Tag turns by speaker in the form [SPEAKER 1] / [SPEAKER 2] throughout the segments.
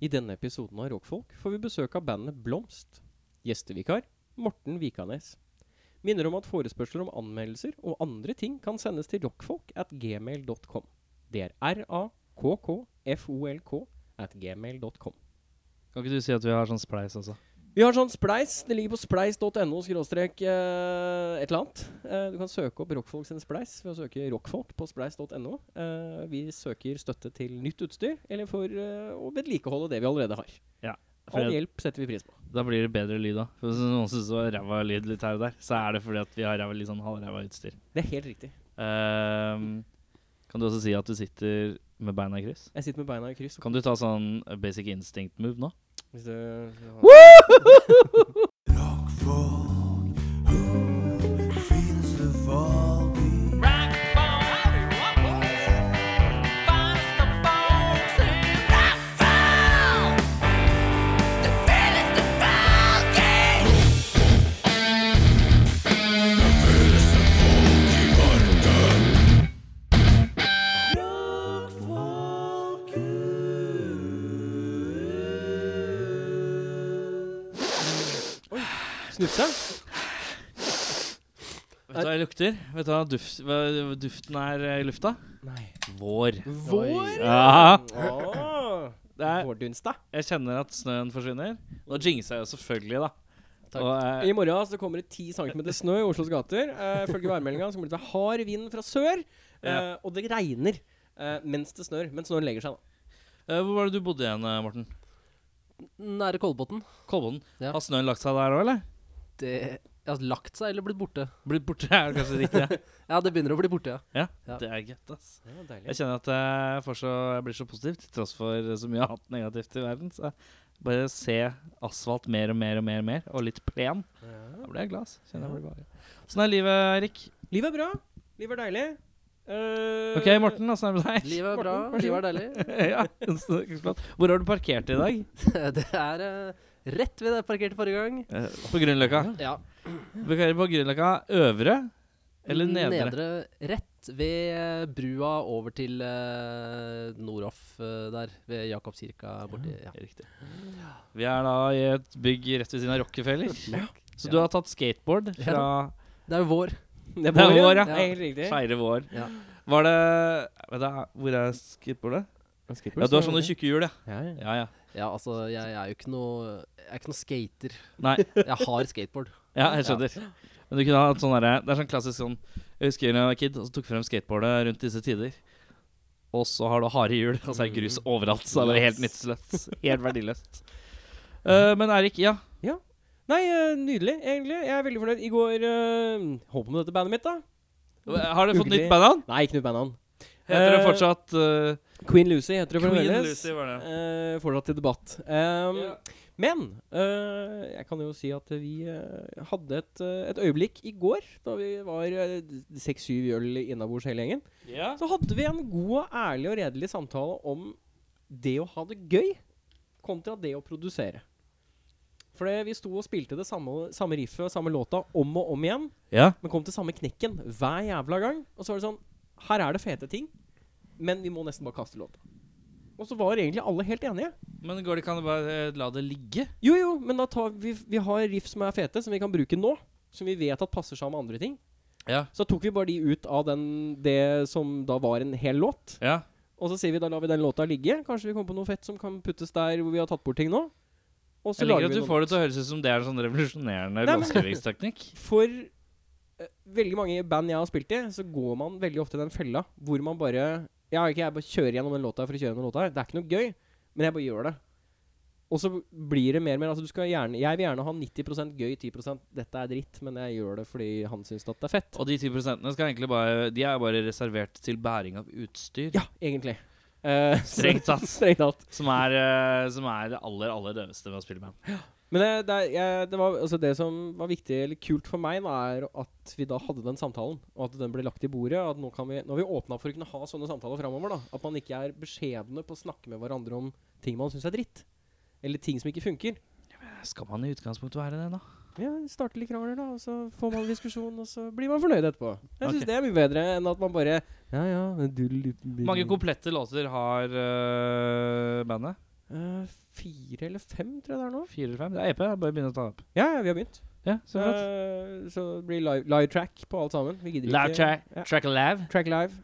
[SPEAKER 1] I denne episoden av Rockfolk får vi besøk av bandet Blomst. Gjestevikar Morten Vikanes. Minner om at forespørsler om anmeldelser og andre ting kan sendes til rockfolk at gmail.com. Det er r-a-k-k-f-o-l-k at gmail.com.
[SPEAKER 2] Kan ikke du si at vi har sånn spleis også?
[SPEAKER 1] Vi har sånn spleis. Det ligger på spleis.no skråstrek eh, et eller annet. Eh, du kan søke opp Rockfolk sin spleis ved å søke Rockfolk på spleis.no. Eh, vi søker støtte til nytt utstyr, eller for eh, å vedlikeholde det vi allerede har.
[SPEAKER 2] Ja.
[SPEAKER 1] All
[SPEAKER 2] For-
[SPEAKER 1] hjelp setter vi pris på.
[SPEAKER 2] Da blir det bedre lyd, da. For Hvis noen syns det var ræva lyd litt her og der, så er det fordi at vi har ræva, litt sånn halvræva utstyr.
[SPEAKER 1] Det er helt riktig.
[SPEAKER 2] Ehm, kan du også si at du sitter med beina i kryss?
[SPEAKER 1] Jeg sitter med beina i kryss.
[SPEAKER 2] Kan du ta sånn basic instinct move nå?
[SPEAKER 1] Hvis du snufsa
[SPEAKER 2] Vet du hva jeg lukter? Vet du hva, duft, hva duften er eh, i lufta?
[SPEAKER 1] Nei.
[SPEAKER 2] Vår.
[SPEAKER 1] Vår?
[SPEAKER 2] Ja.
[SPEAKER 1] Åh.
[SPEAKER 2] Det er,
[SPEAKER 1] Vårdunstad.
[SPEAKER 2] jeg kjenner at snøen forsvinner. Nå jinxa jeg jo selvfølgelig, da.
[SPEAKER 1] Takk.
[SPEAKER 2] Og, eh,
[SPEAKER 1] I morgen så kommer det 10 cm snø i Oslos gater. Eh, Ifølge værmeldinga så kommer det til hard vind fra sør, eh,
[SPEAKER 2] Ja.
[SPEAKER 1] og det regner eh, mens det snør. Men snøen legger seg, da.
[SPEAKER 2] eh, hvor var det du bodde igjen, eh, Morten?
[SPEAKER 3] Nære Kolbotn.
[SPEAKER 2] Kolbotn.
[SPEAKER 3] Ja.
[SPEAKER 2] Har snøen lagt seg der òg, eller?
[SPEAKER 3] Det har eh, altså lagt seg eller blitt borte.
[SPEAKER 2] Blitt borte er kanskje riktig. ja.
[SPEAKER 3] Ja, det begynner å bli borte, ja. Ja.
[SPEAKER 2] Det er gøtt, ass.
[SPEAKER 1] Det var
[SPEAKER 2] Jeg
[SPEAKER 1] deilig.
[SPEAKER 2] kjenner at eh, jeg, får så, jeg blir så positiv til tross for så mye annet negativt i verden. Så jeg bare se asfalt mer og mer og mer og mer, og litt plen. Da blir jeg glad. ass. Kjenner jeg blir glad. Åssen er livet, Eirik?
[SPEAKER 1] Livet er bra. Livet er deilig. Eh,
[SPEAKER 2] OK, Morten, åssen er det med deg?
[SPEAKER 3] Livet er bra, livet er deilig.
[SPEAKER 2] ja, så ikke sant. Hvor har du parkert i dag?
[SPEAKER 3] Det er eh, rett ved det jeg parkerte forrige gang.
[SPEAKER 2] På Grünerløkka.
[SPEAKER 3] Eh, Ja,
[SPEAKER 2] Parkerer på Grünerløkka øvre eller nedre?
[SPEAKER 3] Rett ved eh, brua over til eh, Noroff eh, der, ved Jakobskirka borti. Ja.
[SPEAKER 2] Riktig. Vi er da i et bygg rett ved siden av Rockefeller. Så du
[SPEAKER 3] Ja.
[SPEAKER 2] har tatt skateboard
[SPEAKER 3] Ja.
[SPEAKER 2] fra
[SPEAKER 3] Det er jo vår.
[SPEAKER 1] Det er
[SPEAKER 2] Det er vår,
[SPEAKER 1] vår,
[SPEAKER 2] ja.
[SPEAKER 1] ja. Det er Helt riktig.
[SPEAKER 2] Skeire vår.
[SPEAKER 3] Ja.
[SPEAKER 2] Var det vet du, Hvor er skateboardet? Ja, du har sånne tjukke hjul, ja.
[SPEAKER 1] Ja, ja.
[SPEAKER 2] Ja, ja.
[SPEAKER 3] Ja, altså, jeg er jo ikke noe Jeg er ikke noe skater.
[SPEAKER 2] Nei,
[SPEAKER 3] Jeg har skateboard.
[SPEAKER 2] ja, jeg skjønner. Men du kunne hatt sånn derre Det er sånn klassisk sånn Jeg husker da jeg var kid, og så tok jeg frem skateboardet rundt disse tider. Og så har du harde hjul, og så er det grus
[SPEAKER 1] Mm.
[SPEAKER 2] overalt. Så det er bare helt nytteløst. Helt verdiløst. Eh, men Eirik, ja.
[SPEAKER 1] Nei, eh, nydelig, egentlig. Jeg er veldig fornøyd. I går uh, holdt på med dette bandet mitt, da.
[SPEAKER 2] Har du fått
[SPEAKER 1] Hyggelig.
[SPEAKER 2] nytt bandnavn?
[SPEAKER 1] Nei, ikke noe bandnavn.
[SPEAKER 2] Heter det
[SPEAKER 1] Eh,
[SPEAKER 2] fortsatt eh,
[SPEAKER 1] Queen Lucy heter det
[SPEAKER 2] Queen
[SPEAKER 1] fremdeles.
[SPEAKER 2] Lucy, var det.
[SPEAKER 1] Eh, fortsatt til debatt. Um,
[SPEAKER 2] Ja.
[SPEAKER 1] Men eh, jeg kan jo si at vi eh, hadde et, eh, et øyeblikk i går, da vi var eh, seks-syv øl innabords hele gjengen.
[SPEAKER 2] Ja.
[SPEAKER 1] Så hadde vi en god, og ærlig og redelig samtale om det å ha det gøy kontra det å produsere. For det- vi sto og spilte det samme, samme riffet og samme låta om og om igjen,
[SPEAKER 2] ja.
[SPEAKER 1] men kom til samme knekken hver jævla gang. Og så var det sånn Her er det fete ting, men vi må nesten bare kaste låta. Og så var egentlig alle helt enige.
[SPEAKER 2] Men går det ikke an å bare eh, la det ligge?
[SPEAKER 1] Jo, jo, men da tar vi, vi har riff som er fete, som vi kan bruke nå. Som vi vet at passer sammen med andre ting.
[SPEAKER 2] Ja.
[SPEAKER 1] Så tok vi bare de ut av den, det som da var en hel låt.
[SPEAKER 2] Ja.
[SPEAKER 1] Og så sier vi da lar vi den låta ligge. Kanskje vi kommer på noe fett som kan puttes der hvor vi har tatt bort ting nå. Og så
[SPEAKER 2] Jeg liker
[SPEAKER 1] lager vi
[SPEAKER 2] at du
[SPEAKER 1] noe.
[SPEAKER 2] får det til å høres ut som det er en sånn
[SPEAKER 1] Nei,
[SPEAKER 2] revolusjonerende
[SPEAKER 1] men-
[SPEAKER 2] låtskrivingsteknikk.
[SPEAKER 1] For eh, veldig mange band jeg har spilt i, så går man veldig ofte i den fella hvor man bare Ja, ok, jeg bare kjører gjennom den låta for å kjøre gjennom låta. her. Det er ikke noe gøy, men jeg bare gjør det. Og så blir det mer og mer altså du skal gjerne, Jeg vil gjerne ha 90 gøy, 10 dette er dritt, men jeg gjør det fordi han syns at det er fett.
[SPEAKER 2] Og de 10 skal egentlig bare De er bare reservert til bæring av utstyr.
[SPEAKER 1] Ja, egentlig. Eh, så-
[SPEAKER 2] Strengt tatt.
[SPEAKER 1] Strengt tatt.
[SPEAKER 2] Som er, eh, som er det aller, aller døveste med å spille band.
[SPEAKER 1] Men det, det, er- jeg, det, var, altså det som var viktig eller kult for meg, da, er at vi da hadde den samtalen. Og at den ble lagt i bordet. og At nå, kan vi, nå har vi åpna for å kunne ha sånne samtaler framover. At man ikke er beskjedne på å snakke med hverandre om ting man syns er dritt. Eller ting som ikke funker.
[SPEAKER 2] Skal man i utgangspunktet være det, da?
[SPEAKER 1] Ja, Starte litt krangler, da, og så får man en diskusjon, og så blir man fornøyd etterpå. Jeg syns
[SPEAKER 2] Ok.
[SPEAKER 1] det er mye bedre enn at man bare Ja, ja men du,
[SPEAKER 2] Mange komplette låter har eh, bandet.
[SPEAKER 1] eh, fire eller fem, tror jeg det er nå.
[SPEAKER 2] Fire eller fem? Det er EP. Bare begynne å ta det opp.
[SPEAKER 1] Ja, ja, vi har begynt.
[SPEAKER 2] Ja, så flott.
[SPEAKER 1] Eh, så det blir live, live track på alt sammen. Vi gidder
[SPEAKER 2] Live
[SPEAKER 1] ikke
[SPEAKER 2] track,
[SPEAKER 1] Ja.
[SPEAKER 2] track alive.
[SPEAKER 1] Track live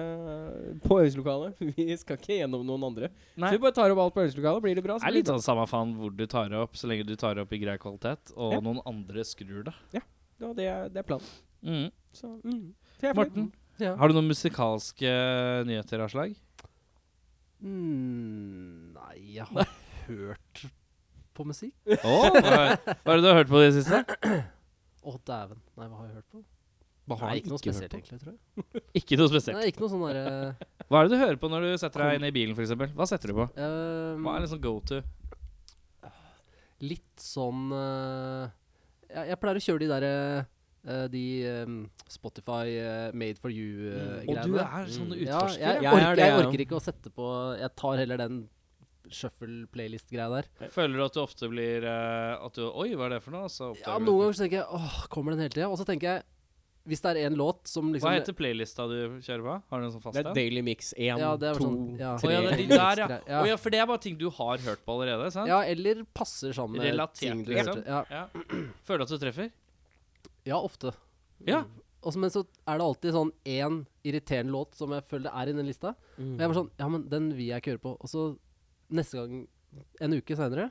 [SPEAKER 1] eh, på øvingslokalet. Vi skal ikke gjennom noen andre.
[SPEAKER 2] Nei.
[SPEAKER 1] Så vi bare tar opp alt på øvingslokalet, blir det bra.
[SPEAKER 2] Det
[SPEAKER 1] Så
[SPEAKER 2] er
[SPEAKER 1] blir
[SPEAKER 2] litt
[SPEAKER 1] det bra.
[SPEAKER 2] sånn samme faen hvor du tar det opp, så lenge du tar det opp i grei kvalitet, og
[SPEAKER 1] Ja.
[SPEAKER 2] noen andre skrur det.
[SPEAKER 1] Ja, det, er, det er planen.
[SPEAKER 2] Mm.
[SPEAKER 1] Så, mm. så jeg er fornøyd.
[SPEAKER 2] sånn. Morten, har du noen musikalske nyheter, Aslag?
[SPEAKER 3] Mm, nei, jeg har hørt på musikk.
[SPEAKER 2] Åh, hva, hva er det du har hørt på i det siste?
[SPEAKER 3] Å, dæven. Nei, hva har jeg hørt på?
[SPEAKER 2] Hva
[SPEAKER 3] Nei,
[SPEAKER 2] du
[SPEAKER 3] ikke noe
[SPEAKER 2] hørt
[SPEAKER 3] spesielt,
[SPEAKER 2] på?
[SPEAKER 3] egentlig, tror jeg.
[SPEAKER 2] Ikke noe spesielt.
[SPEAKER 3] Nei, ikke noe sånn derre
[SPEAKER 2] Hva er det du hører på når du setter deg inn i bilen, f.eks.? Hva setter du på?
[SPEAKER 3] ehm,
[SPEAKER 2] Hva er liksom go to?
[SPEAKER 3] Litt sånn eh, jeg, jeg pleier å kjøre de derre de ehm, Spotify eh, Made for
[SPEAKER 2] Mm. Og
[SPEAKER 3] you-greiene.
[SPEAKER 2] du er sånn
[SPEAKER 1] Mm.
[SPEAKER 3] ja,
[SPEAKER 2] utforsker.
[SPEAKER 3] jeg, jeg,
[SPEAKER 1] Jeg orker
[SPEAKER 3] orker,
[SPEAKER 1] det,
[SPEAKER 3] jeg
[SPEAKER 1] ja.
[SPEAKER 3] orker ikke å sette på Jeg tar heller den shuffle-playlist-greia der.
[SPEAKER 2] Føler du at du ofte blir eh, at du, Oi, hva er det for noe? Så oppdager
[SPEAKER 3] Ja,
[SPEAKER 2] du at
[SPEAKER 3] Noen ganger så tenker jeg åh, kommer den hele tida? Og så tenker jeg hvis det er én låt som
[SPEAKER 2] du-
[SPEAKER 3] liksom
[SPEAKER 2] Hva heter playlista du kjører på? Har du en sånn fast
[SPEAKER 1] Det er
[SPEAKER 2] en?
[SPEAKER 1] Daily Mix 1,
[SPEAKER 3] Ja, det er
[SPEAKER 1] 2,
[SPEAKER 3] sånn, ja.
[SPEAKER 2] Å ja, det er de
[SPEAKER 3] Tre-
[SPEAKER 2] der, ja.
[SPEAKER 3] Ja.
[SPEAKER 2] Å ja, for det er bare ting du har hørt på allerede? sant?
[SPEAKER 3] Ja, eller passer sammen med
[SPEAKER 2] Relatert,
[SPEAKER 3] ting du
[SPEAKER 2] liksom.
[SPEAKER 3] hørte. Ja,
[SPEAKER 2] Ja. Føler du at du treffer?
[SPEAKER 3] ja ofte. Mm.
[SPEAKER 2] Ja.
[SPEAKER 3] Og så- men så er det alltid sånn én irriterende låt som jeg føler er i den lista.
[SPEAKER 1] Mm.
[SPEAKER 3] Og jeg var sånn Ja, men den vil jeg ikke høre på. Og så neste gang, en uke seinere,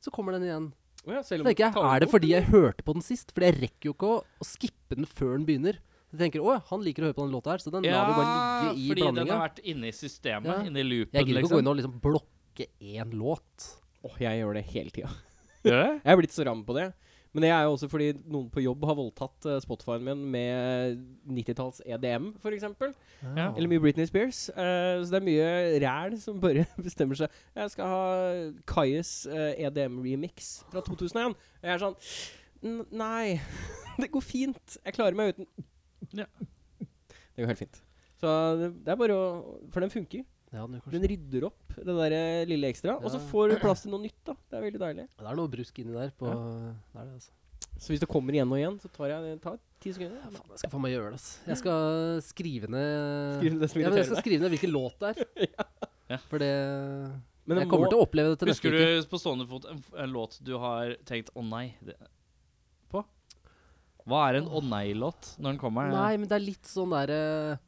[SPEAKER 3] så kommer den igjen.
[SPEAKER 1] Å ja, selv
[SPEAKER 3] Så
[SPEAKER 1] om
[SPEAKER 3] tenker jeg,
[SPEAKER 1] Kalvor-
[SPEAKER 3] er det fordi jeg hørte på den sist? Fordi jeg rekker jo ikke å, å skippe den før den begynner. Så jeg tenker jeg, å, han liker å høre på den låta her, så den lar vi bare ligge i
[SPEAKER 2] fordi den har
[SPEAKER 3] blandinga.
[SPEAKER 2] vært inne i systemet,
[SPEAKER 3] Ja.
[SPEAKER 2] inne i loopen,
[SPEAKER 3] Jeg gidder ikke å
[SPEAKER 2] liksom.
[SPEAKER 3] gå inn og liksom blokke én låt.
[SPEAKER 1] Åh, jeg gjør det hele tida.
[SPEAKER 2] Gjør det?
[SPEAKER 1] Jeg er blitt så ram på det. Men det er jo også fordi noen på jobb har voldtatt eh, Spotify-en min med E 90-talls EDM, f.eks.
[SPEAKER 2] Ja.
[SPEAKER 1] Eller mye Britney Spears. Eh, så det er mye ræl som bare bestemmer seg. Jeg skal ha eh, E Kaius EDM-remix fra 2001. Og jeg er sånn "N- Nei, det går fint. Jeg klarer meg uten.
[SPEAKER 2] Ja.
[SPEAKER 1] Det går helt fint. Så det det er bare å For den funker.
[SPEAKER 3] Ja, den gjør kanskje.
[SPEAKER 1] Den rydder opp det der eh, lille ekstra, og så
[SPEAKER 3] Ja.
[SPEAKER 1] får du plass til noe nytt. da Det er veldig deilig.
[SPEAKER 3] det er noe brusk inni der. På, Det er det, altså.
[SPEAKER 1] Så hvis det kommer igjen og igjen, så tar jeg tar ti sekunder.
[SPEAKER 3] Faen, jeg skal faen meg gjøre det. ass. Jeg skal skrive ned
[SPEAKER 1] Skrive ned det som
[SPEAKER 3] ja, men Jeg
[SPEAKER 1] irriterer
[SPEAKER 3] skal skrive ned hvilken låt det er.
[SPEAKER 2] Ja.
[SPEAKER 3] For det
[SPEAKER 1] Men det
[SPEAKER 3] Jeg kommer
[SPEAKER 1] må-
[SPEAKER 3] til å oppleve det til neste
[SPEAKER 2] Husker
[SPEAKER 3] uke.
[SPEAKER 2] du på stående fot en, f- en låt du har tenkt 'å nei' det, på? Hva er en 'å nei'-låt når den kommer?
[SPEAKER 3] Nei, men det er litt sånn derre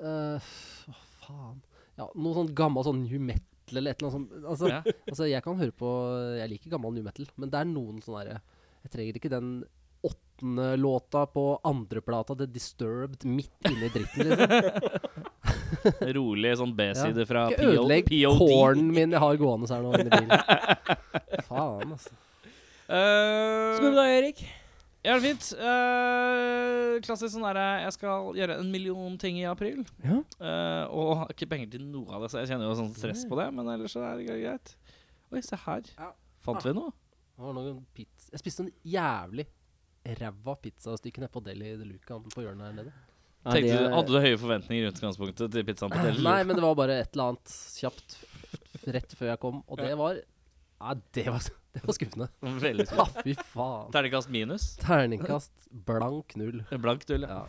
[SPEAKER 3] Hva faen Ja, Noe sånn gammel sånn new metal eller et eller annet sånt. Altså,
[SPEAKER 2] Ja.
[SPEAKER 3] altså, jeg kan høre på Jeg liker gammel new metal, men det er noen sånne derre Jeg trenger ikke den åttende låta på andreplata til Disturbed midt inni dritten, liksom.
[SPEAKER 2] Rolig sånn B-side fra
[SPEAKER 3] Ikke
[SPEAKER 2] PO
[SPEAKER 3] ødelegg
[SPEAKER 2] POD.
[SPEAKER 3] kålen min jeg har gående her nå inni bilen. Faen, altså.
[SPEAKER 2] Eh,
[SPEAKER 1] Skal du da, Erik?
[SPEAKER 2] ja, det er fint. Eh, klassisk sånn derre Jeg skal gjøre en million ting i april.
[SPEAKER 1] Ja.
[SPEAKER 2] Eh, og har ikke penger til noe av det, så jeg kjenner jo sånn stress på det. Men ellers så er det greit. Oi, se her.
[SPEAKER 3] Ja.
[SPEAKER 2] Fant vi noe?
[SPEAKER 3] Det var noen pizza. Jeg spiste en jævlig ræva pizzastykke nede på Deli de Luca på hjørnet her nede.
[SPEAKER 2] Tenkte, du- hadde du høye forventninger i utgangspunktet til pizzaen på Del?
[SPEAKER 3] Nei, men det var bare et eller annet kjapt f- rett før jeg kom, og det var Nei, det var, det var skuffende.
[SPEAKER 2] Veldig
[SPEAKER 3] Ja, fy faen.
[SPEAKER 2] Terningkast minus.
[SPEAKER 3] Terningkast blank null.
[SPEAKER 2] Blankt ull, ja.
[SPEAKER 3] Ja.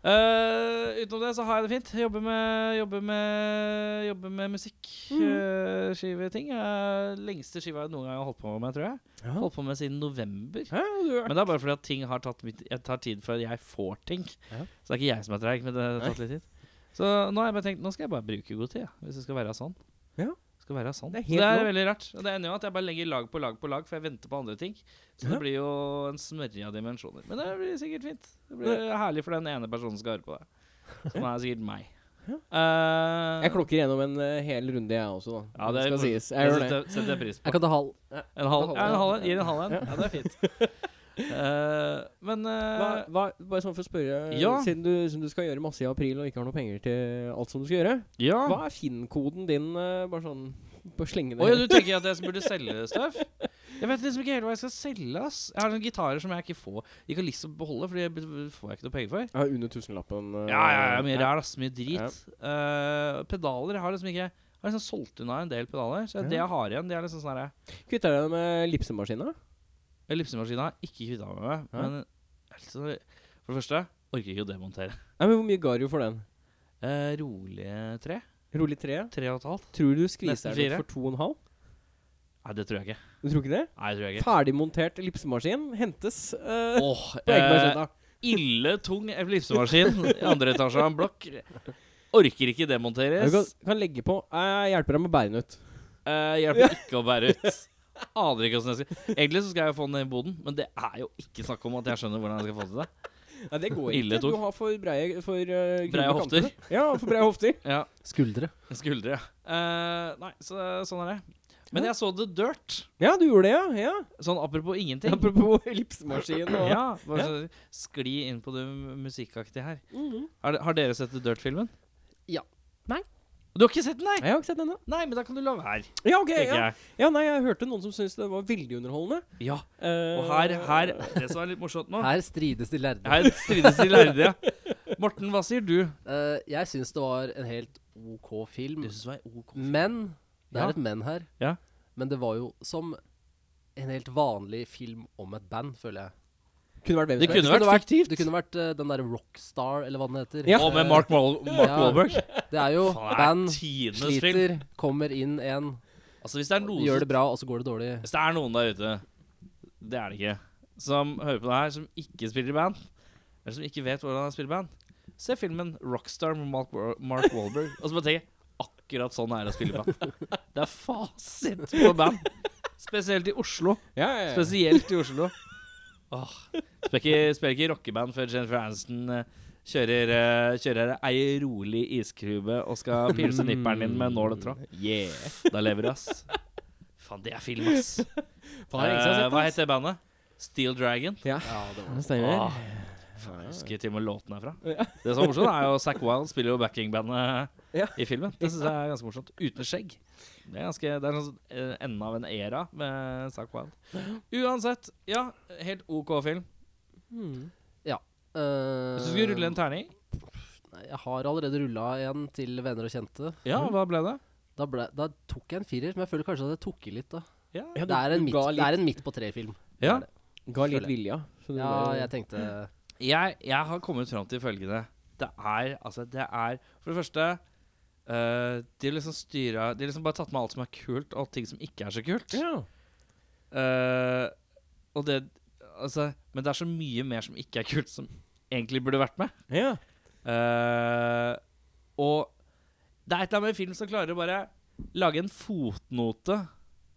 [SPEAKER 2] Eh, utenom det så har jeg det fint. Jobber med, jobber med, jobber med musikk. eh, skiveting. Eh, lengste skiva jeg noen gang har holdt på med, tror jeg.
[SPEAKER 1] Ja.
[SPEAKER 2] Holdt på med siden november.
[SPEAKER 1] Hæ? Du er
[SPEAKER 2] Men det er bare fordi at ting har tatt mitt, jeg tar tid før jeg får ting.
[SPEAKER 1] Ja.
[SPEAKER 2] Så det er ikke jeg som er treig, men det har tatt litt tid. Så nå har jeg bare tenkt nå skal jeg bare bruke god tid, ja, hvis det skal være sånn.
[SPEAKER 1] Ja.
[SPEAKER 2] Skal være sånn.
[SPEAKER 1] Det er
[SPEAKER 2] Så
[SPEAKER 1] helt
[SPEAKER 2] det er
[SPEAKER 1] lov.
[SPEAKER 2] veldig rart. Og det ender jo at jeg bare legger lag på lag på lag, for jeg venter på andre ting. Så
[SPEAKER 1] Ja.
[SPEAKER 2] det blir jo en smørje av dimensjoner. Men det blir sikkert fint. Det blir herlig for den ene personen som skal høre på det. Som er sikkert meg.
[SPEAKER 1] Ja.
[SPEAKER 2] Eh,
[SPEAKER 1] Jeg klokker gjennom en eh, hel runde, jeg også, da.
[SPEAKER 2] Ja, det er-
[SPEAKER 1] skal sies.
[SPEAKER 2] det
[SPEAKER 1] Jeg gjør det.
[SPEAKER 2] setter, setter jeg pris på.
[SPEAKER 3] Jeg kan ta halv.
[SPEAKER 2] En halv,
[SPEAKER 1] halv,
[SPEAKER 2] ja, en
[SPEAKER 1] ja.
[SPEAKER 2] halv en. Gir en halv en. Ja, det er fint. Eh, men eh,
[SPEAKER 1] Hva, hva, bare sånn for å spørre,
[SPEAKER 2] Ja.
[SPEAKER 1] siden du, som du skal gjøre masse i april og ikke har noe penger til alt som du skal gjøre,
[SPEAKER 2] ja.
[SPEAKER 1] hva er Finn-koden din, eh, bare sånn på slenge
[SPEAKER 2] Å ja,
[SPEAKER 1] ned?
[SPEAKER 2] du tenker at jeg burde selge støv? Jeg vet liksom ikke helt hva jeg skal selge. ass Jeg har sånne gitarer som jeg ikke får Ikke har lyst til å beholde, Fordi jeg b- får jeg ikke noe penger for.
[SPEAKER 1] Jeg har under tusenlappen. eh,
[SPEAKER 2] Ja, ja, ja, Mye ræl, ass. Mye drit.
[SPEAKER 1] Ja.
[SPEAKER 2] Eh, pedaler jeg har liksom ikke Jeg har liksom solgt unna en del pedaler. Så det jeg har igjen, det er liksom sånn herre
[SPEAKER 1] Kvitter deg med lipsemaskina?
[SPEAKER 2] Ellipsemaskina har jeg ikke kvitta meg med.
[SPEAKER 1] Ja.
[SPEAKER 2] Men altså, for det første orker jeg ikke å demontere.
[SPEAKER 1] Nei, men Hvor mye ga du for den?
[SPEAKER 2] Eh, rolige tre.
[SPEAKER 1] Rolig tre?
[SPEAKER 2] Tre og et halvt.
[SPEAKER 1] Tror du
[SPEAKER 2] Nesten
[SPEAKER 1] skviser
[SPEAKER 2] fire.
[SPEAKER 1] den ut for to og en halv?
[SPEAKER 2] Nei, det tror jeg ikke.
[SPEAKER 1] Du tror ikke det?
[SPEAKER 2] Nei, det tror jeg ikke.
[SPEAKER 1] Ferdigmontert ellipsemaskin hentes eh,
[SPEAKER 2] Åh,
[SPEAKER 1] på
[SPEAKER 2] eh,
[SPEAKER 1] Ekebergsletta.
[SPEAKER 2] ille tung ellipsemaskin i andre etasje av en blokk. Orker
[SPEAKER 1] Du
[SPEAKER 2] ikke
[SPEAKER 1] kan,
[SPEAKER 2] demonteres.
[SPEAKER 1] kan legge på Jeg hjelper deg med å bære den ut.
[SPEAKER 2] Eh, hjelper ikke å bære ut. Aner ikke hvordan jeg skal Egentlig så skal jeg jo få den ned i boden, men det er jo ikke snakk om at jeg skjønner hvordan jeg skal få til det.
[SPEAKER 1] Nei, det går
[SPEAKER 2] Ille
[SPEAKER 1] ikke.
[SPEAKER 2] tok.
[SPEAKER 1] Du har for breie for, eh,
[SPEAKER 2] Breie
[SPEAKER 1] grove
[SPEAKER 2] hofter.
[SPEAKER 1] kanter. Ja, for breie hofter.
[SPEAKER 2] Ja,
[SPEAKER 3] Skuldre.
[SPEAKER 2] Skuldre, ja. Eh, nei, så, sånn er det. Men jeg så The Dirt.
[SPEAKER 1] Ja, du gjorde det, ja. ja.
[SPEAKER 2] Sånn apropos ingenting.
[SPEAKER 1] Apropos ellipsemaskin og
[SPEAKER 2] Ja, bare så skli inn på det mu- musikkaktige her.
[SPEAKER 1] Mhm.
[SPEAKER 2] Har, har dere sett The Dirt-filmen?
[SPEAKER 3] Ja.
[SPEAKER 1] Nei.
[SPEAKER 2] Du har ikke sett den, nei?
[SPEAKER 1] Nei, Jeg har ikke sett denne.
[SPEAKER 2] Nei, men da kan du la være,
[SPEAKER 1] Ja, ok.
[SPEAKER 2] tenker
[SPEAKER 1] Ja.
[SPEAKER 2] jeg.
[SPEAKER 1] ja, nei, jeg hørte noen som syntes det var veldig underholdende.
[SPEAKER 2] Ja,
[SPEAKER 1] Eh,
[SPEAKER 2] Og her, her Det som er litt morsomt nå
[SPEAKER 3] Her strides de lærde.
[SPEAKER 2] Her strides de lærde. ja. Morten, hva sier du?
[SPEAKER 3] Eh, jeg syns det var en helt OK film.
[SPEAKER 2] syns det var OK?
[SPEAKER 3] Men Det
[SPEAKER 2] Ja.
[SPEAKER 3] er et men her.
[SPEAKER 2] Ja.
[SPEAKER 3] Men det var jo som en helt vanlig film om et band, føler jeg.
[SPEAKER 1] kunne vært hvem
[SPEAKER 2] Det
[SPEAKER 1] som helst.
[SPEAKER 2] kunne vært fiktivt.
[SPEAKER 3] Det kunne vært eh, den derre Rockstar, eller hva den heter.
[SPEAKER 1] Ja.
[SPEAKER 2] Og med
[SPEAKER 3] Eh,
[SPEAKER 2] Mark, Wal Mark
[SPEAKER 3] Ja.
[SPEAKER 2] Wahlberg.
[SPEAKER 3] Det er jo
[SPEAKER 2] Faen, det er
[SPEAKER 3] band,
[SPEAKER 2] tidenes
[SPEAKER 3] sliter, kommer inn en,
[SPEAKER 2] Altså, hvis det er noen
[SPEAKER 3] gjør det bra, og så går det dårlig.
[SPEAKER 2] Hvis det er noen der ute, det er det ikke, som hører på det her, som ikke spiller i band, eller som ikke vet hvordan han spiller i band, se filmen Rockstar med Mark, Wa- Mark Wahlberg, og så bare tenk akkurat sånn er det å spille i band. Det er fasit på band. Spesielt i Oslo.
[SPEAKER 1] Ja, ja, ja.
[SPEAKER 2] Spesielt i Oslo. Åh. Spiller ikke, spiller ikke rockeband før Jennifer Aniston eh, kjører, eh, kjører ei rolig iskube og skal pilse nipperen din med nål og tråd.
[SPEAKER 1] Yeah.
[SPEAKER 2] Da lever du, ass. Faen, det er film, ass.
[SPEAKER 1] Faen, jeg har ikke
[SPEAKER 2] Eh,
[SPEAKER 1] sett den,
[SPEAKER 2] hva
[SPEAKER 1] ass.
[SPEAKER 2] heter bandet? Steel Dragon.
[SPEAKER 1] Ja,
[SPEAKER 3] Ja, det var
[SPEAKER 1] det stemmer.
[SPEAKER 2] Åh, faen, jeg husker til og med låten herfra.
[SPEAKER 1] Ja.
[SPEAKER 2] Det som er morsomt, er jo Zack Wilde spiller jo backingbandet
[SPEAKER 1] Ja.
[SPEAKER 2] i filmen. Det syns jeg er ganske morsomt. Uten skjegg. Det er, ganske, det er sånn, eh, enden av en æra med Zack Wilde. Uansett, ja, helt OK film.
[SPEAKER 1] Mm.
[SPEAKER 2] Hvis du skulle rulle en terning,
[SPEAKER 3] Nei, Eh, Jeg har allerede rulla en til venner og kjente.
[SPEAKER 2] ja, hva ble det?
[SPEAKER 3] Da, ble, da tok jeg en firer, men jeg føler kanskje at jeg tok i litt, da.
[SPEAKER 2] Ja.
[SPEAKER 1] Ja, du-
[SPEAKER 3] det, er en
[SPEAKER 1] du
[SPEAKER 3] midt,
[SPEAKER 1] ga
[SPEAKER 3] det
[SPEAKER 1] litt-
[SPEAKER 3] er en midt på tre-film.
[SPEAKER 2] ja.
[SPEAKER 1] Ga litt
[SPEAKER 3] Føler
[SPEAKER 1] vilja. så du
[SPEAKER 3] Ja,
[SPEAKER 1] bare-
[SPEAKER 3] jeg tenkte
[SPEAKER 2] Jeg, jeg har kommet fram til følgende. Det er altså det er, For det første eh, De har liksom styra De har liksom bare tatt med alt som er kult, og ting som ikke er så kult.
[SPEAKER 1] ja.
[SPEAKER 2] Eh, og det Altså Men det er så mye mer som ikke er kult, som egentlig burde vært med.
[SPEAKER 1] ja.
[SPEAKER 2] Eh, og det er et eller annet med en film som klarer å bare lage en fotnote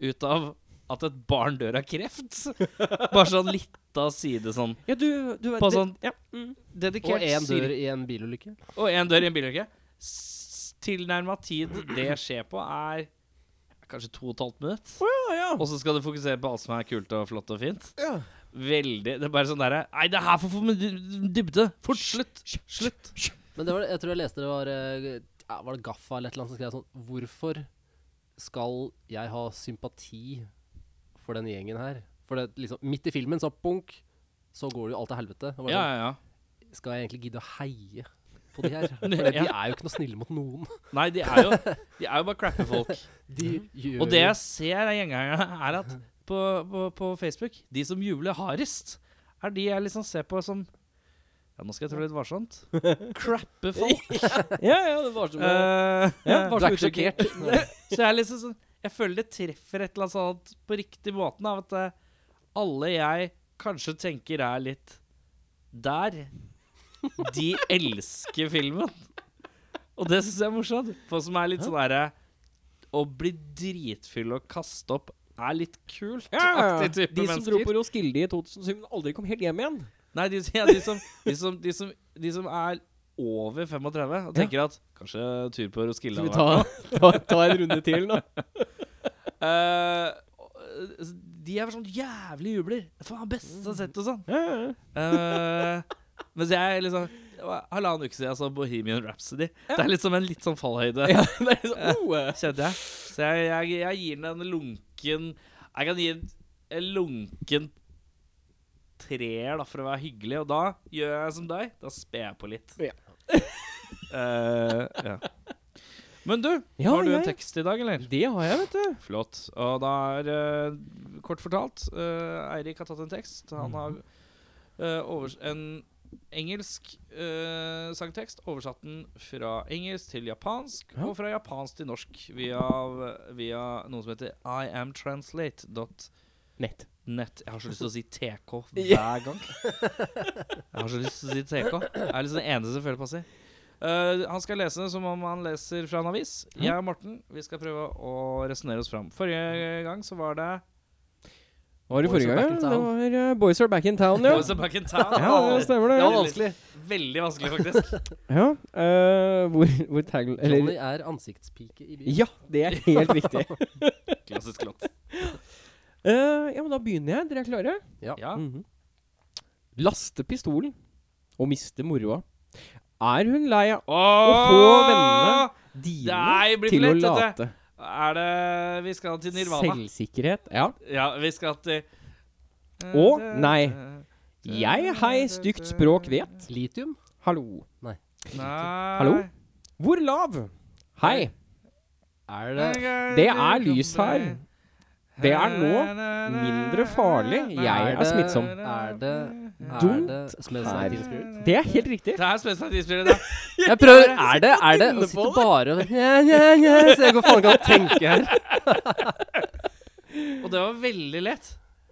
[SPEAKER 2] ut av at et barn dør av kreft. Bare sånn lita side sånn.
[SPEAKER 1] ja du, du vet
[SPEAKER 2] På
[SPEAKER 1] det-
[SPEAKER 2] sånn-
[SPEAKER 1] ja. Mm.
[SPEAKER 2] Dedikert
[SPEAKER 3] Og én
[SPEAKER 2] cirka-
[SPEAKER 3] dør i en bilulykke.
[SPEAKER 2] Og én dør i en bilulykke. S- Tilnærma tid det skjer på, er kanskje to og et halvt minutt.
[SPEAKER 1] Ja, ja.
[SPEAKER 2] Og så skal du fokusere på alt som er kult og flott og fint.
[SPEAKER 1] Ja.
[SPEAKER 2] Veldig Det er bare sånn derre Nei, det her får for mye dy- dybde! Fort! Slutt! Slutt!
[SPEAKER 3] Men det var, jeg tror jeg leste det var eh, ja, Var det Gaffa eller et eller annet som skrev sånn Hvorfor skal jeg ha sympati for den gjengen her? For det, liksom, midt i filmen, så bunk, så går det jo alt til helvete. Og
[SPEAKER 2] Ja,
[SPEAKER 3] bare
[SPEAKER 2] ja, ja.
[SPEAKER 3] sånn, skal jeg egentlig gidde å heie på de her? For det, de
[SPEAKER 2] Ja.
[SPEAKER 3] er jo ikke noe snille mot noen.
[SPEAKER 2] Nei, de er jo De er jo bare crappe folk.
[SPEAKER 3] De gjør
[SPEAKER 2] Og det jeg ser av gjengangerne, er at på, på, på Facebook De som jubler hardest, er de jeg liksom ser på som Ja, nå skal jeg trå litt varsomt. Crappe folk.
[SPEAKER 1] ja, ja, det var som å
[SPEAKER 2] Eh,
[SPEAKER 1] ja,
[SPEAKER 3] Du
[SPEAKER 1] var som
[SPEAKER 3] er ikke
[SPEAKER 1] uttrykket.
[SPEAKER 3] sjokkert.
[SPEAKER 2] Så jeg er liksom sånn Jeg føler det treffer et eller annet sånt på riktig måten av at eh, alle jeg kanskje tenker er litt der, de elsker filmen. Og det syns jeg er morsomt. For som er litt sånn herre Å bli dritfull og kaste opp er litt kult.
[SPEAKER 1] Ja, ja.
[SPEAKER 2] aktig type
[SPEAKER 1] De som
[SPEAKER 2] mennesker.
[SPEAKER 1] dro på Roskilde i 2007, men aldri kom helt hjem igjen.
[SPEAKER 2] Nei, de, ja, de, som, de, som, de, som, de som er over 35 og tenker at kanskje tur på Roskilde
[SPEAKER 1] Skal vi
[SPEAKER 2] hadde vært
[SPEAKER 1] ta, ta, ta en runde til nå?
[SPEAKER 2] Eh, de er sånn jævlig jubler. Faen, beste sett og sånn.
[SPEAKER 1] Ja, ja, ja.
[SPEAKER 2] Eh, mens jeg liksom det var Halvannen uke siden jeg så Bohemian Rhapsody. Det er liksom en litt sånn fallhøyde,
[SPEAKER 1] Ja, det er liksom, oh, eh.
[SPEAKER 2] kjente jeg. Så jeg, jeg, jeg gir den en lunken Jeg kan gi den en lunken treer da, for å være hyggelig, og da gjør jeg som deg. Da sper jeg på litt.
[SPEAKER 1] Ja.
[SPEAKER 2] Eh, ja. Men du,
[SPEAKER 1] Ja,
[SPEAKER 2] har du
[SPEAKER 1] ja,
[SPEAKER 2] en
[SPEAKER 1] ja.
[SPEAKER 2] tekst i dag, eller?
[SPEAKER 1] Det har jeg, vet du.
[SPEAKER 2] Flott. Og da er eh, kort fortalt eh, Eirik har tatt en tekst. Han har eh, overs en engelsk eh, sangtekst. Oversatt den fra engelsk til japansk,
[SPEAKER 1] Ja.
[SPEAKER 2] og fra japansk til norsk via, via noe som heter iamtranslate.net.
[SPEAKER 1] Nett.
[SPEAKER 2] Jeg har så lyst til å si TK
[SPEAKER 1] Ja.
[SPEAKER 2] hver gang. Jeg har så lyst til å si TK. Det er liksom det eneste jeg føler på å si. Eh, han skal lese som om han leser fra en avis.
[SPEAKER 1] Mm.
[SPEAKER 2] Jeg og Morten vi skal prøve å resonnere oss fram. Forrige gang så var det
[SPEAKER 1] Hva var det
[SPEAKER 3] Boys
[SPEAKER 1] forrige
[SPEAKER 3] Are
[SPEAKER 1] gang? ja? Det
[SPEAKER 3] Back in Town.
[SPEAKER 1] var eh, Boys Are Back in Town, ja.
[SPEAKER 2] Boys Are Back in Town.
[SPEAKER 1] Ja, det stemmer det.
[SPEAKER 3] Det
[SPEAKER 1] Ja.
[SPEAKER 3] var vanskelig.
[SPEAKER 2] Veldig vanskelig, faktisk.
[SPEAKER 1] eh, hvor hvor tag...
[SPEAKER 3] Johnny
[SPEAKER 1] Eller
[SPEAKER 3] er ansiktspike i byen.
[SPEAKER 1] Ja, det er helt riktig.
[SPEAKER 2] Klassisk låt.
[SPEAKER 1] Eh, ja, men da begynner jeg. Dere er klare?
[SPEAKER 2] Ja.
[SPEAKER 1] Mhm. Laste pistolen og miste moroa. Er hun lei av
[SPEAKER 2] Å
[SPEAKER 1] få vennene dine
[SPEAKER 2] Nei, blir
[SPEAKER 1] til
[SPEAKER 2] for
[SPEAKER 1] å
[SPEAKER 2] lett, dette.
[SPEAKER 1] late?
[SPEAKER 2] Er det Vi skal til Nirvana.
[SPEAKER 1] Selvsikkerhet. Ja.
[SPEAKER 2] Ja, vi skal til
[SPEAKER 1] Å, nei. Jeg hei stygt språk vet.
[SPEAKER 3] Litium?
[SPEAKER 1] Hallo.
[SPEAKER 2] Nei.
[SPEAKER 1] Hallo? Hvor lav? Hei.
[SPEAKER 3] Er det
[SPEAKER 1] Det er lys her. Det er nå mindre farlig. Jeg er smittsom.
[SPEAKER 3] Er det er
[SPEAKER 1] Dumt
[SPEAKER 3] det Smells Like Teen Spirit?
[SPEAKER 1] Det er helt riktig.
[SPEAKER 2] Det er Spencer Tidsspillet, da.
[SPEAKER 3] Jeg prøver. Er det Er det Å sitte bare og Nja, nja, nja, Så jeg går faen ikke an å tenke her.
[SPEAKER 2] Og det var veldig lett.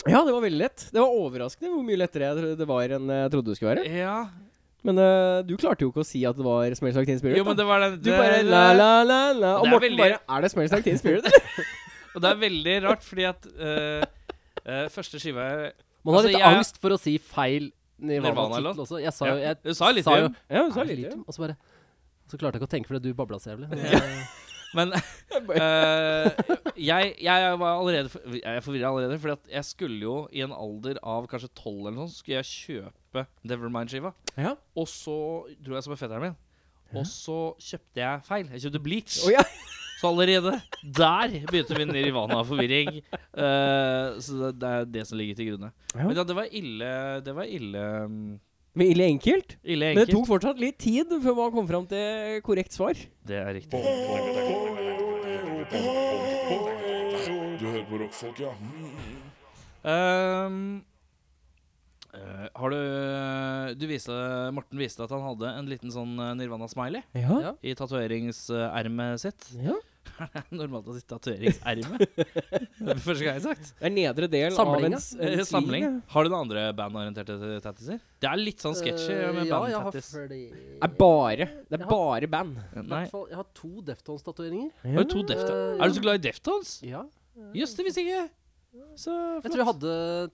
[SPEAKER 1] Ja, det var veldig lett. Det var overraskende hvor mye lettere jeg tro- det var enn jeg trodde det skulle være.
[SPEAKER 2] Ja.
[SPEAKER 1] Men eh, du klarte jo ikke å si at det var Smells Like Teen Spirit.
[SPEAKER 2] Jo, men
[SPEAKER 1] da.
[SPEAKER 2] det var den
[SPEAKER 1] Du bare la, la, la, la. Og
[SPEAKER 2] Det er
[SPEAKER 1] Morten
[SPEAKER 2] veldig-
[SPEAKER 1] bare Er det Smells Like Teen Spirit?
[SPEAKER 2] Og det er veldig rart, fordi at eh, eh, første skiva jeg-
[SPEAKER 3] Man har
[SPEAKER 2] Altså,
[SPEAKER 3] litt
[SPEAKER 2] jeg-
[SPEAKER 3] angst for å si feil
[SPEAKER 2] Nirvana-låt.
[SPEAKER 3] Nirvana-tittel også. Jeg sa jo
[SPEAKER 2] Ja,
[SPEAKER 3] jeg,
[SPEAKER 2] du sa litt,
[SPEAKER 3] jo
[SPEAKER 2] jo.
[SPEAKER 1] ja,
[SPEAKER 3] Er
[SPEAKER 1] så
[SPEAKER 3] det
[SPEAKER 1] litt.
[SPEAKER 3] Litium? Og så bare Så klarte jeg ikke å tenke fordi du babla så jævlig.
[SPEAKER 2] Men eh, jeg, jeg var allerede for- Jeg er forvirra allerede, Fordi at jeg skulle jo i en alder av kanskje 12 eller noe sånt, skulle jeg kjøpe Nevermind-skiva.
[SPEAKER 1] Ja.
[SPEAKER 2] Og så dro jeg som med fetteren min. Og så kjøpte jeg feil. Jeg kjøpte bleach.
[SPEAKER 1] Å, ja.
[SPEAKER 2] Så allerede der begynte min Nirvana-forvirring. Eh, så det, det er det som ligger til grunne.
[SPEAKER 1] Ja.
[SPEAKER 2] Men ja, det var ille Det var ille mm,
[SPEAKER 1] Men ille enkelt.
[SPEAKER 2] Ille
[SPEAKER 1] Men det
[SPEAKER 2] enkelt.
[SPEAKER 1] tok fortsatt litt tid før man kom fram til korrekt svar.
[SPEAKER 2] Det er riktig.
[SPEAKER 4] Du hører på rockfolk, ja. Mm.
[SPEAKER 2] Ehm, eh, har du Du viste Morten viste at han hadde en liten sånn eh, Nirvana-smiley
[SPEAKER 1] Ja.
[SPEAKER 3] Ja.
[SPEAKER 2] i tatoveringsermet sitt.
[SPEAKER 1] ja.
[SPEAKER 2] Normalt å si tatoveringsermet. Det er Første gang jeg har sagt.
[SPEAKER 1] Det er nedre del
[SPEAKER 3] Samling,
[SPEAKER 1] av
[SPEAKER 3] ja.
[SPEAKER 1] en, s-
[SPEAKER 2] Eh,
[SPEAKER 1] en
[SPEAKER 2] Samling.
[SPEAKER 1] sling,
[SPEAKER 2] Har du noen andre bandorienterte tattiser? Det er litt sånn sketchy med
[SPEAKER 3] Eh, ja, jeg har
[SPEAKER 2] bandtattis. Eh,
[SPEAKER 1] ja.
[SPEAKER 3] flere
[SPEAKER 1] er bare Det er
[SPEAKER 3] Ja.
[SPEAKER 1] bare band.
[SPEAKER 2] Nei.
[SPEAKER 3] hvert fall- Jeg har to Deftones-tatoveringer.
[SPEAKER 2] Har du to Deftones?
[SPEAKER 3] Eh,
[SPEAKER 2] Er du så glad i Deftones?
[SPEAKER 3] Ja.
[SPEAKER 2] Jøss, det visste jeg ikke. Så
[SPEAKER 3] Jeg tror jeg
[SPEAKER 2] flott.
[SPEAKER 3] hadde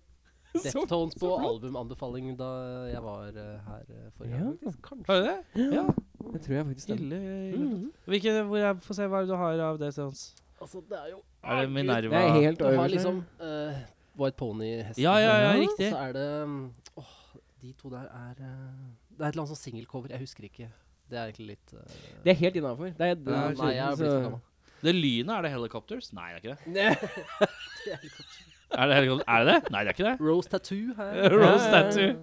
[SPEAKER 1] Så-
[SPEAKER 3] Deftones på
[SPEAKER 1] flott.
[SPEAKER 3] albumanbefaling da jeg var eh, her eh, forrige
[SPEAKER 1] Ja.
[SPEAKER 3] gang. faktisk. Kanskje.
[SPEAKER 2] Har du det? Ja.
[SPEAKER 1] Det tror jeg faktisk den.
[SPEAKER 2] Ille, ille.
[SPEAKER 3] Mm.
[SPEAKER 2] Hvilke, hvor er, Få se hva du har av Deftones.
[SPEAKER 3] Altså, det er jo
[SPEAKER 2] Er
[SPEAKER 1] Det er
[SPEAKER 2] det Minerva?
[SPEAKER 1] helt
[SPEAKER 3] Du har
[SPEAKER 1] øverst.
[SPEAKER 3] liksom eh, White Pony-hesten.
[SPEAKER 2] Ja, ja, ja, riktig.
[SPEAKER 3] Så er det um, Åh, de to der er eh, Det er et eller annet sånn singelcover. Jeg husker ikke. Det er egentlig litt eh,
[SPEAKER 1] Det er helt innafor. Det er, det
[SPEAKER 3] ja,
[SPEAKER 1] er
[SPEAKER 3] Nei, jeg er blitt for gammel.
[SPEAKER 2] Det lynet, er det Helicopters? Nei, det er ikke det.
[SPEAKER 3] Det er ikke-
[SPEAKER 2] Er det helicopter? Er det det? Nei, det er ikke det.
[SPEAKER 3] Rose Tattoo her.
[SPEAKER 1] Ja, ja,
[SPEAKER 2] Rose
[SPEAKER 1] ja.
[SPEAKER 2] Tattoo.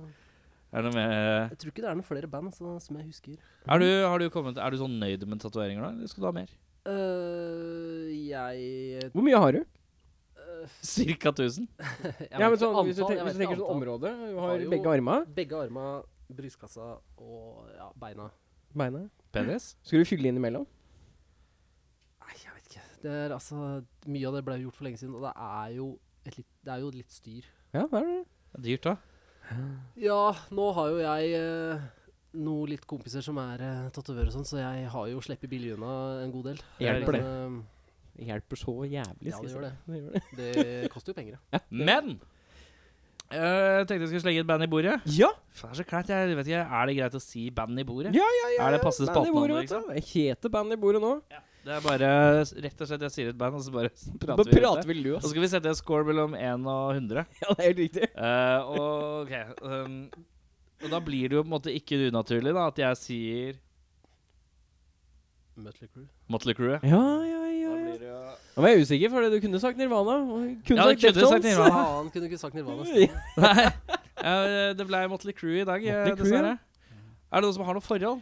[SPEAKER 2] Er det noe mer
[SPEAKER 3] Jeg tror ikke det er noen flere band altså, som jeg husker.
[SPEAKER 2] er du, har du kommet, er du sånn nøyd med tatoveringer nå, eller skal du ha mer?
[SPEAKER 3] Eh, jeg
[SPEAKER 1] Hvor mye har du?
[SPEAKER 2] Cirka 1000?
[SPEAKER 3] Jeg
[SPEAKER 1] Ja, men sånn, hvis
[SPEAKER 3] vet ikke
[SPEAKER 1] du,
[SPEAKER 3] antall,
[SPEAKER 1] tenker,
[SPEAKER 3] jeg
[SPEAKER 1] hvis du tenker
[SPEAKER 3] vet ikke
[SPEAKER 1] sånn
[SPEAKER 3] antall.
[SPEAKER 1] område Du
[SPEAKER 3] Har
[SPEAKER 1] har
[SPEAKER 3] jo-
[SPEAKER 1] begge arma,
[SPEAKER 3] Begge arma, brystkassa og ja, beina.
[SPEAKER 1] beina.
[SPEAKER 2] Penis?
[SPEAKER 1] Skal du fylle innimellom?
[SPEAKER 3] Nei, jeg vet ikke. Det er altså Mye av det ble gjort for lenge siden, og det er jo et litt, det er jo litt styr.
[SPEAKER 1] Ja, det er det.
[SPEAKER 2] Det er Dyrt, da.
[SPEAKER 3] Ja, nå har jo jeg eh, noen litt kompiser som er eh, tatovører og sånn, så jeg har jo sluppet billig unna en god del. Eh,
[SPEAKER 1] Hjelper det.
[SPEAKER 3] Men,
[SPEAKER 1] Det hjelper så jævlig.
[SPEAKER 3] Ja,
[SPEAKER 1] skal jeg
[SPEAKER 3] det gjør
[SPEAKER 1] si. Det gjør det.
[SPEAKER 3] eh, det koster jo penger, ja.
[SPEAKER 2] Men eh, jeg tenkte jeg skulle slenge et band i bordet.
[SPEAKER 1] Ja,
[SPEAKER 2] Faen, det er så kleint. Jeg vet ikke, Er det greit å si band i bordet?
[SPEAKER 1] Ja,
[SPEAKER 2] Er det passe
[SPEAKER 1] band i bordet,
[SPEAKER 2] spaltenavn?
[SPEAKER 1] vet
[SPEAKER 2] Liksom?
[SPEAKER 1] du. Det heter band i bordet nå.
[SPEAKER 2] Det er bare rett og slett jeg sier et band, og så bare
[SPEAKER 1] Da
[SPEAKER 2] prater vi. Altså, rundt
[SPEAKER 1] prater
[SPEAKER 2] det.
[SPEAKER 1] vi
[SPEAKER 2] Og så
[SPEAKER 1] løs.
[SPEAKER 2] skal vi sette en score mellom 1 og 100.
[SPEAKER 1] Ja, det er helt riktig.
[SPEAKER 2] Eh, og, ok, um, og da blir det jo på en måte ikke unaturlig da at jeg sier
[SPEAKER 3] Mutley Crew.
[SPEAKER 2] Motley Crue.
[SPEAKER 1] Ja, ja, ja. ja. Nå var jeg usikker, for du kunne sagt Nirvana. Og kunne
[SPEAKER 2] Ja,
[SPEAKER 1] sagt
[SPEAKER 2] du kunne
[SPEAKER 1] Deftones.
[SPEAKER 2] sagt Nirvana.
[SPEAKER 3] Faen, kunne du ikke sagt Nirvana? Stian?
[SPEAKER 2] Nei, ja, eh, det ble Motley Crue i dag, eh,
[SPEAKER 1] Motley Crue,
[SPEAKER 2] dessverre. Er det noen som har noe forhold?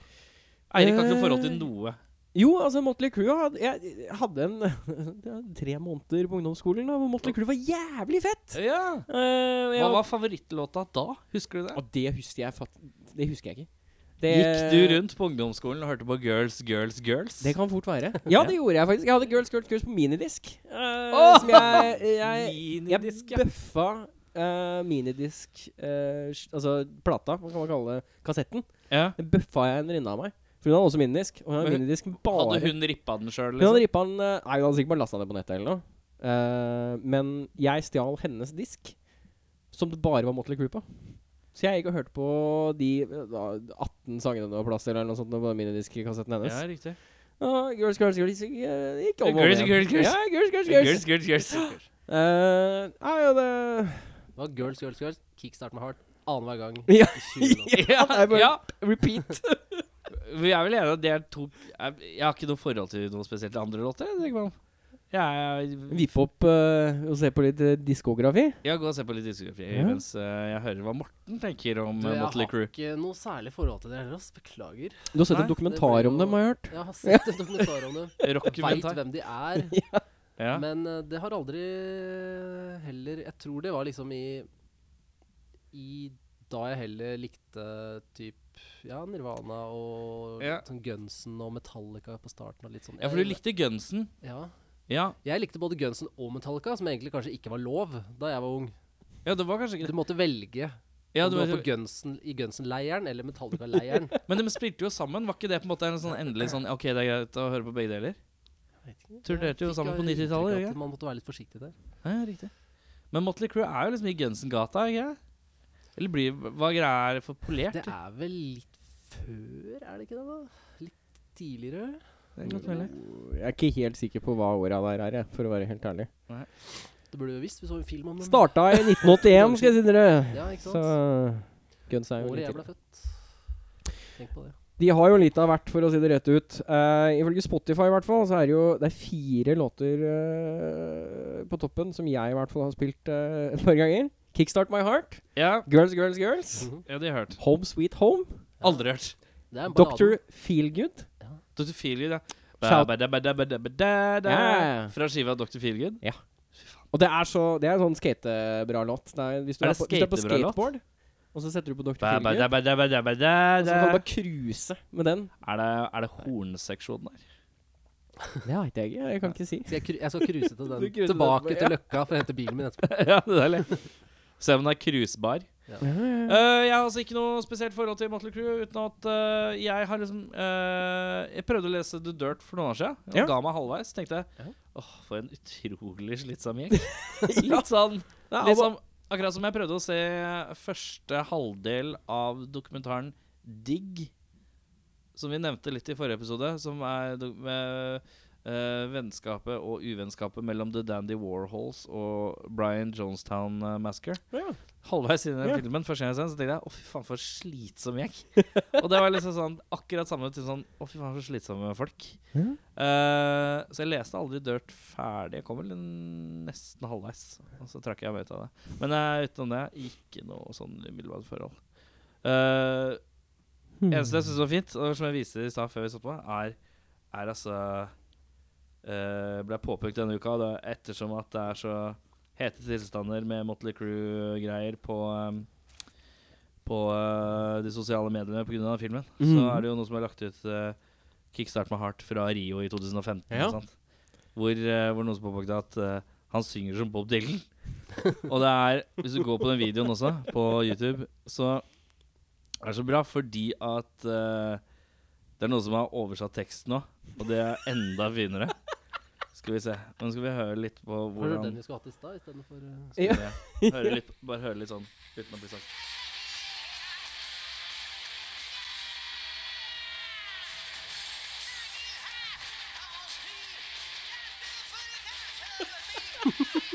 [SPEAKER 2] Eirik har ikke noe forhold til noe.
[SPEAKER 1] Jo, altså Motley Crue hadde, Jeg hadde en ja, tre måneder på ungdomsskolen da, hvor Motley Crue var jævlig fett.
[SPEAKER 2] Ja.
[SPEAKER 1] Eh, og jeg,
[SPEAKER 2] Hva var favorittlåta da? Husker du det?
[SPEAKER 1] Og det husker jeg fatt, Det husker jeg ikke. Det,
[SPEAKER 2] Gikk du rundt på ungdomsskolen og hørte på Girls, Girls, Girls?
[SPEAKER 1] Det kan fort være. Ja, det gjorde jeg faktisk. Jeg hadde Girls Girls Girls på minidisk. eh,
[SPEAKER 2] Åh!
[SPEAKER 1] Som jeg Jeg, jeg
[SPEAKER 2] Minidisk, ja.
[SPEAKER 1] bøffa eh, minidisk eh, s- Altså plata, hva kan man kalle det? Kassetten.
[SPEAKER 2] ja.
[SPEAKER 1] Den bøffa jeg en venninne av meg. For hun hadde også minidisk. Og hun hadde
[SPEAKER 2] Men
[SPEAKER 1] minidisk bare
[SPEAKER 2] Hadde hun rippa den liksom? sjøl?
[SPEAKER 1] Hun hadde rippa den eh, Nei, hun hadde sikkert bare lasta ned på nettet eller noe. Eh, men jeg stjal hennes disk, som det bare var Motley Crue på. Så jeg gikk og hørte på de eh, da, 18 sangene det var plass til, eller noe sånt på den minidisk-kassetten hennes.
[SPEAKER 2] Ja, riktig.
[SPEAKER 1] Ah, girls, girls, girls eh, Gikk om og om
[SPEAKER 2] Girls,
[SPEAKER 1] igjen.
[SPEAKER 2] girls, girls.
[SPEAKER 1] Ja, girls, girls,
[SPEAKER 2] Girls,
[SPEAKER 1] girls.
[SPEAKER 2] girls, girls.
[SPEAKER 1] Eh, ja, ja, det
[SPEAKER 3] Det var Girls, Girls, Girls. Kickstart med heart. Annenhver gang.
[SPEAKER 1] Ja.
[SPEAKER 3] i 20 minutter.
[SPEAKER 2] Ja,
[SPEAKER 1] det er bare-
[SPEAKER 2] ja.
[SPEAKER 1] Repeat.
[SPEAKER 2] Vi er vel enige at det er to Jeg jeg har ikke noe forhold til noe spesielt andre låter. jeg tenker meg om. Jeg, jeg,
[SPEAKER 1] Vippe opp eh, og se på litt eh, diskografi.
[SPEAKER 2] jeg går og ser på litt diskografi
[SPEAKER 1] Ja.
[SPEAKER 2] mens eh, jeg hører hva Morten tenker om
[SPEAKER 3] Du,
[SPEAKER 2] eh,
[SPEAKER 3] jeg
[SPEAKER 2] Motley
[SPEAKER 3] har
[SPEAKER 2] Crew.
[SPEAKER 3] ikke noe særlig forhold til det heller, ass. Beklager.
[SPEAKER 1] Du har sett
[SPEAKER 2] Nei,
[SPEAKER 1] en dokumentar
[SPEAKER 3] det blir
[SPEAKER 1] om
[SPEAKER 3] jo-
[SPEAKER 1] dem, har jeg hørt.
[SPEAKER 3] Jeg har sett en dokumentar om dem. Veit
[SPEAKER 2] Rockumentar.
[SPEAKER 3] hvem de er.
[SPEAKER 2] Ja.
[SPEAKER 3] Men eh, det har aldri heller Jeg tror det var liksom i I da jeg heller likte typ ja, Nirvana og
[SPEAKER 2] Ja.
[SPEAKER 3] sånn Gunsen og Metallica på starten. Og litt sånn.
[SPEAKER 2] ja, for du likte Gunsen.
[SPEAKER 3] Ja.
[SPEAKER 2] Ja.
[SPEAKER 3] Jeg likte både Gunsen og Metallica, som egentlig kanskje ikke var lov da jeg var ung.
[SPEAKER 2] ja, det var kanskje
[SPEAKER 3] Du
[SPEAKER 2] ikke det.
[SPEAKER 3] måtte velge
[SPEAKER 2] Ja,
[SPEAKER 3] om
[SPEAKER 2] du
[SPEAKER 3] du var
[SPEAKER 2] var-
[SPEAKER 3] på Gunsen, i Gunsen-leiren eller Metallica-leiren.
[SPEAKER 2] men de spilte jo sammen. Var ikke det på en måte en sånn endelig sånn OK, det er greit å høre på begge deler? Turnerte jo sammen på 90-tallet,
[SPEAKER 3] Ja.
[SPEAKER 2] ikke?
[SPEAKER 3] Man måtte være litt forsiktig der.
[SPEAKER 2] Ja, riktig. Men Motley Crew er jo liksom i Gunsen-gata, ikke sant? Eller blir, hva greia er for polert?
[SPEAKER 3] Det er vel litt før, er det ikke det? da? Litt tidligere?
[SPEAKER 2] Det er godt mulig.
[SPEAKER 1] Jeg er ikke helt sikker på hva åra der er, jeg, for å være helt ærlig.
[SPEAKER 3] Det burde vi jo visst. Vi så en film om dem.
[SPEAKER 1] Starta i 1981, skal jeg si dere.
[SPEAKER 3] Ja, ikke
[SPEAKER 1] Så
[SPEAKER 3] sant?
[SPEAKER 1] Guns er jo
[SPEAKER 3] Året jeg
[SPEAKER 1] litt
[SPEAKER 3] ble født. Tenk på det.
[SPEAKER 1] De har jo litt av hvert, for å si det rett ut. Eh, ifølge Spotify i hvert fall, så er det jo det er fire låter eh, på toppen som jeg i hvert fall har spilt eh, et par ganger. Kickstart My Heart,
[SPEAKER 2] Ja,
[SPEAKER 1] Girls, Girls, Girls,
[SPEAKER 3] Mhm.
[SPEAKER 2] ja, det har jeg hørt.
[SPEAKER 1] Home Sweet Home,
[SPEAKER 2] Aldri hørt.
[SPEAKER 3] Det er en
[SPEAKER 1] Doctor
[SPEAKER 3] ballade.
[SPEAKER 1] Feelgood.
[SPEAKER 2] Dr. Feelgood, ja.
[SPEAKER 1] Shout-
[SPEAKER 2] Ba, ba, da, ba, da, ba, da, ba, da, da.
[SPEAKER 1] Ja.
[SPEAKER 2] Fra skiva Dr. Feelgood.
[SPEAKER 1] Og det er så Det er en sånn skatebra låt. Det er, hvis, du
[SPEAKER 2] Er
[SPEAKER 1] er
[SPEAKER 2] det
[SPEAKER 1] på, hvis du er på
[SPEAKER 2] skatebra låt?
[SPEAKER 1] skateboard, og så setter du på Dr.
[SPEAKER 2] Ba, ba, da,
[SPEAKER 1] Feelgood,
[SPEAKER 2] ba, da, ba, da, ba, da,
[SPEAKER 1] og så
[SPEAKER 2] da.
[SPEAKER 1] kan du bare cruise med den.
[SPEAKER 2] Er det, er det hornseksjonen der?
[SPEAKER 1] Det vet jeg ikke. Jeg kan ikke si.
[SPEAKER 3] Skal jeg, kru- jeg skal cruise til
[SPEAKER 1] Du
[SPEAKER 3] den.
[SPEAKER 1] cruiser
[SPEAKER 3] Tilbake
[SPEAKER 1] den, ja.
[SPEAKER 3] til Løkka for å hente bilen min etterpå.
[SPEAKER 2] ja, det er deilig. Se om den er cruisebar.
[SPEAKER 1] Mm.
[SPEAKER 2] Eh, jeg har altså ikke noe spesielt forhold til Motley Crue, uten at eh, jeg har liksom eh, Jeg prøvde å lese The Dirt for noen år siden, og
[SPEAKER 1] Ja.
[SPEAKER 2] ga meg halvveis. Tenkte jeg
[SPEAKER 3] Ja.
[SPEAKER 2] åh, for en utrolig slitsom gjeng. Litt sånn
[SPEAKER 1] Nei,
[SPEAKER 2] Litt som- akkurat som jeg prøvde å se første halvdel av dokumentaren Digg, som vi nevnte litt i forrige episode, som er do- med eh, vennskapet og uvennskapet mellom The Dandy Warhols og Brian Jonestown eh, Massacre.
[SPEAKER 1] Ja.
[SPEAKER 2] Halvveis inn i
[SPEAKER 1] Ja.
[SPEAKER 2] filmen første gang jeg så den, så tenkte jeg å fy faen, for slitsom gjeng. og det var liksom sånn akkurat samme til sånn å fy faen, for slitsomme folk.
[SPEAKER 1] Ja.
[SPEAKER 2] Eh, så jeg leste aldri Dirt ferdig. Jeg kom vel en- nesten halvveis, og så trakk jeg meg ut av det. Men eh, utenom det, ikke noe sånn umiddelbart forhold. Eh, Eneste jeg syns var fint, og som jeg viste i stad før vi satt på, er, er altså eh, Ble påpekt denne uka, da, ettersom at det er så hete tilstander med Motley Crew-greier på eh, På eh, de sosiale mediene pga. filmen, så
[SPEAKER 1] Mhm.
[SPEAKER 2] er det jo noe som er lagt ut eh, Kickstart med Heart fra Rio i 2015,
[SPEAKER 1] Ja.
[SPEAKER 2] sant? Hvor, eh, hvor noen som påpekte at eh, han synger som Bob Dylan. Og det er, hvis du går på den videoen også, på YouTube, så er det så bra fordi at eh, det er noen som har oversatt teksten nå, og det er enda finere. Skal vi se. Nå skal vi høre litt på
[SPEAKER 3] Var det den
[SPEAKER 2] hvordan
[SPEAKER 3] vi skulle hatt i stad istedenfor uh,
[SPEAKER 2] Skal vi høre litt, Bare høre litt sånn uten å bli sagt.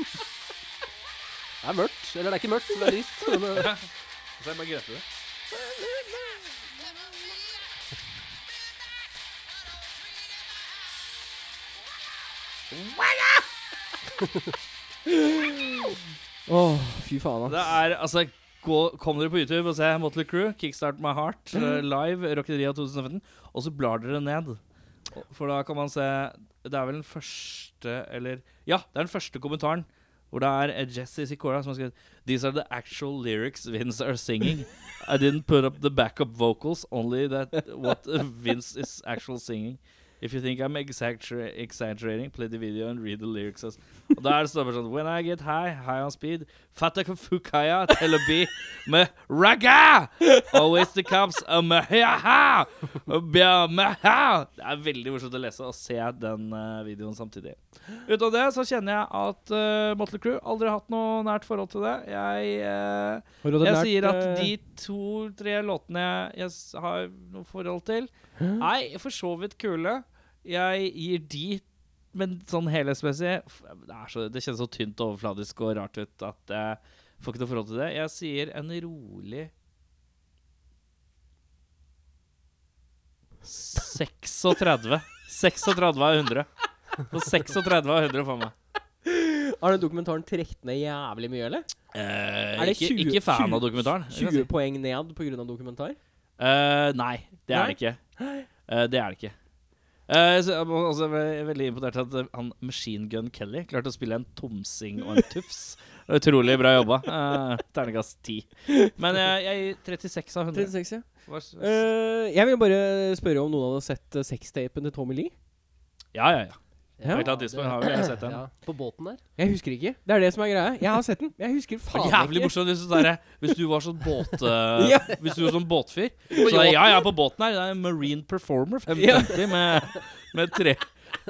[SPEAKER 3] Det er mørkt. Eller det er ikke mørkt, det er lyst. Men eh,
[SPEAKER 2] Så jeg bare grøter det.
[SPEAKER 1] Åh, fy faen,
[SPEAKER 2] Det
[SPEAKER 1] ass.
[SPEAKER 2] er altså gå, Kom dere på YouTube og se Motley Crew, Kickstart My Heart, eh, live, Rockeria 2015, og så blar dere ned. For da kan man se Det er vel den første Eller Ja, det er den første kommentaren Hvor det er eh, Jesse Sikora som har skrevet These are the actual lyrics Vince are singing. I didn't put up the backup vocals, only that what uh, Vince is actual singing. If you think I'm exagger exaggerating, play the video and read the lyrics. as-" Og da er det sånn sånn, When I get high, high on speed, Fataka Fukaya Telabi med Raga! Always the cops a mahaha! a bia- maha!" Det er veldig morsomt å lese og se den eh, videoen samtidig. Utenom det så kjenner jeg at uh, Motley Crew aldri har hatt noe nært forhold til det. Jeg, eh,
[SPEAKER 1] Har du hatt
[SPEAKER 2] jeg
[SPEAKER 1] lært,
[SPEAKER 2] sier at
[SPEAKER 1] eh,
[SPEAKER 2] de to-tre låtene jeg, jeg s- har noe forhold til,
[SPEAKER 1] Hæ?
[SPEAKER 2] Nei, for så vidt kule. Jeg gir de, men sånn helhetsmessig f- Det, er så, det kjennes så tynt og overfladisk og rart ut at jeg får ikke noe forhold til det. Jeg sier en rolig S- 36. 36 av 100. Så 36 av 100 for meg.
[SPEAKER 1] Har den dokumentaren trukket ned jævlig mye, eller?
[SPEAKER 2] Eh,
[SPEAKER 1] Er det
[SPEAKER 2] ikke,
[SPEAKER 1] 20
[SPEAKER 2] ikke fan av dokumentaren. kan jeg si.
[SPEAKER 1] 20 poeng ned pga. dokumentar?
[SPEAKER 2] Eh, nei, det er det ikke. Eh, det er det ikke. Eh, så jeg var også ve- veldig imponert at eh, han Machine Gun Kelly klarte å spille en tomsing og en tufs. Utrolig bra jobba. Eh, terningkast 10. Men eh, jeg gir 36 av 100.
[SPEAKER 1] 36, ja.
[SPEAKER 2] Hva s-
[SPEAKER 1] Eh, jeg vil bare spørre om noen hadde sett eh, sextapen til Tommy Lee.
[SPEAKER 2] ja, ja, ja.
[SPEAKER 1] Ja,
[SPEAKER 2] På et eller annet tidspunkt har vi alle sett den.
[SPEAKER 3] Ja, på båten der.
[SPEAKER 1] Jeg husker ikke. Det er det som er greia. Jeg har sett den. Jeg husker
[SPEAKER 2] Det var
[SPEAKER 1] faen
[SPEAKER 2] jævlig
[SPEAKER 1] ikke.
[SPEAKER 2] morsomt hvis, du der, hvis du var sånn båt eh,
[SPEAKER 1] Ja.
[SPEAKER 2] Hvis du var sånn båtfyr. Så er, ja, jeg er på båten her. Det er en Marine Performer 550 med, med tre,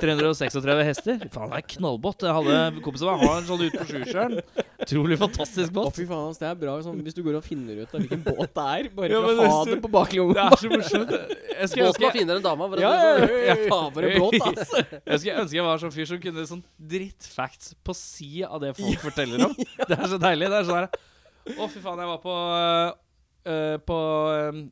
[SPEAKER 2] 336 hester. Faen, det er knallbåt. Jeg hadde kompiser meg har en sånn ute på Sjusjøen. Utrolig fantastisk
[SPEAKER 1] Å,
[SPEAKER 2] båt.
[SPEAKER 1] fy faen, ass, det er bra sånn, hvis du går og finner ut av hvilken båt det er. Bare
[SPEAKER 2] Ja,
[SPEAKER 1] for
[SPEAKER 2] men
[SPEAKER 1] å ha
[SPEAKER 2] hvis du-
[SPEAKER 1] det på baklomma.
[SPEAKER 2] Det er så morsomt. Jeg skulle
[SPEAKER 3] Båten
[SPEAKER 2] ønske
[SPEAKER 3] var finere enn dama. For å
[SPEAKER 1] Ja,
[SPEAKER 3] si det
[SPEAKER 1] ja,
[SPEAKER 3] sånn.
[SPEAKER 1] ja, ja. Faen, for en båt, ass.
[SPEAKER 2] Jeg skulle ønske jeg var sånn fyr som kunne sånn drittfacts på si av det folk forteller om. Det er så deilig. Det er sånn her Å, fy faen, jeg var på øh, på øh,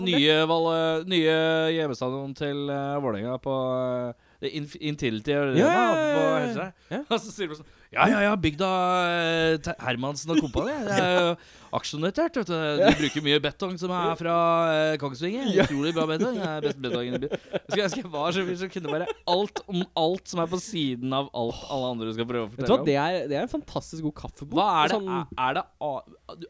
[SPEAKER 2] nye, val, øh, nye hjemmestadion til uh, Vålerenga på øh, det Inf- Intility Arena
[SPEAKER 1] Ja, ja, ja,
[SPEAKER 2] på
[SPEAKER 1] ja, ja.
[SPEAKER 2] Helsingør.
[SPEAKER 1] Ja.
[SPEAKER 2] Og så sier de sånn Ja, ja, ja, bygda øh, Te- Hermansen og kompani. Det er jo aksjonotert, vet du. De bruker mye betong som er fra øh, Kongsvinger. Utrolig bra betong. Det er best betongen i byen. Skulle ønske jeg var så fyr som kunne bare alt om alt som er på siden av alt alle andre skal prøve å
[SPEAKER 1] Vet du hva,
[SPEAKER 2] fortelle om.
[SPEAKER 1] det er, det er en fantastisk god kaffebok.
[SPEAKER 2] Hva er det? Ah.
[SPEAKER 1] Sånn-
[SPEAKER 2] Er- er det a- du,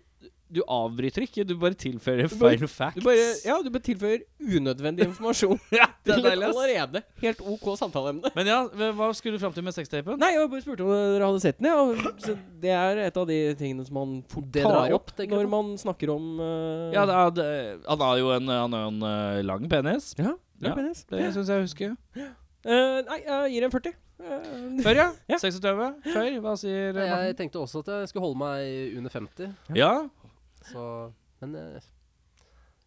[SPEAKER 2] du avbryter ikke, du bare tilfører
[SPEAKER 1] Du bare-
[SPEAKER 2] feil facts.
[SPEAKER 1] du bare, ja, du bare tilføyer unødvendig informasjon
[SPEAKER 2] Ja, det er
[SPEAKER 1] til et
[SPEAKER 2] deilig, ass.
[SPEAKER 1] allerede helt OK samtaleemne.
[SPEAKER 2] Men ja, hva skulle du fram til med sextapen?
[SPEAKER 1] Nei, jeg bare spurte om dere hadde sett den. Ja. og så Det er et av de tingene som man fort
[SPEAKER 3] Det
[SPEAKER 1] tar
[SPEAKER 3] drar
[SPEAKER 1] opp
[SPEAKER 3] opp, tenker du
[SPEAKER 1] når
[SPEAKER 3] på?
[SPEAKER 1] man snakker om eh,
[SPEAKER 2] Ja, det er, det, han har jo en, han har jo en eh, lang penis.
[SPEAKER 1] ja, det
[SPEAKER 2] Ja.
[SPEAKER 1] er penis.
[SPEAKER 2] Det syns jeg å huske.
[SPEAKER 1] Eh, nei, jeg gir en 40. Eh,
[SPEAKER 2] Før, ja.
[SPEAKER 1] Ja.
[SPEAKER 2] 26. Før. Hva sier eh,
[SPEAKER 3] Jeg
[SPEAKER 2] Morten?
[SPEAKER 3] tenkte også at jeg skulle holde meg under 50.
[SPEAKER 2] Ja.
[SPEAKER 3] Så, men eh,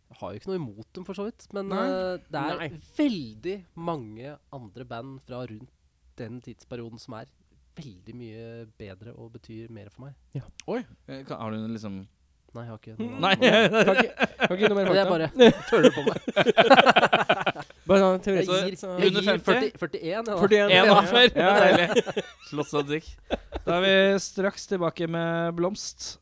[SPEAKER 3] jeg har jo ikke noe imot dem, for så vidt. Men
[SPEAKER 2] Nei.
[SPEAKER 3] eh, det er
[SPEAKER 1] Nei.
[SPEAKER 3] veldig mange andre band fra rundt den tidsperioden som er veldig mye bedre og betyr mer for meg.
[SPEAKER 2] Oi. eh, kan- Har du liksom
[SPEAKER 3] Nei, jeg har ikke noe-
[SPEAKER 2] Nei.
[SPEAKER 1] kan ikke, kan ikke gi noe mer
[SPEAKER 3] Det er
[SPEAKER 1] fakta.
[SPEAKER 3] bare føler på meg.
[SPEAKER 1] Bare sånn
[SPEAKER 3] Jeg
[SPEAKER 1] teoretisk
[SPEAKER 3] gir,
[SPEAKER 1] sett, så-
[SPEAKER 2] jeg
[SPEAKER 3] jeg gir
[SPEAKER 2] 50?
[SPEAKER 3] 40, 41, jeg, da.
[SPEAKER 1] 41.
[SPEAKER 2] Én
[SPEAKER 1] Ja.
[SPEAKER 2] år før.
[SPEAKER 1] Ja, ja.
[SPEAKER 2] Deilig. Slått seg dick. Da er vi straks tilbake med blomst.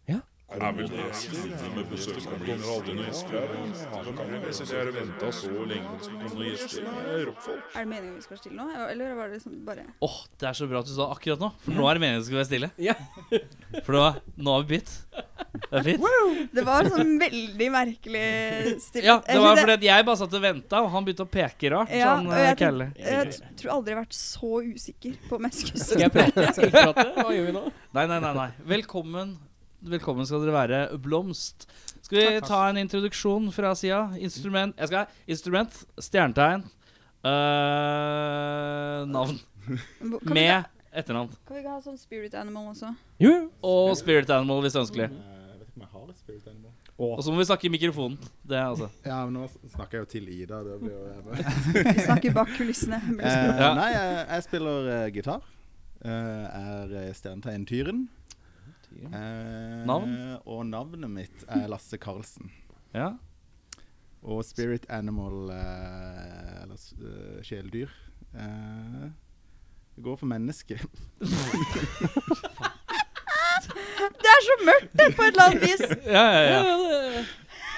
[SPEAKER 4] Er vi gjester med besøk? Kommer aldri noen gjester her? Her kan vi sitte her og vente så lenge. Noen gjester? Det er rockfolk.
[SPEAKER 5] Er det meningen vi skal stille nå, eller var det liksom bare
[SPEAKER 2] Åh, det er så bra at du sa akkurat nå, for nå er det meningen det skal være stille.
[SPEAKER 1] Ja.
[SPEAKER 2] For nå, nå har vi begynt. Det er fint.
[SPEAKER 5] Det var sånn veldig merkelig stille.
[SPEAKER 2] Ja, det
[SPEAKER 5] Jeg
[SPEAKER 2] var
[SPEAKER 5] synes
[SPEAKER 2] fordi at jeg bare satt og venta, og han begynte å peke rart.
[SPEAKER 5] Ja,
[SPEAKER 2] sånn,
[SPEAKER 5] og
[SPEAKER 2] eh,
[SPEAKER 5] jeg
[SPEAKER 2] Kalle.
[SPEAKER 5] Jeg t- tror aldri jeg har vært så usikker på om jeg skulle
[SPEAKER 1] Skal jeg prate? Skal jeg prate? Hva gjør vi nå?
[SPEAKER 2] Nei, nei, nei, nei. Velkommen. Velkommen skal dere være, Blomst. Skal vi ta en introduksjon fra sida? Instrument Jeg skal Instrument, stjernetegn, øh, navn
[SPEAKER 5] Kan vi ikke-
[SPEAKER 2] med etternavn.
[SPEAKER 5] Kan vi ikke ha sånn spirit animal også?
[SPEAKER 1] Jo, jo.
[SPEAKER 2] Og spirit animal, hvis ønskelig.
[SPEAKER 6] Eh, Jeg vet ikke om jeg har et spirit animal.
[SPEAKER 2] Og så må vi snakke i mikrofonen. Det, er altså.
[SPEAKER 6] Ja, men nå snakker jeg jo til Ida. Det blir jo
[SPEAKER 5] Vi snakker bak kulissene.
[SPEAKER 6] Eh,
[SPEAKER 2] Ja.
[SPEAKER 6] Nei, jeg, jeg spiller eh, gitar. Eh, er eh, stjernetegn Tyren. Eh,
[SPEAKER 2] Navn?
[SPEAKER 6] Og navnet mitt er Lasse Karlsen.
[SPEAKER 2] Ja.
[SPEAKER 6] Og spirit animal eh, Eller s- eh, kjæledyr. Eh, det går for menneske.
[SPEAKER 5] Det er så mørkt det, på sånn, et eller annet vis!
[SPEAKER 2] Ja, ja, ja.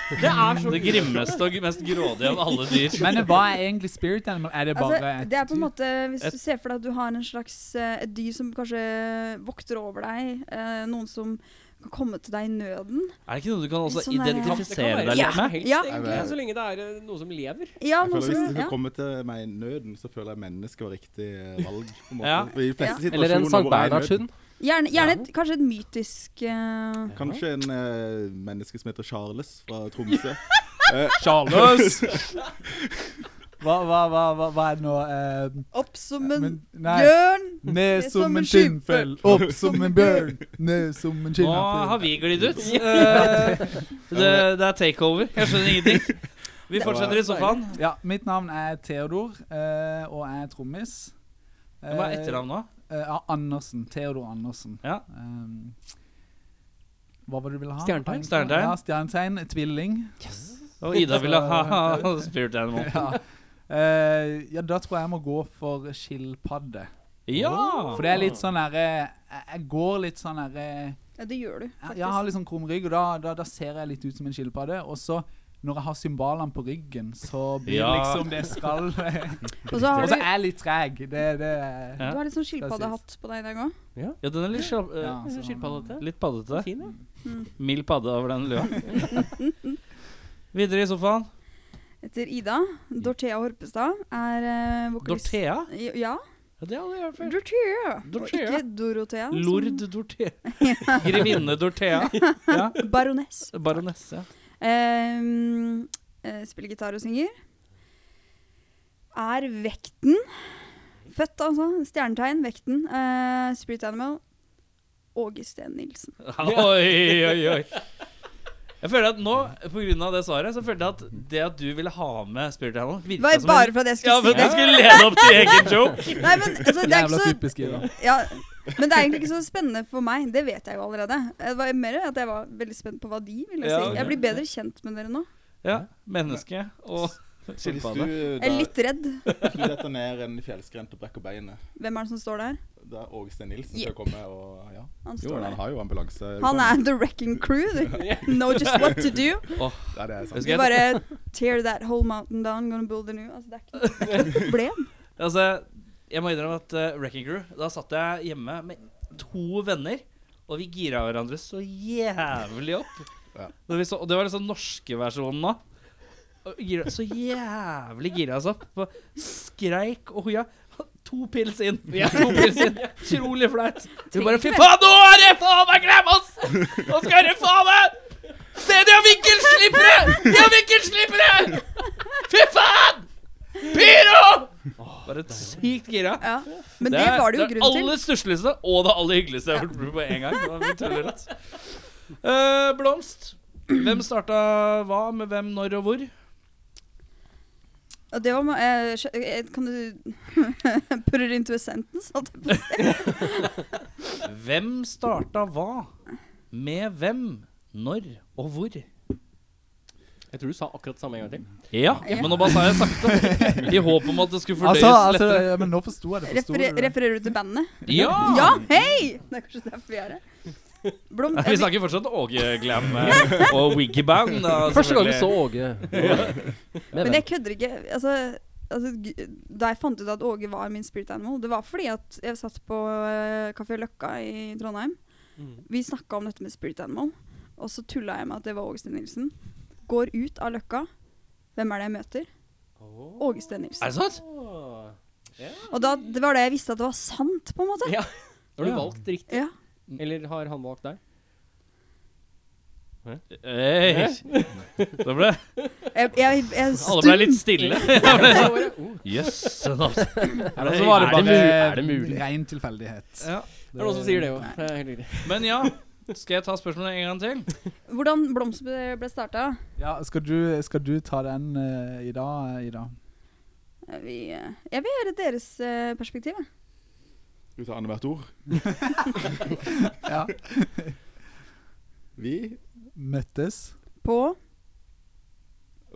[SPEAKER 1] Det er så
[SPEAKER 2] Det grimmeste og mest grådige av alle dyr.
[SPEAKER 7] Men hva er egentlig spirit animal? Er det bare
[SPEAKER 5] Altså, det er på en måte, Hvis
[SPEAKER 2] et-
[SPEAKER 5] du ser for deg at du har en slags, eh, et dyr som kanskje vokter over deg, eh, noen som kan komme til deg i nøden
[SPEAKER 2] Er det ikke noe du kan også
[SPEAKER 5] Sånn er det.
[SPEAKER 2] identifisere
[SPEAKER 1] Det
[SPEAKER 2] deg
[SPEAKER 1] kan
[SPEAKER 2] litt
[SPEAKER 1] være
[SPEAKER 2] med?
[SPEAKER 1] helst,
[SPEAKER 5] Ja.
[SPEAKER 1] egentlig, så lenge det er eh, noe som lever.
[SPEAKER 5] Ja,
[SPEAKER 6] Jeg
[SPEAKER 5] noen
[SPEAKER 6] føler Hvis
[SPEAKER 5] som,
[SPEAKER 6] det
[SPEAKER 5] ja.
[SPEAKER 6] skal komme til meg i nøden, så føler jeg mennesket var riktig eh, valg. på en måte.
[SPEAKER 2] Ja.
[SPEAKER 6] I de fleste
[SPEAKER 5] Ja.
[SPEAKER 6] situasjoner
[SPEAKER 3] Eller en Sankt
[SPEAKER 6] hvor jeg er i nød.
[SPEAKER 3] Bernhardshund.
[SPEAKER 5] Gjerne, gjerne et, kanskje et mytisk eh,
[SPEAKER 6] Kanskje en eh, menneske som heter Charles fra Tromsø.
[SPEAKER 2] Charles!
[SPEAKER 7] Hva, hva, hva, hva, hva er det nå? Eh,
[SPEAKER 5] Opp som en
[SPEAKER 7] men- nei.
[SPEAKER 5] bjørn!
[SPEAKER 7] Ned som en skinnfell, opp som en bjørn. Ned som en
[SPEAKER 2] Nå har
[SPEAKER 7] skinnfell.
[SPEAKER 2] vi glidd ut. Eh, Det, det er takeover. Jeg skjønner ingenting. Vi fortsetter i sofaen.
[SPEAKER 7] Ja, mitt navn er Theodor, eh, og jeg er trommis.
[SPEAKER 2] Hva er etternavnet? da?
[SPEAKER 7] Eh, ja, Andersen. Theodor Andersen.
[SPEAKER 2] Ja.
[SPEAKER 7] Ehm, hva var det du ville ha?
[SPEAKER 1] Stjernetegn.
[SPEAKER 2] Stjernetegn.
[SPEAKER 7] Ja, stjernetegn. Tvilling.
[SPEAKER 2] Og Ida ville ha Spirit Animal.
[SPEAKER 7] Ja. Eh, ja, da tror jeg jeg må gå for skilpadde.
[SPEAKER 2] Ja!
[SPEAKER 7] For det er litt sånn derre jeg- Jeg går litt sånn derre
[SPEAKER 5] Ja, det gjør du,
[SPEAKER 7] jeg,
[SPEAKER 5] faktisk.
[SPEAKER 7] jeg har litt sånn krum rygg, og da, da, da ser jeg litt ut som en skilpadde. Og så, når jeg har symbalene på ryggen, så blir
[SPEAKER 2] Ja.
[SPEAKER 7] liksom det skall. og
[SPEAKER 5] Og så har du,
[SPEAKER 7] så er jeg litt treg. Det, det
[SPEAKER 5] du har litt sånn skilpaddehatt på deg i dag òg.
[SPEAKER 2] Ja, den er litt, skjal- eh,
[SPEAKER 7] Ja, så-
[SPEAKER 2] skilpaddete. Litt paddete. Mm.
[SPEAKER 1] Fin, ja.
[SPEAKER 2] Mild padde over den lua. Videre i sofaen.
[SPEAKER 5] Heter Ida. Dorthea Horpestad er eh, vokalist.
[SPEAKER 2] Dorthea.
[SPEAKER 5] Ja.
[SPEAKER 2] Ja, det hadde jeg hørt før.
[SPEAKER 5] Dorthea. Og
[SPEAKER 2] Dorthea.
[SPEAKER 5] ikke Dorothea. som-
[SPEAKER 2] Lord Dorthea. Grevinne Dorthea. Ja.
[SPEAKER 5] Baroness.
[SPEAKER 2] Baronesse.
[SPEAKER 5] Ehm, eh, spiller gitar og synger. Er vekten Født, altså. Stjernetegn, vekten. Eh, Spirit Animal. Åge Steen Nilsen.
[SPEAKER 2] Oi, oi, oi. Jeg føler at nå, på grunn av det svaret, så følte jeg at det at du ville ha med Spirit Animal,
[SPEAKER 5] Det
[SPEAKER 2] virka
[SPEAKER 5] var
[SPEAKER 2] som
[SPEAKER 5] bare for at jeg
[SPEAKER 2] Ja, Altså, men
[SPEAKER 5] skulle si det.
[SPEAKER 2] jeg skulle lede opp til egen joke.
[SPEAKER 5] Nei, men altså, det er
[SPEAKER 7] Jævla
[SPEAKER 5] ikke så
[SPEAKER 7] typisk Ida.
[SPEAKER 5] Ja, men det er egentlig ikke så spennende for meg. Det vet jeg jo allerede. Det var mer at jeg var veldig spent på hva de ville
[SPEAKER 2] Ja,
[SPEAKER 5] si.
[SPEAKER 2] ok.
[SPEAKER 5] Jeg blir bedre kjent med dere nå.
[SPEAKER 2] Ja, menneske og
[SPEAKER 6] Så hvis du,
[SPEAKER 2] skilpadde.
[SPEAKER 5] Jeg er
[SPEAKER 6] da,
[SPEAKER 5] litt redd.
[SPEAKER 6] hvis du detter ned en fjellskrent og brekker beinet
[SPEAKER 5] Hvem er det som står der?
[SPEAKER 6] Det er Åge Steen Nilsen som kommer og ja.
[SPEAKER 5] Han
[SPEAKER 6] Jo,
[SPEAKER 5] står
[SPEAKER 6] han
[SPEAKER 5] der.
[SPEAKER 6] har jo ambulanse.
[SPEAKER 5] Han er the wrecking crew. They know just what to do.
[SPEAKER 6] Ja, det er sant.
[SPEAKER 2] Husker
[SPEAKER 5] Du
[SPEAKER 2] jeg-
[SPEAKER 5] bare tear that whole mountain down, gonna build a new. Altså, det er ikke- det er ikke noe problem.
[SPEAKER 2] Altså, jeg må innrømme at eh, Wrecking Crew, da satt jeg hjemme med to venner, og vi gira hverandre så jævlig opp.
[SPEAKER 6] Ja.
[SPEAKER 2] Når vi så, og det var liksom norske versjonen da. Og gira- Så jævlig gira oss opp. på Skreik og hoia. To pils inn. Vi er to pils inn. Utrolig flaut. Vi bare Fy faen, nå er det faen meg glem oss! Nå skal det faen meg Se, de har vinkelslippere! De har vinkelslippere! Fy faen! Pyro! Bare sykt gira.
[SPEAKER 5] Ja. Men det var det jo grunn
[SPEAKER 2] Det er
[SPEAKER 5] til.
[SPEAKER 2] aller stussligste og det aller hyggeligste jeg har vært med på en gang. Det var utrolig rått. Eh, blomst. Hvem starta hva med hvem, når og hvor?
[SPEAKER 5] Og det var ma- eh, skjø- eh, Kan du put it into a sentence? holdt jeg på å si?
[SPEAKER 2] Hvem starta hva med hvem, når og hvor?
[SPEAKER 1] Jeg tror du sa akkurat det samme en gang til.
[SPEAKER 2] Ja, men nå bare sa jeg sakte. I håp om at det skulle fordøyes
[SPEAKER 7] Altså, altså,
[SPEAKER 2] lettere.
[SPEAKER 7] ja, men nå forsto jeg det. Forsto
[SPEAKER 5] Referer-
[SPEAKER 7] du det?
[SPEAKER 5] Refererer du til bandet?
[SPEAKER 2] Ja!
[SPEAKER 5] Ja, hei! Det er kanskje derfor vi er her. Blom,
[SPEAKER 2] Vi snakker fortsatt Åge Glam eh, og Wiggy Band. da,
[SPEAKER 3] Første gang vi
[SPEAKER 2] selvfølgelig.
[SPEAKER 3] så Åge. Med
[SPEAKER 5] Men
[SPEAKER 3] venn.
[SPEAKER 5] jeg kødder ikke. Altså, altså, g- da jeg fant ut at Åge var min spirit animal, det var fordi at jeg satt på eh, Kafé Løkka i Trondheim.
[SPEAKER 1] Mm.
[SPEAKER 5] Vi snakka om dette med spirit animal, og så tulla jeg med at det var Åge Steen Nilsen. Går ut av Løkka. Hvem er det jeg møter? Åge Steen
[SPEAKER 2] Er
[SPEAKER 5] Nilsen.
[SPEAKER 2] det sant?
[SPEAKER 5] Og da, det var da jeg visste at det var sant, på en måte.
[SPEAKER 1] Ja. Har du
[SPEAKER 2] Ja.
[SPEAKER 1] valgt riktig?
[SPEAKER 5] Ja.
[SPEAKER 1] Eller har han valgt deg?
[SPEAKER 2] Hey. Da Eh, ble
[SPEAKER 5] Jeg, jeg, jeg
[SPEAKER 2] Alle ble
[SPEAKER 5] stum.
[SPEAKER 2] litt stille. sånn, Jøss.
[SPEAKER 7] Ja, så var det
[SPEAKER 2] Er det
[SPEAKER 7] bare
[SPEAKER 2] mu- er det mulig?
[SPEAKER 7] ren tilfeldighet.
[SPEAKER 2] Ja.
[SPEAKER 1] Det er noen som sier det òg. Det er helt riktig.
[SPEAKER 2] Men ja, skal jeg ta spørsmålet en gang til?
[SPEAKER 5] Hvordan Blomst ble, ble starta?
[SPEAKER 7] Ja, skal du, skal du ta den eh, i dag, Ida?
[SPEAKER 5] Vi, eh, jeg vil høre deres eh, perspektiv. jeg.
[SPEAKER 6] Skal vi ta annethvert ord?
[SPEAKER 7] Ja.
[SPEAKER 6] Vi
[SPEAKER 7] Møttes?
[SPEAKER 5] På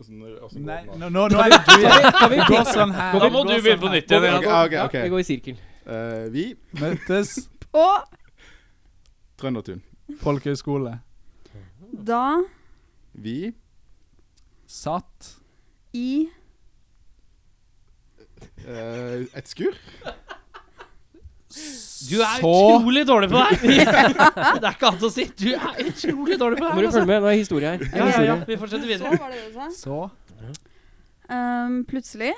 [SPEAKER 6] Åssen åssen
[SPEAKER 7] Nei,
[SPEAKER 6] går det nå?
[SPEAKER 7] nå, nå, nå er det du igjen.
[SPEAKER 1] Kan vi,
[SPEAKER 7] Det går sånn her.
[SPEAKER 2] Da må
[SPEAKER 7] det
[SPEAKER 2] du
[SPEAKER 7] går
[SPEAKER 2] begynne
[SPEAKER 7] sånn
[SPEAKER 2] på nytt
[SPEAKER 6] Ok,
[SPEAKER 2] igjen. Jan.
[SPEAKER 6] ok,
[SPEAKER 1] ja,
[SPEAKER 6] ok.
[SPEAKER 1] vi går i sirkel.
[SPEAKER 6] Eh, vi
[SPEAKER 7] her. Møttes
[SPEAKER 5] Og
[SPEAKER 6] Trøndertun.
[SPEAKER 7] folkehøyskole.
[SPEAKER 5] da
[SPEAKER 6] Vi
[SPEAKER 7] satt
[SPEAKER 5] I
[SPEAKER 6] Eh, et skur?
[SPEAKER 2] Du er
[SPEAKER 7] Så-
[SPEAKER 2] utrolig dårlig på det her! Det er ikke annet å si. Du er utrolig dårlig på det
[SPEAKER 1] Nå
[SPEAKER 2] her.
[SPEAKER 1] må du følge
[SPEAKER 2] Altså.
[SPEAKER 1] med, det er historie her.
[SPEAKER 2] Ja, ja, ja. Vi fortsetter
[SPEAKER 5] Så
[SPEAKER 2] videre.
[SPEAKER 5] var det det du sa.
[SPEAKER 7] Så
[SPEAKER 5] Ehm, plutselig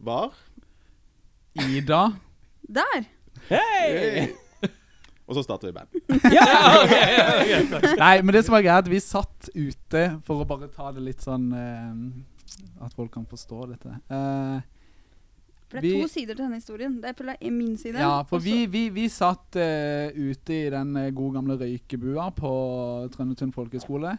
[SPEAKER 6] Var?
[SPEAKER 7] Ida
[SPEAKER 5] Der!
[SPEAKER 6] Hey. Og så starter vi band.
[SPEAKER 7] Nei, men det som var greit, vi satt ute for å bare ta det litt sånn eh, At folk kan forstå dette. Eh,
[SPEAKER 5] For det er
[SPEAKER 7] Vi-
[SPEAKER 5] to sider til denne historien. Det føler jeg er min side.
[SPEAKER 7] ja, for
[SPEAKER 5] og så-
[SPEAKER 7] vi, vi, vi satt eh, ute i den eh, gode gamle røykebua på Trøndetun folkehøgskole.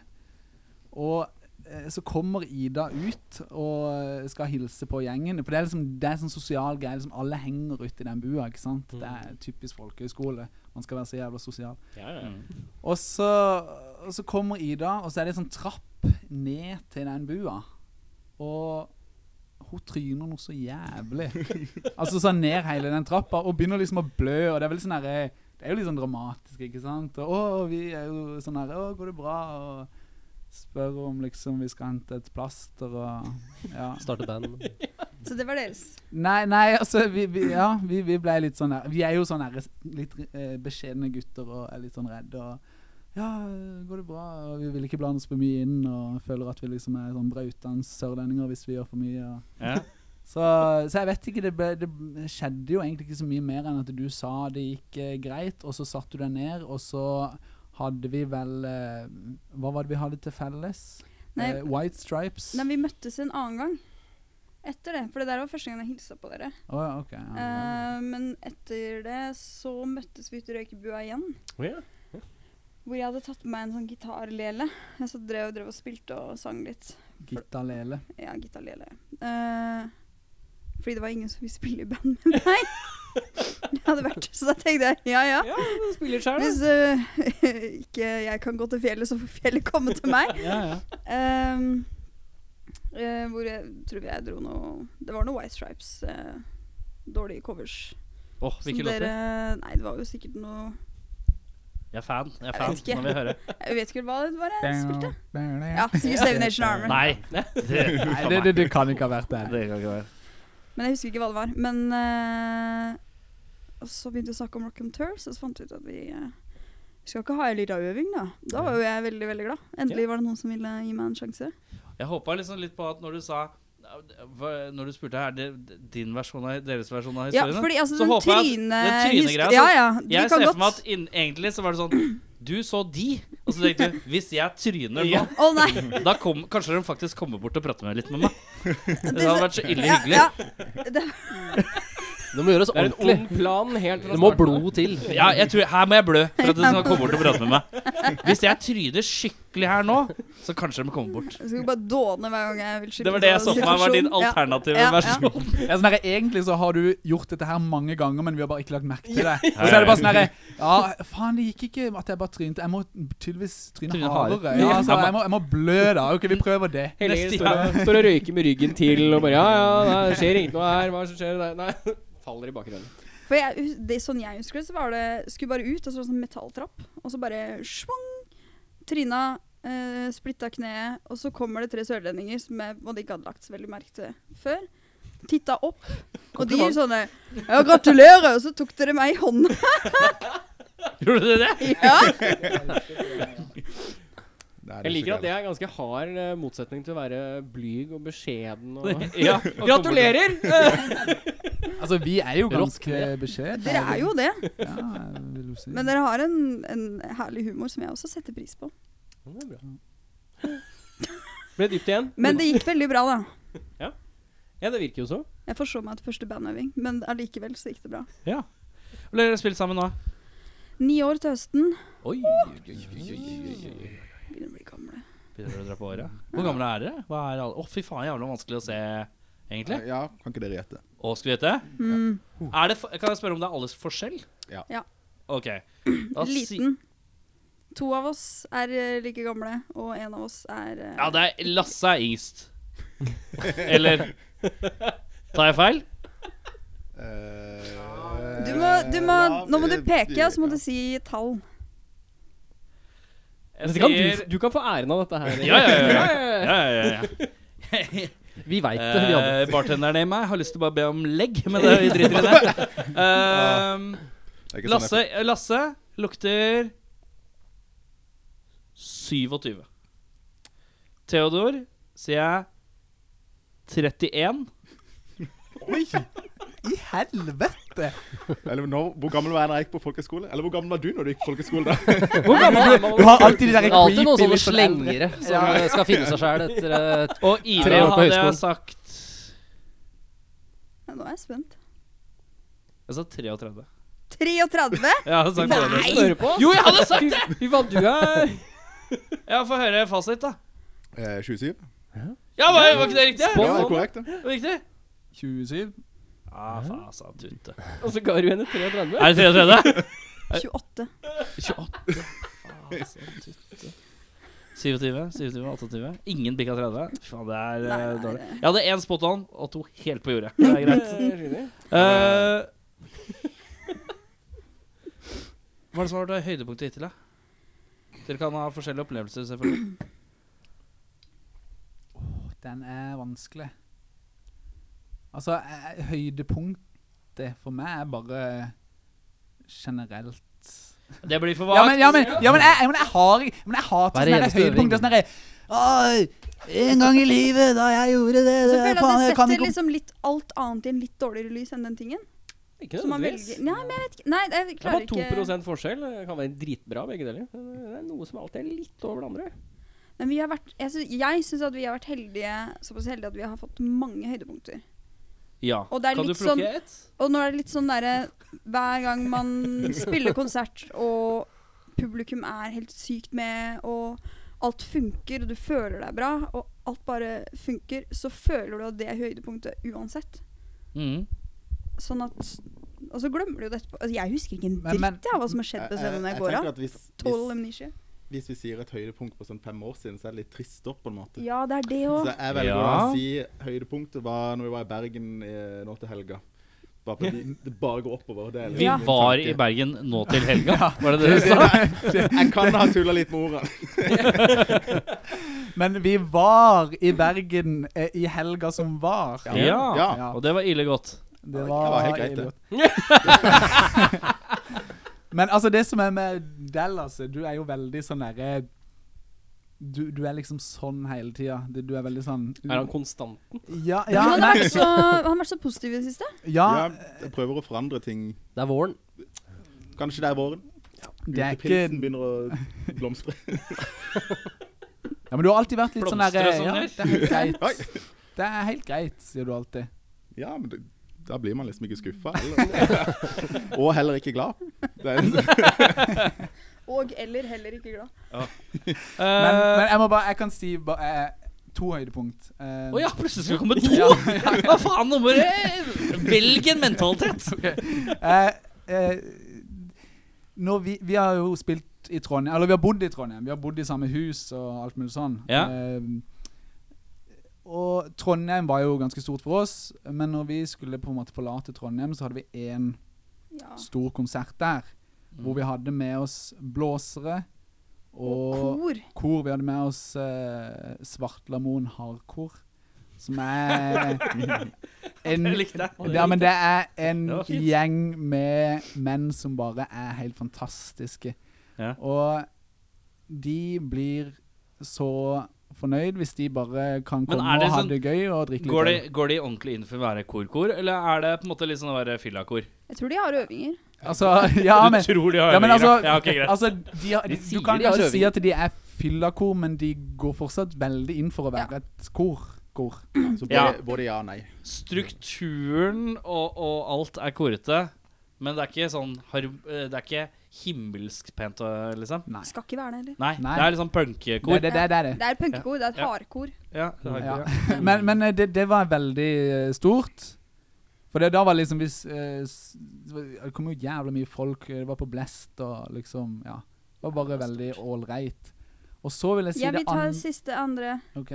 [SPEAKER 7] Og eh, så kommer Ida ut og eh, skal hilse på gjengen. For det er liksom det er en sånn sosial greie. Liksom alle henger ute i den bua. ikke sant? Det er typisk folkehøgskole. Man skal være så jævla sosial. Og så, og så kommer Ida, og så er det en sånn trapp ned til den bua. Og hun tryner noe så jævlig. Altså sånn ned hele den trappa, og begynner liksom å blø. Og det er vel sånn herre Det er jo litt sånn dramatisk, ikke sant? Og å, vi er jo sånn herre Å, går det bra? Og spør om liksom vi skal hente et plaster og Ja.
[SPEAKER 3] Starte band.
[SPEAKER 5] Så det var deres.
[SPEAKER 7] Nei, nei, altså vi, vi, Ja, vi, vi ble litt sånn der Vi er jo sånn der litt eh, beskjedne gutter og er litt sånn redde og Ja, går det bra? Og vi vil ikke blande oss for mye inn og føler at vi liksom er sånn brautende sørlendinger hvis vi gjør for mye. Og.
[SPEAKER 2] Ja.
[SPEAKER 7] Så, så jeg vet ikke, det, ble, det skjedde jo egentlig ikke så mye mer enn at du sa det gikk eh, greit, og så satt du deg ned, og så hadde vi vel eh, Hva var det vi hadde til felles?
[SPEAKER 5] Nei.
[SPEAKER 7] Eh, White Stripes?
[SPEAKER 5] Nei, vi møttes en annen gang etter det. For det der var første gang jeg hilsa på dere.
[SPEAKER 7] Å, ja, ok,
[SPEAKER 1] Ah,
[SPEAKER 7] ja, ja.
[SPEAKER 5] Eh, men etter det så møttes vi ute i røykebua igjen.
[SPEAKER 1] Å ja.
[SPEAKER 5] Hvor jeg hadde tatt med meg en sånn gitarlele. Jeg så drev, drev og spilte og sang litt.
[SPEAKER 7] Gitta Lele.
[SPEAKER 5] Ja, gitarlele. Eh, fordi det var ingen som ville spille i band med meg. Jeg hadde vært Så da tenkte jeg ja ja.
[SPEAKER 1] Ja, du spiller sjøl,
[SPEAKER 5] Hvis
[SPEAKER 1] da.
[SPEAKER 5] eh, ikke jeg kan gå til fjellet, så får fjellet komme til meg. Ehm, eh, hvor jeg tror jeg dro noe Det var noe White Stripes. eh, dårlige covers.
[SPEAKER 2] Åh,
[SPEAKER 5] Som
[SPEAKER 2] hvilke låter?
[SPEAKER 5] dere- Nei, det var jo sikkert noe
[SPEAKER 2] Jeg er fan. Jeg er
[SPEAKER 5] Jeg
[SPEAKER 2] fan.
[SPEAKER 5] vet ikke.
[SPEAKER 2] Nå vil jeg høre.
[SPEAKER 5] Jeg vet ikke hva det var jeg spilte.
[SPEAKER 7] Ja,
[SPEAKER 5] Ja, sikkert Save Nation Army.
[SPEAKER 2] Nei. Det,
[SPEAKER 7] Nei, det, det, det kan ikke ha vært det.
[SPEAKER 2] kan ikke være.
[SPEAKER 5] Men jeg husker ikke hva det var. Men eh, og så begynte vi å snakke om Rock and Tours, og så fant vi ut at vi eh, skal ikke ha ei lita øving, da. Da var jo jeg veldig, veldig glad. Endelig var det noen som ville gi meg en sjanse.
[SPEAKER 2] Jeg håpa liksom litt på at når du sa hva- Når du spurte her, det din versjon av deres versjon av
[SPEAKER 5] Ja,
[SPEAKER 2] historien
[SPEAKER 5] fordi altså,
[SPEAKER 2] så
[SPEAKER 5] den
[SPEAKER 2] håper jeg at
[SPEAKER 5] tryne...
[SPEAKER 2] den trynegreia,
[SPEAKER 5] hist-
[SPEAKER 2] så-
[SPEAKER 5] Ja, ja. De
[SPEAKER 2] Jeg
[SPEAKER 5] kan
[SPEAKER 2] ser
[SPEAKER 5] godt
[SPEAKER 2] for meg at inn, egentlig så var det sånn Du så de, og så tenkte du Hvis jeg tryner nå,
[SPEAKER 5] Å nei!
[SPEAKER 2] da kom, kanskje de faktisk kommer bort og prater med litt med meg. Det
[SPEAKER 5] så-
[SPEAKER 2] hadde vært så ille
[SPEAKER 5] Ja,
[SPEAKER 2] hyggelig.
[SPEAKER 5] ja.
[SPEAKER 3] Det må gjøres
[SPEAKER 1] Det er en
[SPEAKER 3] ordentlig.
[SPEAKER 1] ond plan helt fra
[SPEAKER 3] Det må
[SPEAKER 1] starten.
[SPEAKER 3] blod til.
[SPEAKER 2] Ja, jeg tror, her må jeg blø for at de skal komme bort og prate med meg. Hvis jeg tryner skikkelig her nå, så kanskje de kommer bort.
[SPEAKER 5] Jeg skulle bare dåne hver gang jeg vil skylde
[SPEAKER 2] Det var det jeg
[SPEAKER 5] på
[SPEAKER 2] så for meg var din
[SPEAKER 5] situasjonen. Ja.
[SPEAKER 2] alternative
[SPEAKER 5] Ja, ja.
[SPEAKER 2] versjon.
[SPEAKER 7] Ja, sånn her, egentlig så har du gjort dette her mange ganger, men vi har bare ikke lagt merke til det. Og så er det bare sånn herre Ja, faen, det gikk ikke at jeg bare trynte. Jeg må tydeligvis tryne
[SPEAKER 2] Tryne
[SPEAKER 7] hardere.
[SPEAKER 2] hardere.
[SPEAKER 7] Ja, altså, jeg, må, jeg må blø, da. OK, vi prøver det.
[SPEAKER 1] Hele
[SPEAKER 2] Neste
[SPEAKER 1] står, og- står og røyker med ryggen til og bare Ja, ja, nei, det skjer ikke noe her. Hva er det som skjer der? Nei. Faller i bakgrunnen.
[SPEAKER 5] For jeg, hus- det, sånn jeg husker det, så var det Skulle bare ut, og så var det sånn metalltrapp, og så bare schwung! Trina eh, splitta kneet, og så kommer det tre sørlendinger som jeg på en måte ikke hadde lagt så veldig merke til før. Titta opp, og de sånne Ja, gratulerer! Og så tok dere meg i hånda.
[SPEAKER 2] Gjorde du det?
[SPEAKER 5] Ja.
[SPEAKER 6] Nei,
[SPEAKER 1] Jeg liker at det
[SPEAKER 6] det.
[SPEAKER 1] er en ganske hard eh, motsetning til å være blyg og beskjeden og
[SPEAKER 2] Ja.
[SPEAKER 1] Gratulerer!
[SPEAKER 7] Altså, vi er jo
[SPEAKER 2] Rått,
[SPEAKER 7] ganske beskjedne.
[SPEAKER 5] Dere er jo det.
[SPEAKER 7] Ja, jeg vil jo si.
[SPEAKER 5] Men dere har en, en herlig humor som jeg også setter pris på.
[SPEAKER 1] Ble dypt igjen.
[SPEAKER 5] Men det gikk veldig bra, da.
[SPEAKER 1] Ja, det virker jo så.
[SPEAKER 5] Jeg forså meg til første bandøving, men allikevel så gikk det bra.
[SPEAKER 2] Hvor lenge har dere spilt sammen nå?
[SPEAKER 5] Ni år til høsten.
[SPEAKER 2] Oi.
[SPEAKER 5] Begynner å bli gamle.
[SPEAKER 2] Begynner dere å dra på året? Hvor gamle er dere? Hva er alle? Å, fy faen, jævla vanskelig å se, egentlig.
[SPEAKER 6] Ja, kan ikke dere gjette?
[SPEAKER 2] Å, skal vi gjette?
[SPEAKER 5] Mm,
[SPEAKER 2] Er det, kan jeg spørre om det er aldersforskjell?
[SPEAKER 6] Ja.
[SPEAKER 5] Ja.
[SPEAKER 2] Ok. Da si-
[SPEAKER 5] liten. To av oss er eh, like gamle, og en av oss er eh,
[SPEAKER 2] Ja, det er Lasse er yngst. Eller Tar jeg feil?
[SPEAKER 6] Eh,
[SPEAKER 5] du må, du må,
[SPEAKER 6] ja,
[SPEAKER 5] Nå må du
[SPEAKER 6] eh,
[SPEAKER 5] peke, og så må
[SPEAKER 6] ja.
[SPEAKER 5] du si tall.
[SPEAKER 2] Jeg
[SPEAKER 1] Dette kan du, du kan få æren av dette her.
[SPEAKER 2] Ja, ja, ja,
[SPEAKER 1] ja, ja.
[SPEAKER 2] Ja, ja, ja.
[SPEAKER 3] Vi veit det. Vi hadde.
[SPEAKER 2] Eh, bartenderen i meg har lyst til å bare be om legg, men det vi driter i det. Eh,
[SPEAKER 6] Det er ikke
[SPEAKER 2] Lasse,
[SPEAKER 6] sånn jeg-
[SPEAKER 2] Lasse lukter 27. Theodor sier jeg 31.
[SPEAKER 7] Oi! I helvete!
[SPEAKER 6] Eller når, Hvor gammel var jeg da jeg gikk på folkehøyskole? Eller hvor gammel var du når du gikk på folkehøyskole? da?
[SPEAKER 1] Hvor gammel er man?
[SPEAKER 7] Du har alltid de der
[SPEAKER 3] Det er alltid noen sånne
[SPEAKER 7] creepy litt sånn eldre-
[SPEAKER 3] slengere som eh, skal finne seg sjæl etter eh, et
[SPEAKER 2] Og Ine
[SPEAKER 3] Tre år på
[SPEAKER 2] hadde jeg
[SPEAKER 3] høyskolen.
[SPEAKER 2] sagt
[SPEAKER 5] Ja, nå er jeg spent.
[SPEAKER 2] Jeg sa 33.
[SPEAKER 5] 33?
[SPEAKER 2] Jeg hadde sagt 33.
[SPEAKER 1] Hører på?
[SPEAKER 2] Jo, jeg hadde sagt det!
[SPEAKER 1] Fy faen, du er
[SPEAKER 2] Ja, Få høre fasit, da.
[SPEAKER 6] Eh, 27?
[SPEAKER 2] Ja, var, var ikke det riktig?
[SPEAKER 6] Ja, det er korrekt. det.
[SPEAKER 2] Var det riktig?
[SPEAKER 7] 27?
[SPEAKER 2] Ah, faen, sa tute.
[SPEAKER 1] Og så ga du henne 33?
[SPEAKER 2] Er det 33?
[SPEAKER 5] 28.
[SPEAKER 2] 28. Faen, sa tute. 27, 27, 28. Ingen bikka 30. Faen, det er eh,
[SPEAKER 5] Nei, nei,
[SPEAKER 2] dårlig.
[SPEAKER 5] det-
[SPEAKER 2] Jeg hadde én spot on og to helt på jordet. Det er greit. Eh, hva er det som har vært høydepunktet hittil, da? Dere kan ha forskjellige opplevelser, selvfølgelig.
[SPEAKER 7] Den er vanskelig. Altså, eh, høydepunktet for meg er bare generelt
[SPEAKER 2] Det blir for vagt.
[SPEAKER 7] Ja, men, ja, men, ja, men, jeg, ja, men jeg har Men jeg hater
[SPEAKER 3] Hver
[SPEAKER 7] sånne der
[SPEAKER 3] eneste øving.
[SPEAKER 7] høydepunkter. Sånn derre «Oi, En gang i livet, da jeg gjorde det,
[SPEAKER 5] Så
[SPEAKER 7] det
[SPEAKER 5] føler jeg
[SPEAKER 7] Eh, faen,
[SPEAKER 5] at det
[SPEAKER 7] jeg kan
[SPEAKER 5] setter
[SPEAKER 7] ikke om-
[SPEAKER 5] liksom litt alt annet i en litt dårligere lys enn den tingen.
[SPEAKER 1] Ikke
[SPEAKER 5] Så man
[SPEAKER 1] nødvendigvis.
[SPEAKER 5] velger Nei, men jeg vet ikke. Nei, jeg
[SPEAKER 1] Det er
[SPEAKER 5] klarer
[SPEAKER 1] bare 2
[SPEAKER 5] ikke
[SPEAKER 1] forskjell. Det kan være dritbra, begge deler. Men Det er noe som alltid er litt over det andre.
[SPEAKER 5] Men vi har vært Jeg syns, jeg syns at vi har vært heldige, såpass heldige at vi har fått mange høydepunkter.
[SPEAKER 2] Ja.
[SPEAKER 5] Og det er
[SPEAKER 2] kan du
[SPEAKER 5] litt
[SPEAKER 2] plukke
[SPEAKER 5] sånn-
[SPEAKER 2] et?
[SPEAKER 5] Og nå er det litt sånn derre Hver gang man spiller konsert, og publikum er helt sykt med, og alt funker, og du føler deg bra, og alt bare funker, så føler du at det er høydepunktet uansett.
[SPEAKER 2] Mhm.
[SPEAKER 5] Sånn at Og så glemmer du jo dette altså, Jeg husker ikke en
[SPEAKER 7] Men- men- eh,
[SPEAKER 5] dritt jeg, av hva som har skjedd på scenen da jeg går av.
[SPEAKER 6] tenker at hvis,
[SPEAKER 5] Total
[SPEAKER 6] hvis,
[SPEAKER 5] amnesia.
[SPEAKER 6] hvis vi sier et høydepunkt på sånn fem år siden, så er det litt trist da, på en måte.
[SPEAKER 5] Ja, det er det òg.
[SPEAKER 6] Så jeg velger
[SPEAKER 2] Ja.
[SPEAKER 6] å si høydepunktet var når vi var i Bergen eh, nå til helga. Bare fordi det bare går oppover. Det er liksom
[SPEAKER 2] Vi
[SPEAKER 5] Ja.
[SPEAKER 2] var i Bergen nå til helga, var det det du sa?
[SPEAKER 6] Bergen. Jeg kan ha tulla litt med ordene.
[SPEAKER 7] Men vi var i Bergen eh, i helga som var.
[SPEAKER 2] Ja. Ja.
[SPEAKER 6] ja.
[SPEAKER 7] Ja,
[SPEAKER 2] Og det var ille godt.
[SPEAKER 7] det
[SPEAKER 6] det
[SPEAKER 7] var,
[SPEAKER 6] var helt greit, det.
[SPEAKER 7] idiot. Men altså, det som er med Dallas Du er jo veldig sånn derre du, du er liksom sånn hele tida. Du, du er veldig sånn
[SPEAKER 1] Er han konstant?
[SPEAKER 7] Ja, ja,
[SPEAKER 5] han, har
[SPEAKER 7] nei,
[SPEAKER 5] vært så, han har vært så positiv i det siste.
[SPEAKER 7] ja,
[SPEAKER 6] Ja, jeg prøver å forandre ting.
[SPEAKER 3] Det er våren.
[SPEAKER 6] Kanskje det er våren.
[SPEAKER 7] det er ikke
[SPEAKER 6] Utepilsen begynner å blomstre.
[SPEAKER 7] Ja, Men du har alltid vært litt sånn
[SPEAKER 2] Blomster
[SPEAKER 7] derre
[SPEAKER 2] og sånn
[SPEAKER 7] ja,
[SPEAKER 2] der.
[SPEAKER 7] Det er helt
[SPEAKER 6] Oi.
[SPEAKER 7] greit. Det er helt greit, sier du alltid.
[SPEAKER 6] Ja, men det, da blir man liksom ikke skuffa. eller- Og heller ikke glad. Det er,
[SPEAKER 5] Og eller heller ikke glad.
[SPEAKER 7] Men,
[SPEAKER 2] Eh,
[SPEAKER 7] men jeg må bare Jeg kan si ba, eh, to høydepunkt. Eh,
[SPEAKER 2] Å ja, plutselig skal det komme to! Hva faen, nå må du velge en mentalitet!
[SPEAKER 7] eh, eh, når vi, vi har jo spilt i Trondheim Eller vi har bodd i Trondheim. Vi har bodd i samme hus og alt mulig sånn.
[SPEAKER 2] Ja.
[SPEAKER 7] Eh, og Trondheim var jo ganske stort for oss, men når vi skulle på en måte forlate Trondheim, så hadde vi én
[SPEAKER 5] Ja.
[SPEAKER 7] stor konsert der.
[SPEAKER 2] Mm.
[SPEAKER 7] Hvor vi hadde med oss blåsere
[SPEAKER 5] Og
[SPEAKER 7] og
[SPEAKER 5] kor.
[SPEAKER 7] kor. Vi hadde med oss eh, Svartlamoen hardkor, som er en,
[SPEAKER 2] Det likte jeg.
[SPEAKER 7] ja, men det er en
[SPEAKER 2] Det var fint.
[SPEAKER 7] gjeng med menn som bare er helt fantastiske.
[SPEAKER 2] Ja.
[SPEAKER 7] Og de blir så fornøyd hvis de bare kan
[SPEAKER 2] Men
[SPEAKER 7] komme
[SPEAKER 2] er det
[SPEAKER 7] og ha
[SPEAKER 2] sånn-
[SPEAKER 7] det gøy og drikke
[SPEAKER 2] Går de,
[SPEAKER 7] litt. øl.
[SPEAKER 2] går de ordentlig inn for å være korkor, eller er det på en måte litt sånn å være fyllakor?
[SPEAKER 5] Jeg tror de har øvinger.
[SPEAKER 7] Altså, ja,
[SPEAKER 2] Du
[SPEAKER 7] men,
[SPEAKER 2] tror de har
[SPEAKER 7] ja, men
[SPEAKER 2] øvinger,
[SPEAKER 7] altså,
[SPEAKER 2] ja, ok, greit.
[SPEAKER 7] altså de, har-
[SPEAKER 3] De
[SPEAKER 7] Du
[SPEAKER 3] sier
[SPEAKER 7] kan
[SPEAKER 3] de har
[SPEAKER 7] kanskje si
[SPEAKER 3] øving.
[SPEAKER 7] at de er fyllakor, men de går fortsatt veldig inn for å være et kor. kor.
[SPEAKER 6] så
[SPEAKER 2] Ja.
[SPEAKER 6] både, både ja og nei.
[SPEAKER 2] Strukturen og, og alt er korete, men det er ikke sånn har, eh, Det er ikke himmelsk pent, eh, liksom.
[SPEAKER 7] Nei.
[SPEAKER 5] Skal ikke være det, eller?
[SPEAKER 2] Nei,
[SPEAKER 7] Nei.
[SPEAKER 2] det er liksom
[SPEAKER 7] Det,
[SPEAKER 2] punkekor.
[SPEAKER 7] det, det, det er det.
[SPEAKER 5] Det er et punkekor. Det er et
[SPEAKER 2] Ja.
[SPEAKER 5] hardkor.
[SPEAKER 2] Ja, det har
[SPEAKER 7] Ja.
[SPEAKER 2] ikke-
[SPEAKER 7] Men, men eh, det, det var veldig eh, stort. For det, da var liksom hvis eh, s- Det kom jo jævla mye folk, eh, det var på blest og liksom Ja. Det var bare veldig ålreit. Og så vil jeg si
[SPEAKER 5] Jeg
[SPEAKER 7] det
[SPEAKER 5] vil ta
[SPEAKER 7] an-
[SPEAKER 5] siste andre.
[SPEAKER 7] OK,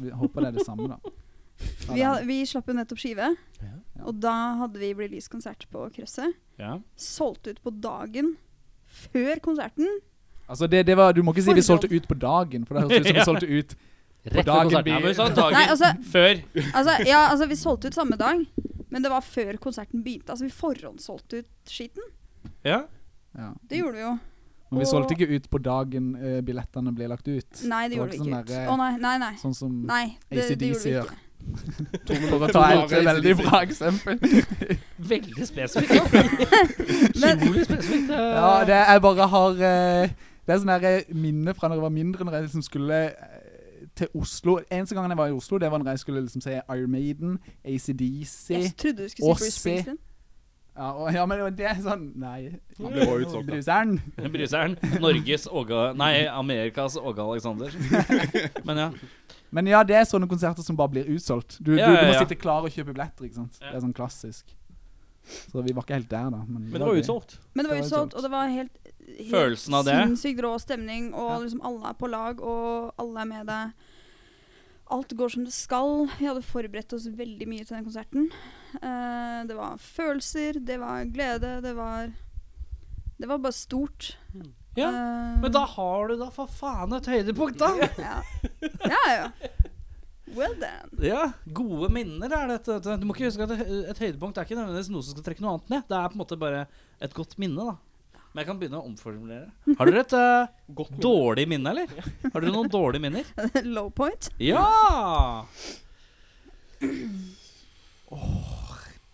[SPEAKER 7] vi håper det er det samme, da. Ta
[SPEAKER 5] Vi,
[SPEAKER 7] den.
[SPEAKER 5] har, vi slapp jo nettopp skive,
[SPEAKER 7] Ja.
[SPEAKER 5] og da hadde vi release-konsert på Krøsset.
[SPEAKER 2] ja.
[SPEAKER 5] Solgt ut på dagen før konserten.
[SPEAKER 7] Altså, det, det var Du må ikke si vi
[SPEAKER 5] Forhånd.
[SPEAKER 7] solgte ut på dagen, for det høres ut som vi solgte ut
[SPEAKER 3] Rett før
[SPEAKER 7] dagen
[SPEAKER 3] konserten.
[SPEAKER 2] Ja,
[SPEAKER 7] blir-
[SPEAKER 2] men vi sa
[SPEAKER 5] Nei,
[SPEAKER 2] dagen
[SPEAKER 5] altså,
[SPEAKER 2] før.
[SPEAKER 5] altså, ja, altså Vi solgte ut samme dag, men det var før konserten begynte. Altså Vi forhåndssolgte ut skiten.
[SPEAKER 2] Ja.
[SPEAKER 7] Ja.
[SPEAKER 5] Det gjorde vi jo.
[SPEAKER 7] Men vi
[SPEAKER 5] Og-
[SPEAKER 7] solgte ikke ut på dagen eh, billettene ble lagt ut.
[SPEAKER 5] Nei, det
[SPEAKER 7] Det var
[SPEAKER 5] gjorde vi ikke.
[SPEAKER 7] ikke sånn
[SPEAKER 5] ut.
[SPEAKER 7] derre-
[SPEAKER 5] Å nei, nei, nei.
[SPEAKER 7] Sånn som
[SPEAKER 5] Nei, det, det gjorde
[SPEAKER 7] ACDC
[SPEAKER 5] vi
[SPEAKER 7] gjør.
[SPEAKER 5] ikke.
[SPEAKER 7] For å ta et
[SPEAKER 6] Bare
[SPEAKER 7] veldig
[SPEAKER 6] ACDC.
[SPEAKER 7] bra eksempel.
[SPEAKER 2] Veldig spesifikt.
[SPEAKER 5] Men-
[SPEAKER 2] Utrolig spesifikt.
[SPEAKER 7] Ja, det jeg bare har eh, Det er sånn der eh, minne fra når jeg var mindre, når jeg liksom skulle eh, til Oslo. Eneste gangen jeg var i Oslo, det var når jeg skulle liksom se Iron Maiden, ACDC
[SPEAKER 5] Jeg trodde du skulle
[SPEAKER 7] Og
[SPEAKER 5] si Bruce
[SPEAKER 7] se.
[SPEAKER 5] Springsteen.
[SPEAKER 7] ja, og- ja, men det var- det er sånn Nei.
[SPEAKER 6] Det var utsolgt, da.
[SPEAKER 7] Bruseren.
[SPEAKER 2] Bruseren. Norges Åge Nei, Amerikas Åge Aleksander. Men ja.
[SPEAKER 7] Men ja, det er sånne konserter som bare blir utsolgt. Du,
[SPEAKER 2] Ja,
[SPEAKER 7] du, du
[SPEAKER 2] ja,
[SPEAKER 7] må
[SPEAKER 2] ja.
[SPEAKER 7] sitte klar og kjøpe billetter, ikke sant.
[SPEAKER 2] Ja.
[SPEAKER 7] Det er sånn klassisk. Så vi var ikke helt der, da. Men,
[SPEAKER 1] Men det var
[SPEAKER 7] gøy.
[SPEAKER 1] utsolgt.
[SPEAKER 5] Men det var
[SPEAKER 7] Det var
[SPEAKER 5] utsolgt,
[SPEAKER 7] utsolgt.
[SPEAKER 5] og det var helt, helt
[SPEAKER 2] Følelsen av det.
[SPEAKER 5] sinnssykt rå stemning, og
[SPEAKER 7] Ja.
[SPEAKER 5] liksom alle er på lag, og alle er med deg. Alt går som det skal. Vi hadde forberedt oss veldig mye til den konserten. Eh, det var følelser, det var glede, det var Det var bare stort.
[SPEAKER 2] ja.
[SPEAKER 5] Eh,
[SPEAKER 2] Men da har du da for faen et høydepunkt, da!
[SPEAKER 5] ja. ja, ja. Well then.
[SPEAKER 2] Ja, Gode minner er dette. vet Du Du må ikke huske at et hø- et høydepunkt er ikke nødvendigvis noe som skal trekke noe annet ned. Det er på en måte bare et godt minne, da. Men jeg kan begynne å omformulere. Har dere et eh, dårlig minne, eller? Har dere noen dårlige minner?
[SPEAKER 5] Low point.
[SPEAKER 2] Ja!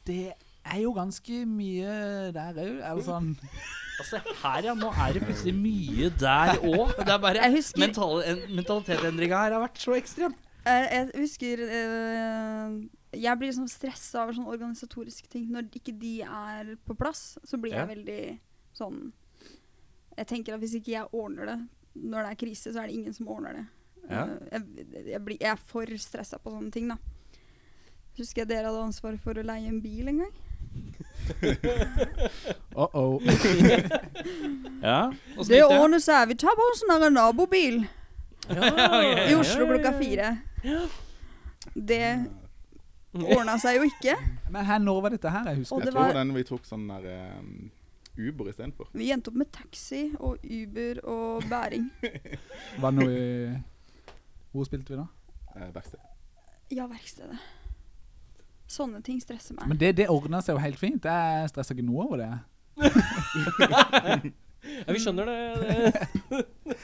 [SPEAKER 7] Det er jo ganske mye der òg. Eller sånn
[SPEAKER 2] Altså, her ja, Nå er det plutselig mye der òg. Det er bare
[SPEAKER 5] Jeg husker-
[SPEAKER 2] mental, en- mentalitetsendringa her har vært så ekstrem.
[SPEAKER 5] Eh, jeg husker eh, Jeg blir liksom stressa over sånne organisatoriske ting. Når ikke de er på plass, så blir
[SPEAKER 2] Ja.
[SPEAKER 5] jeg veldig sånn Jeg tenker at hvis ikke jeg ordner det når det er krise, så er det ingen som ordner det.
[SPEAKER 2] Ja.
[SPEAKER 5] Eh, jeg, jeg, blir, jeg er for stressa på sånne ting, da. Husker jeg dere hadde ansvaret for å leie en bil en gang?
[SPEAKER 7] uh -oh.
[SPEAKER 2] Ja, åssen
[SPEAKER 5] Det
[SPEAKER 2] gikk det?
[SPEAKER 5] ordner seg. Vi tar på oss en annen nabobil i Oslo klokka fire. Det ordna seg jo ikke.
[SPEAKER 7] Men her, når var dette her? Jeg husker
[SPEAKER 5] Og
[SPEAKER 7] ikke.
[SPEAKER 5] det
[SPEAKER 6] Jeg tror
[SPEAKER 5] var-
[SPEAKER 6] den vi tok sånn der um, Uber istedenfor.
[SPEAKER 5] Vi endte opp med taxi og Uber og bæring.
[SPEAKER 7] Var det noe i- Hvor spilte vi da?
[SPEAKER 6] Eh, verksted.
[SPEAKER 5] Ja, verkstedet. Sånne ting stresser meg.
[SPEAKER 7] Men det, det ordna seg jo helt fint. Jeg stressa ikke noe over det.
[SPEAKER 1] Ja, vi skjønner det. det.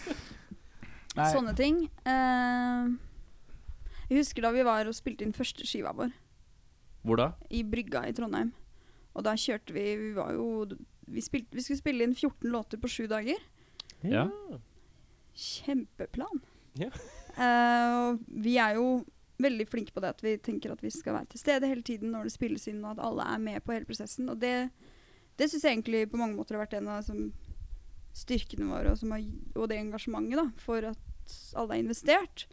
[SPEAKER 7] Nei,
[SPEAKER 5] Sånne ting. Eh, jeg husker da vi var og spilte inn første skiva vår
[SPEAKER 2] Hvor da?
[SPEAKER 5] i Brygga i Trondheim. Og da kjørte vi Vi var jo Vi, spilte, vi skulle spille inn 14 låter på sju dager.
[SPEAKER 2] Ja.
[SPEAKER 5] Kjempeplan.
[SPEAKER 1] Ja.
[SPEAKER 5] Eh, og vi er jo veldig flinke på det at vi tenker at vi skal være til stede hele tiden når det spilles inn, og at alle er med på hele prosessen. Og det, det syns jeg egentlig på mange måter har vært en av liksom, styrkene våre, og, som har, og det engasjementet da, for at alle er investert.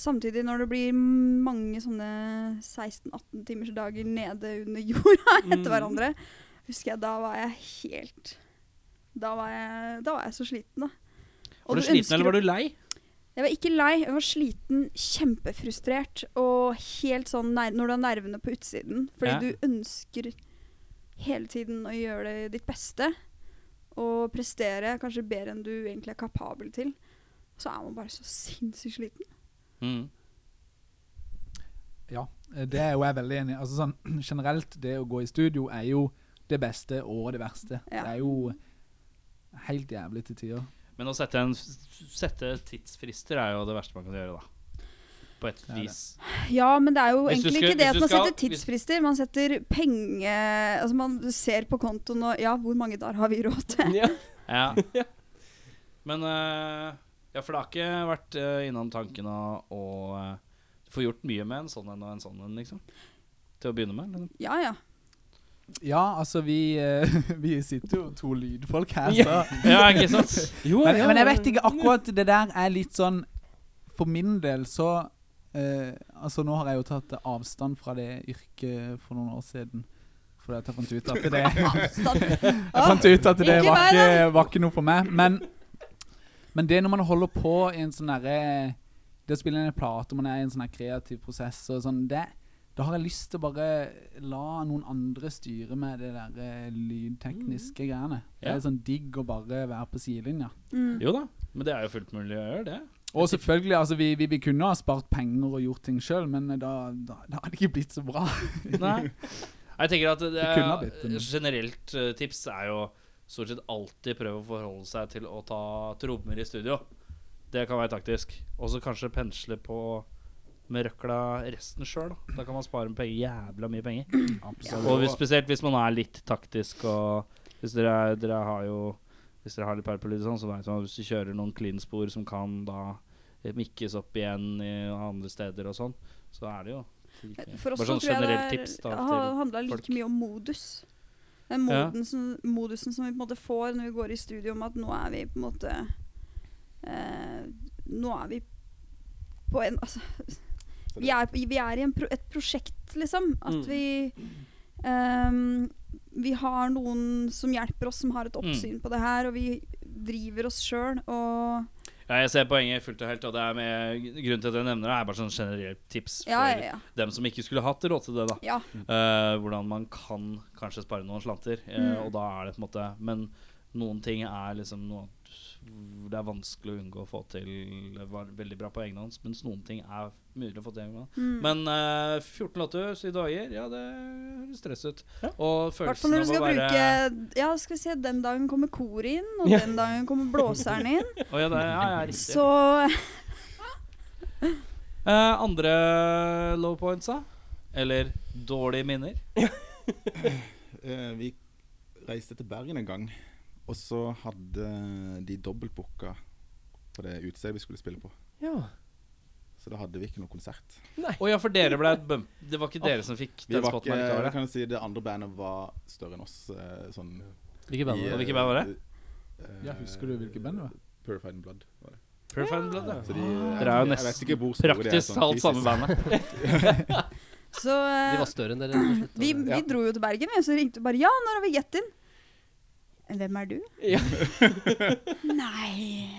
[SPEAKER 5] Samtidig, når det blir mange sånne 16-18 timers dager nede under jorda
[SPEAKER 2] Mm.
[SPEAKER 5] etter hverandre, husker jeg da var jeg helt Da var jeg, da var jeg så sliten, da. Og
[SPEAKER 2] Var du
[SPEAKER 5] du
[SPEAKER 2] sliten,
[SPEAKER 5] ønsker å-
[SPEAKER 2] eller var du lei?
[SPEAKER 5] jeg var ikke lei, jeg var sliten, kjempefrustrert og helt sånn ner når du har nervene på utsiden. Fordi
[SPEAKER 2] Ja.
[SPEAKER 5] du ønsker hele tiden å gjøre det ditt beste og prestere kanskje bedre enn du egentlig er kapabel til. Så er man bare så sinnssykt sliten.
[SPEAKER 2] Mm.
[SPEAKER 7] det er jo jeg veldig enig i. Altså, sånn, generelt, det å gå i studio er jo det beste og det verste.
[SPEAKER 5] Ja.
[SPEAKER 7] Det er jo helt jævlig til tider.
[SPEAKER 2] Men å sette, en, sette tidsfrister er jo det verste man kan gjøre, da. På et
[SPEAKER 7] er det.
[SPEAKER 2] vis.
[SPEAKER 5] Ja, men det er jo
[SPEAKER 2] Hvis du
[SPEAKER 5] egentlig
[SPEAKER 2] skulle-
[SPEAKER 5] ikke
[SPEAKER 2] hvis
[SPEAKER 5] det at
[SPEAKER 2] du
[SPEAKER 5] man
[SPEAKER 2] skal-
[SPEAKER 5] setter tidsfrister. Man setter penge Altså man ser på kontoen og Ja, hvor mange dager har vi råd til?
[SPEAKER 1] Ja.
[SPEAKER 2] Ja. Men eh, Ja, for det har ikke vært eh, innom tanken å, å eh, få gjort mye med en sånn en og en sånn en, liksom. Til å begynne med. Liksom.
[SPEAKER 5] Ja ja.
[SPEAKER 7] Ja, altså, vi, eh, vi sitter jo to lydfolk her, så
[SPEAKER 1] Ja.
[SPEAKER 2] Ja, ikke sant?
[SPEAKER 1] Jo,
[SPEAKER 7] men,
[SPEAKER 1] ja.
[SPEAKER 7] men jeg vet ikke akkurat det der er litt sånn For min del så eh, Altså nå har jeg jo tatt avstand fra det yrket for noen år siden. Fordi at jeg fant ut at det Jeg fant ut at det
[SPEAKER 5] Ikke
[SPEAKER 7] var
[SPEAKER 5] meg,
[SPEAKER 7] ikke, var ikke noe for meg. Men, men det når man holder på i en sånn derre Det å spille inn en plate, man er i en sånn her kreativ prosess og sånn det, Da har jeg lyst til å bare la noen andre styre med det der eh, lydtekniske greiene. Det
[SPEAKER 2] Ja.
[SPEAKER 7] er sånn digg å bare være på sidelinja.
[SPEAKER 5] Mm.
[SPEAKER 2] Jo da. Men det er jo fullt mulig å gjøre det.
[SPEAKER 7] Og selvfølgelig, altså, vi, vi, vi kunne ha spart penger og gjort ting sjøl, men da, da, da hadde det ikke blitt så bra.
[SPEAKER 2] Nei. Jeg tenker at det
[SPEAKER 7] kunne ha blitt en-
[SPEAKER 2] er, generelt eh, tips er jo stort sett alltid prøve å forholde seg til å ta trommer i studio. Det kan være taktisk. Og så kanskje pensle på med røkla resten sjøl. Da. da kan man spare med penger, jævla mye penger. Og hvis, spesielt hvis man er litt taktisk og Hvis dere, er- dere har jo Hvis dere har litt peil på lyd og sånn, så vet man at hvis du kjører noen clean-spor som kan da eh, mikkes opp igjen i andre steder og sånn, så er det jo
[SPEAKER 5] For
[SPEAKER 2] Bare
[SPEAKER 5] oss så
[SPEAKER 2] sånn
[SPEAKER 5] tror jeg det
[SPEAKER 2] generelt
[SPEAKER 5] er-
[SPEAKER 2] tips da
[SPEAKER 5] har
[SPEAKER 2] til
[SPEAKER 5] handla
[SPEAKER 2] folk.
[SPEAKER 5] like mye om modus. Den
[SPEAKER 2] Ja.
[SPEAKER 5] moden som, modusen som vi på en måte får når vi går i studio om at nå er vi på en måte eh, Nå er vi på en Altså Vi er, vi er i en pro, et prosjekt, liksom. At
[SPEAKER 1] Mm.
[SPEAKER 5] vi ehm, Vi har noen som hjelper oss, som har
[SPEAKER 2] Mm.
[SPEAKER 5] et oppsyn på det her, og vi driver oss sjøl og
[SPEAKER 2] Ja, jeg ser poenget fullt og helt, og det er med grunnen til at jeg nevner det, er bare sånn generelt tips for
[SPEAKER 5] Ja, ja, ja.
[SPEAKER 2] dem som ikke skulle hatt råd til det, da.
[SPEAKER 5] ja.
[SPEAKER 2] Eh, hvordan man kan kanskje spare noen slanter, eh,
[SPEAKER 5] Mm.
[SPEAKER 2] og da er det på en måte Men noen ting er liksom noe det er vanskelig å unngå å få til Det var veldig bra på egen hånd, mens noen ting er mulig å få til egen hånd.
[SPEAKER 5] Mm.
[SPEAKER 2] Men eh, 14 låter, syv dager, ja, det høres stress ut. Og
[SPEAKER 5] I hvert fall
[SPEAKER 2] følelsen
[SPEAKER 5] når du
[SPEAKER 2] av å
[SPEAKER 5] skal
[SPEAKER 2] være
[SPEAKER 5] bruke Ja, skal vi se, den dagen kommer koret inn, og
[SPEAKER 1] Ja.
[SPEAKER 5] den dagen kommer blåseren inn.
[SPEAKER 2] Å, ja, det, ja, ja, riktig.
[SPEAKER 5] Så
[SPEAKER 2] Eh, andre low points, da? Eller dårlige minner?
[SPEAKER 6] Eh, vi reiste til Bergen en gang, og så hadde de dobbeltbooka på det utestedet vi skulle spille på.
[SPEAKER 1] Ja.
[SPEAKER 6] Så da hadde vi ikke noe konsert.
[SPEAKER 2] Å ja, for dere ble et bump. Det var ikke dere som fikk
[SPEAKER 6] Vi
[SPEAKER 2] den
[SPEAKER 6] var
[SPEAKER 2] spotten
[SPEAKER 6] ikke,
[SPEAKER 2] likevel.
[SPEAKER 6] jeg kan jo si Det andre bandet var større enn oss. eh, Sånn,
[SPEAKER 3] Hvilke band?
[SPEAKER 6] i,
[SPEAKER 2] Og
[SPEAKER 6] eh,
[SPEAKER 2] hvilket band var
[SPEAKER 6] eh,
[SPEAKER 7] Ja, husker du hvilket band det var?
[SPEAKER 6] Purified and Blood. Var det.
[SPEAKER 2] Perfect Blood,
[SPEAKER 6] Så
[SPEAKER 2] ja.
[SPEAKER 6] de,
[SPEAKER 2] Ah, Dere er jo
[SPEAKER 6] jeg vet
[SPEAKER 2] nesten
[SPEAKER 6] ikke hvor store de er,
[SPEAKER 2] Praktisk
[SPEAKER 6] sånn
[SPEAKER 2] talt samme
[SPEAKER 6] fysisk.
[SPEAKER 2] bandet.
[SPEAKER 5] Så eh,
[SPEAKER 3] De var større enn dere. rett og slett,
[SPEAKER 5] vi,
[SPEAKER 3] og-
[SPEAKER 5] vi dro jo til Bergen, og så ringte du bare Ja, når har vi get in? Hvem er du?
[SPEAKER 1] Ja.
[SPEAKER 5] Nei eh,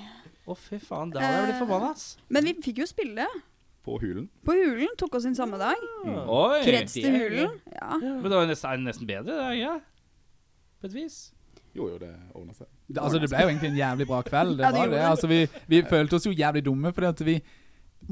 [SPEAKER 2] Å, fy faen. Da hadde jeg blitt forbanna, ass.
[SPEAKER 5] Men vi fikk jo spille
[SPEAKER 6] På Hulen.
[SPEAKER 5] på Hulen. Tok oss inn samme dag.
[SPEAKER 2] Oi!
[SPEAKER 5] Kreds til
[SPEAKER 2] det-
[SPEAKER 5] Hulen. Ja.
[SPEAKER 2] Men det var jo nesten, er det nesten bedre, det, ja. På et vis.
[SPEAKER 6] Jo, jo, det ordna seg.
[SPEAKER 7] Det, altså, det ble jo egentlig en jævlig bra kveld. Det
[SPEAKER 5] Ja, det
[SPEAKER 7] var
[SPEAKER 5] gjorde
[SPEAKER 7] det.
[SPEAKER 5] det.
[SPEAKER 7] Altså, vi, vi følte oss jo jævlig dumme, fordi at vi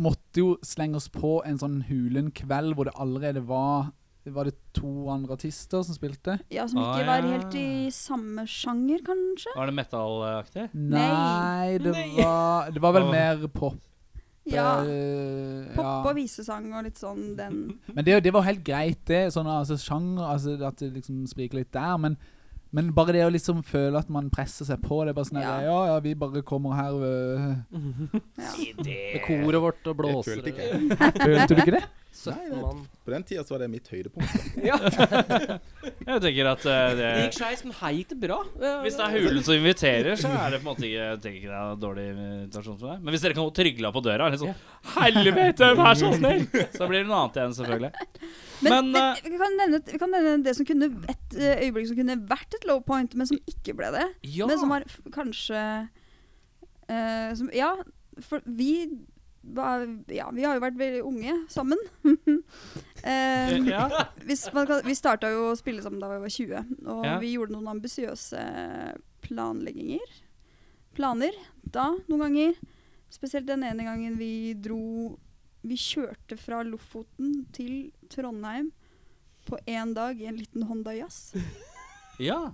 [SPEAKER 7] måtte jo slenge oss på en sånn hulen kveld hvor det allerede var Var det to andre artister som spilte?
[SPEAKER 5] ja, som
[SPEAKER 2] Ah,
[SPEAKER 5] ikke var
[SPEAKER 2] ja.
[SPEAKER 5] helt i samme sjanger, kanskje.
[SPEAKER 2] Var det metallaktig?
[SPEAKER 5] Nei.
[SPEAKER 7] Nei, det var Det var vel
[SPEAKER 2] Åh.
[SPEAKER 7] mer pop.
[SPEAKER 5] Ja.
[SPEAKER 7] eh, ja.
[SPEAKER 5] Pop og visesang og litt sånn den
[SPEAKER 7] Men det, det var helt greit, det. Sånn, altså, sjanger altså, At det liksom spriker litt der. Men, men bare det å liksom føle at man presser seg på det er bare sånn
[SPEAKER 5] Ja.
[SPEAKER 7] her, ja. ja, vi bare kommer her øh.
[SPEAKER 5] ja.
[SPEAKER 3] Med koret vårt og
[SPEAKER 6] Det
[SPEAKER 3] blåser
[SPEAKER 6] følte ikke jeg.
[SPEAKER 7] Følte du ikke det?
[SPEAKER 6] Nei,
[SPEAKER 3] Søtten
[SPEAKER 6] det-
[SPEAKER 3] mann.
[SPEAKER 6] På den tida så var det mitt høydepunkt. da.
[SPEAKER 2] Jeg tenker at eh, det
[SPEAKER 1] Det gikk skeis, men hei, gikk det bra.
[SPEAKER 2] Hvis det er hulen som inviterer, så er det på en måte ikke, jeg tenker ikke det er en dårlig invitasjon for deg. Men hvis dere kan gå trygla på døra, er det sånn Helvete, vær så snill! Så blir det noe annet igjen, selvfølgelig.
[SPEAKER 5] Men,
[SPEAKER 2] Men,
[SPEAKER 5] men
[SPEAKER 2] eh,
[SPEAKER 5] vi, kan nevne, vi kan nevne det som kunne et eh, øyeblikk som kunne vært et low point, men som ikke ble det.
[SPEAKER 2] Ja.
[SPEAKER 5] Men som var f- kanskje eh, som, Ja, for vi var, ja, vi har jo vært veldig unge sammen. Eh,
[SPEAKER 2] Eh, ja.
[SPEAKER 5] hvis man kan, vi starta jo å spille sammen da vi var 20, og
[SPEAKER 2] Ja.
[SPEAKER 5] vi gjorde noen ambisiøse planlegginger. Planer da, noen ganger. Spesielt den ene gangen vi dro Vi kjørte fra Lofoten til Trondheim på én dag i en liten Honda Jazz.
[SPEAKER 2] Ja.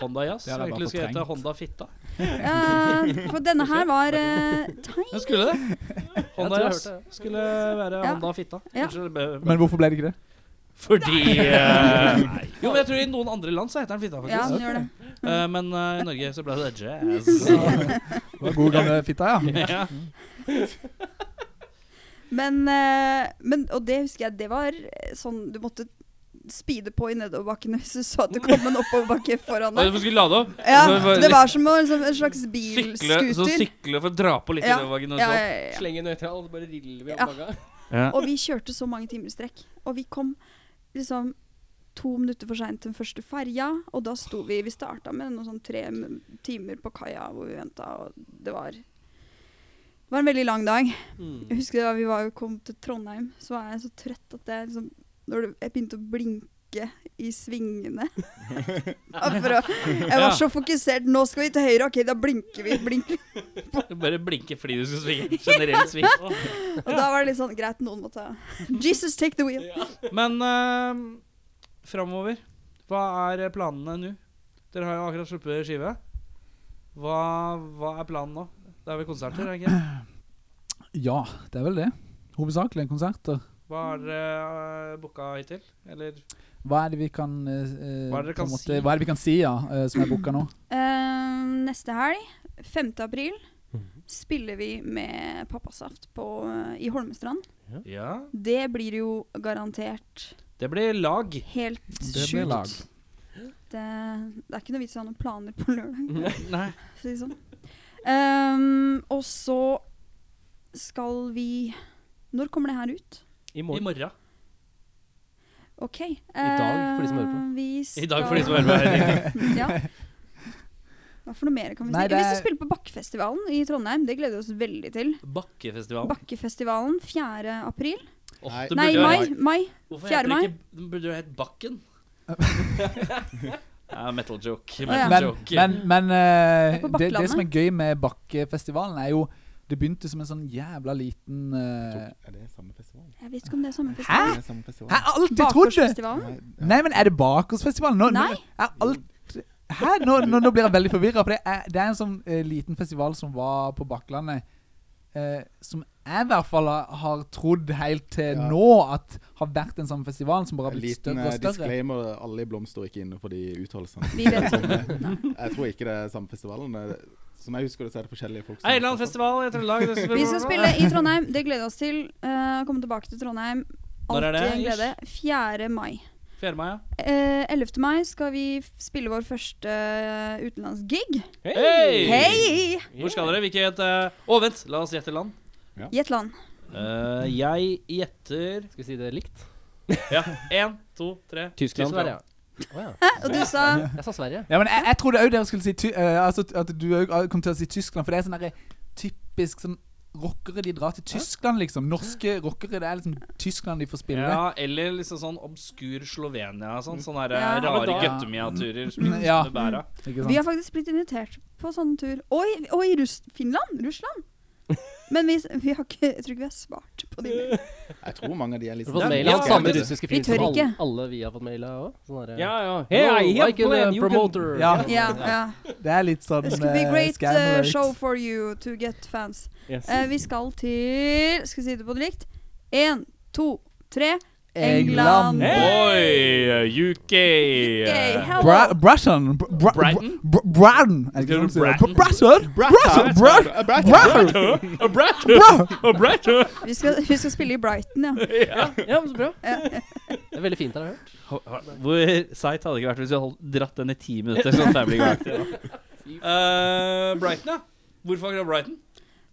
[SPEAKER 2] Honda Jazz.
[SPEAKER 7] Det hadde jeg
[SPEAKER 2] Egentlig
[SPEAKER 7] bare
[SPEAKER 2] skulle hete
[SPEAKER 7] fortrengt.
[SPEAKER 2] Honda Fitta.
[SPEAKER 5] Eh, for denne her var eh, tiny.
[SPEAKER 2] Men skulle det? Honda
[SPEAKER 3] jeg
[SPEAKER 2] Jazz
[SPEAKER 3] hørte
[SPEAKER 2] skulle være
[SPEAKER 5] Ja.
[SPEAKER 2] Honda Fitta.
[SPEAKER 5] Ja.
[SPEAKER 2] Unnskyld, be- be-
[SPEAKER 7] Men hvorfor ble det ikke det?
[SPEAKER 2] Fordi eh, Jo, men jeg tror i noen andre land så heter den Fitta,
[SPEAKER 5] Ja,
[SPEAKER 2] faktisk.
[SPEAKER 5] den gjør det.
[SPEAKER 2] Eh, men eh, i Norge så ble det jazz.
[SPEAKER 7] Det var God gamle fitta, ja.
[SPEAKER 2] ja.
[SPEAKER 5] Men, eh, men Og det husker jeg, det var eh, sånn Du måtte speede på i nedoverbakkene hvis du så at det kom en oppoverbakke foran
[SPEAKER 2] Og
[SPEAKER 5] deg.
[SPEAKER 2] du skulle lade opp. Så
[SPEAKER 5] Ja,
[SPEAKER 2] litt-
[SPEAKER 5] det var som å, liksom, en slags
[SPEAKER 2] Sykle, så
[SPEAKER 5] bilskuter.
[SPEAKER 2] sykle for å dra på litt i
[SPEAKER 5] Ja. Ja,
[SPEAKER 2] nedoverbakken.
[SPEAKER 5] ja,
[SPEAKER 2] og sånn.
[SPEAKER 5] ja, ja.
[SPEAKER 1] Slenge nøytral, så bare riller vi
[SPEAKER 5] Ja.
[SPEAKER 1] opp bagga.
[SPEAKER 2] Ja.
[SPEAKER 5] Og vi kjørte så mange timer i strekk. Og vi kom liksom to minutter for seint til den første ferja, og da sto vi Vi starta med noen sånn tre m- timer på kaia hvor vi venta, og det var det var en veldig lang dag. Jeg husker da vi var, kom til Trondheim, så var jeg så trøtt at jeg liksom Når det, jeg begynte å blinke ikke i svingene. Ja, For å, jeg var så fokusert. Nå skal vi til høyre. OK, da blinker vi. Blink.
[SPEAKER 2] Bare blinke fordi du skal svinge. Generell sving.
[SPEAKER 5] Og da var det litt sånn Greit, noen må ta Jesus, take the wheel.
[SPEAKER 2] Men uh, framover, hva er planene nå? Dere har jo akkurat sluppet skive. Hva, hva er planen nå? Det er vel konserter, er det ikke?
[SPEAKER 7] Ja, det er vel det. Hovedsakelig konserter.
[SPEAKER 2] Hva har dere uh, booka hittil? Eller
[SPEAKER 7] Hva er det vi kan eh, eh,
[SPEAKER 2] Hva er det dere
[SPEAKER 7] på en
[SPEAKER 2] kan
[SPEAKER 7] måte,
[SPEAKER 2] si?
[SPEAKER 7] Hva er det vi kan si, ja, eh, som er booka nå?
[SPEAKER 5] Ehm, neste helg, 5. april,
[SPEAKER 7] Mhm.
[SPEAKER 5] spiller vi med Pappasaft på, eh, i Holmestrand.
[SPEAKER 2] Ja.
[SPEAKER 5] Det blir jo garantert
[SPEAKER 2] Det blir lag.
[SPEAKER 5] helt
[SPEAKER 7] Det blir lag.
[SPEAKER 5] sjukt. Det, det er ikke noe vits i å ha noen planer på lørdag.
[SPEAKER 2] Nei.
[SPEAKER 5] for å si det sånn. Ehm, og så skal vi Når kommer det her ut?
[SPEAKER 1] I
[SPEAKER 2] I
[SPEAKER 1] morgen.
[SPEAKER 2] morgen.
[SPEAKER 5] OK.
[SPEAKER 3] dag, for de som hører på.
[SPEAKER 5] Ehm, Vi
[SPEAKER 2] I dag, for de som hører på. her.
[SPEAKER 5] ja. Hva for noe mer kan vi
[SPEAKER 7] Nei,
[SPEAKER 5] si?
[SPEAKER 7] det
[SPEAKER 5] Vi skal
[SPEAKER 7] er-
[SPEAKER 5] spille på Bakkefestivalen i Trondheim. Det gleder vi oss veldig til.
[SPEAKER 2] Bakkefestival.
[SPEAKER 5] Bakkefestivalen 4. april.
[SPEAKER 2] Åh,
[SPEAKER 6] Nei.
[SPEAKER 2] det
[SPEAKER 5] Nei,
[SPEAKER 2] burde jo-
[SPEAKER 5] mai. mai.
[SPEAKER 2] Hvorfor
[SPEAKER 5] Fjerde
[SPEAKER 2] heter det
[SPEAKER 5] mai.
[SPEAKER 2] ikke det Burde jo hett Bakken? ja, metal joke.
[SPEAKER 5] Å,
[SPEAKER 2] Metal
[SPEAKER 5] ja.
[SPEAKER 7] Men,
[SPEAKER 2] joke.
[SPEAKER 7] men, men
[SPEAKER 5] Det
[SPEAKER 7] eh,
[SPEAKER 5] er på
[SPEAKER 7] det, det
[SPEAKER 5] Bakklandet.
[SPEAKER 7] som er gøy med Bakkefestivalen, er jo det begynte som en sånn jævla liten eh,
[SPEAKER 6] Tok- Er det samme festival?
[SPEAKER 5] Jeg vet ikke om det er samme
[SPEAKER 7] Hæ?
[SPEAKER 5] festival.
[SPEAKER 6] Det er samme festival.
[SPEAKER 7] Jeg har alltid trodd det!
[SPEAKER 5] Bakgårdsfestivalen.
[SPEAKER 6] Nei,
[SPEAKER 7] Nei, men er det Bakersfestivalen? Nå,
[SPEAKER 5] Nei.
[SPEAKER 7] Nå, jeg har alt, hæ? Nå, nå, nå blir jeg veldig forvirra. For det er, det er en sånn eh, liten festival som var på Bakklandet, eh, som jeg i hvert fall har, har trodd helt til
[SPEAKER 6] Ja.
[SPEAKER 7] nå at har vært en sånn festival som bare har
[SPEAKER 6] En
[SPEAKER 7] blitt
[SPEAKER 6] liten eh,
[SPEAKER 7] større og større.
[SPEAKER 6] disclaimer. Alle i Blom står ikke inne for de uttalelsene.
[SPEAKER 5] Vi vet
[SPEAKER 6] Sånn,
[SPEAKER 5] ikke.
[SPEAKER 6] eh, Jeg tror ikke det er samme festivalen. eh, Som jeg husker det, så er det forskjellige folk som
[SPEAKER 2] Eilandfestival i Trøndelag. det
[SPEAKER 5] Vi skal spille i Trondheim. Det gleder vi oss til. Eh, komme tilbake til Trondheim.
[SPEAKER 2] Når er
[SPEAKER 5] Alltid
[SPEAKER 2] det,
[SPEAKER 5] en glede. 4. mai.
[SPEAKER 2] 4. mai, ja.
[SPEAKER 5] Eh, 11. mai skal vi f- spille vår første eh, utenlandsgig.
[SPEAKER 2] Hei!
[SPEAKER 5] Hei!
[SPEAKER 2] Hvor skal dere? Hvilket Å, vent! La oss gjette land.
[SPEAKER 5] Gjett land.
[SPEAKER 2] Eh, jeg gjetter
[SPEAKER 3] Skal vi si det likt?
[SPEAKER 2] Ja, én, to, tre.
[SPEAKER 1] Tyskland.
[SPEAKER 3] Sverige.
[SPEAKER 5] Og du sa
[SPEAKER 3] Jeg sa Sverige.
[SPEAKER 7] Ja, men jeg, jeg trodde òg dere skulle si ty eh, altså, at du òg kom til å si Tyskland, for det er sånn derre typisk sånn Rockere de drar til Tyskland, liksom. Norske rockere. Det er liksom Tyskland de får spille.
[SPEAKER 2] Ja, eller liksom sånn obskur Slovenia og sånn. Sånne her,
[SPEAKER 5] Ja.
[SPEAKER 2] rare
[SPEAKER 7] da-
[SPEAKER 2] guttemia-turer som
[SPEAKER 7] Mm, ja.
[SPEAKER 2] du bærer.
[SPEAKER 7] Ikke sant?
[SPEAKER 5] Vi har faktisk blitt invitert på sånn tur. Og i, og i Russ Finland. Russland. Men vi, s- vi har ikke, jeg tror ikke vi har svart på de mailene.
[SPEAKER 6] Jeg tror mange av de er litt sånn,
[SPEAKER 3] Har du fått
[SPEAKER 2] Det er
[SPEAKER 3] mail av
[SPEAKER 2] litt
[SPEAKER 3] samme
[SPEAKER 2] gærent.
[SPEAKER 3] russiske
[SPEAKER 5] Vi
[SPEAKER 3] fyr som
[SPEAKER 5] tør
[SPEAKER 3] alle,
[SPEAKER 5] ikke.
[SPEAKER 3] alle vi har fått mail av òg? Sånn derre
[SPEAKER 1] Ja, ja. Hey,
[SPEAKER 3] Hello,
[SPEAKER 1] I have
[SPEAKER 3] I can,
[SPEAKER 1] plan. You
[SPEAKER 3] uh,
[SPEAKER 1] can-
[SPEAKER 3] promoter.
[SPEAKER 7] Ja.
[SPEAKER 5] Ja, ja.
[SPEAKER 7] Det er litt sånn
[SPEAKER 5] This could be
[SPEAKER 7] eh,
[SPEAKER 5] great
[SPEAKER 7] scam
[SPEAKER 5] uh,
[SPEAKER 7] alert.
[SPEAKER 5] show for you to get fans.
[SPEAKER 1] Yes.
[SPEAKER 5] Eh, vi skal til Skal vi si det på det likt? Én, to, tre.
[SPEAKER 7] England.
[SPEAKER 5] England.
[SPEAKER 2] Oi! UK!
[SPEAKER 5] Gay, hello.
[SPEAKER 7] Bra Brashan Br Bra
[SPEAKER 2] Eh, Brighton?
[SPEAKER 7] Br Br Brighton Er det ikke
[SPEAKER 2] Skal
[SPEAKER 7] sånn
[SPEAKER 2] du
[SPEAKER 7] man sier det?
[SPEAKER 2] Bratton?
[SPEAKER 7] Br- Brashan Brashan Brashan Brashan
[SPEAKER 2] Og Brighton!
[SPEAKER 7] Brashan
[SPEAKER 2] Og Brighton!
[SPEAKER 5] Vi skal, vi skal spille i Brighton, ja.
[SPEAKER 1] Ja, men så bra.
[SPEAKER 3] Det er veldig fint der, har jeg hørt.
[SPEAKER 2] Hvor seigt hadde det ikke vært hvis vi hadde dratt den i ti minutter? Sånn Family Guy. Eh, Brighton, ja. Hvorfor akkurat Brighton?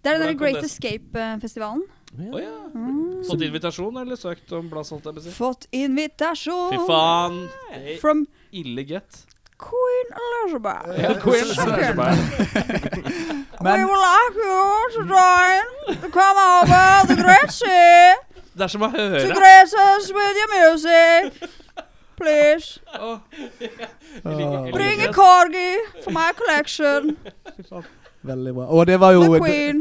[SPEAKER 5] Det er den
[SPEAKER 2] Hvordan
[SPEAKER 5] der eh,
[SPEAKER 2] kom
[SPEAKER 5] Great
[SPEAKER 2] det-
[SPEAKER 5] Escape-festivalen.
[SPEAKER 2] Å ja. Fått invitasjon eller søkt om plass? holdt jeg på å si?
[SPEAKER 5] Mm, Fått invitasjon
[SPEAKER 2] Fy faen. Det er
[SPEAKER 5] from
[SPEAKER 2] ille gøtt.
[SPEAKER 5] Queen Elizabeth.
[SPEAKER 7] Ja, Queen
[SPEAKER 5] Elizabeth. We
[SPEAKER 7] Men
[SPEAKER 5] would like you to join to come over to Great Sea
[SPEAKER 2] Det er som å
[SPEAKER 5] to
[SPEAKER 2] høre
[SPEAKER 5] grace us with your music. Please
[SPEAKER 2] Åh,
[SPEAKER 5] bring a corgi for my collection.
[SPEAKER 7] Veldig bra Og det var jo
[SPEAKER 5] The Queen.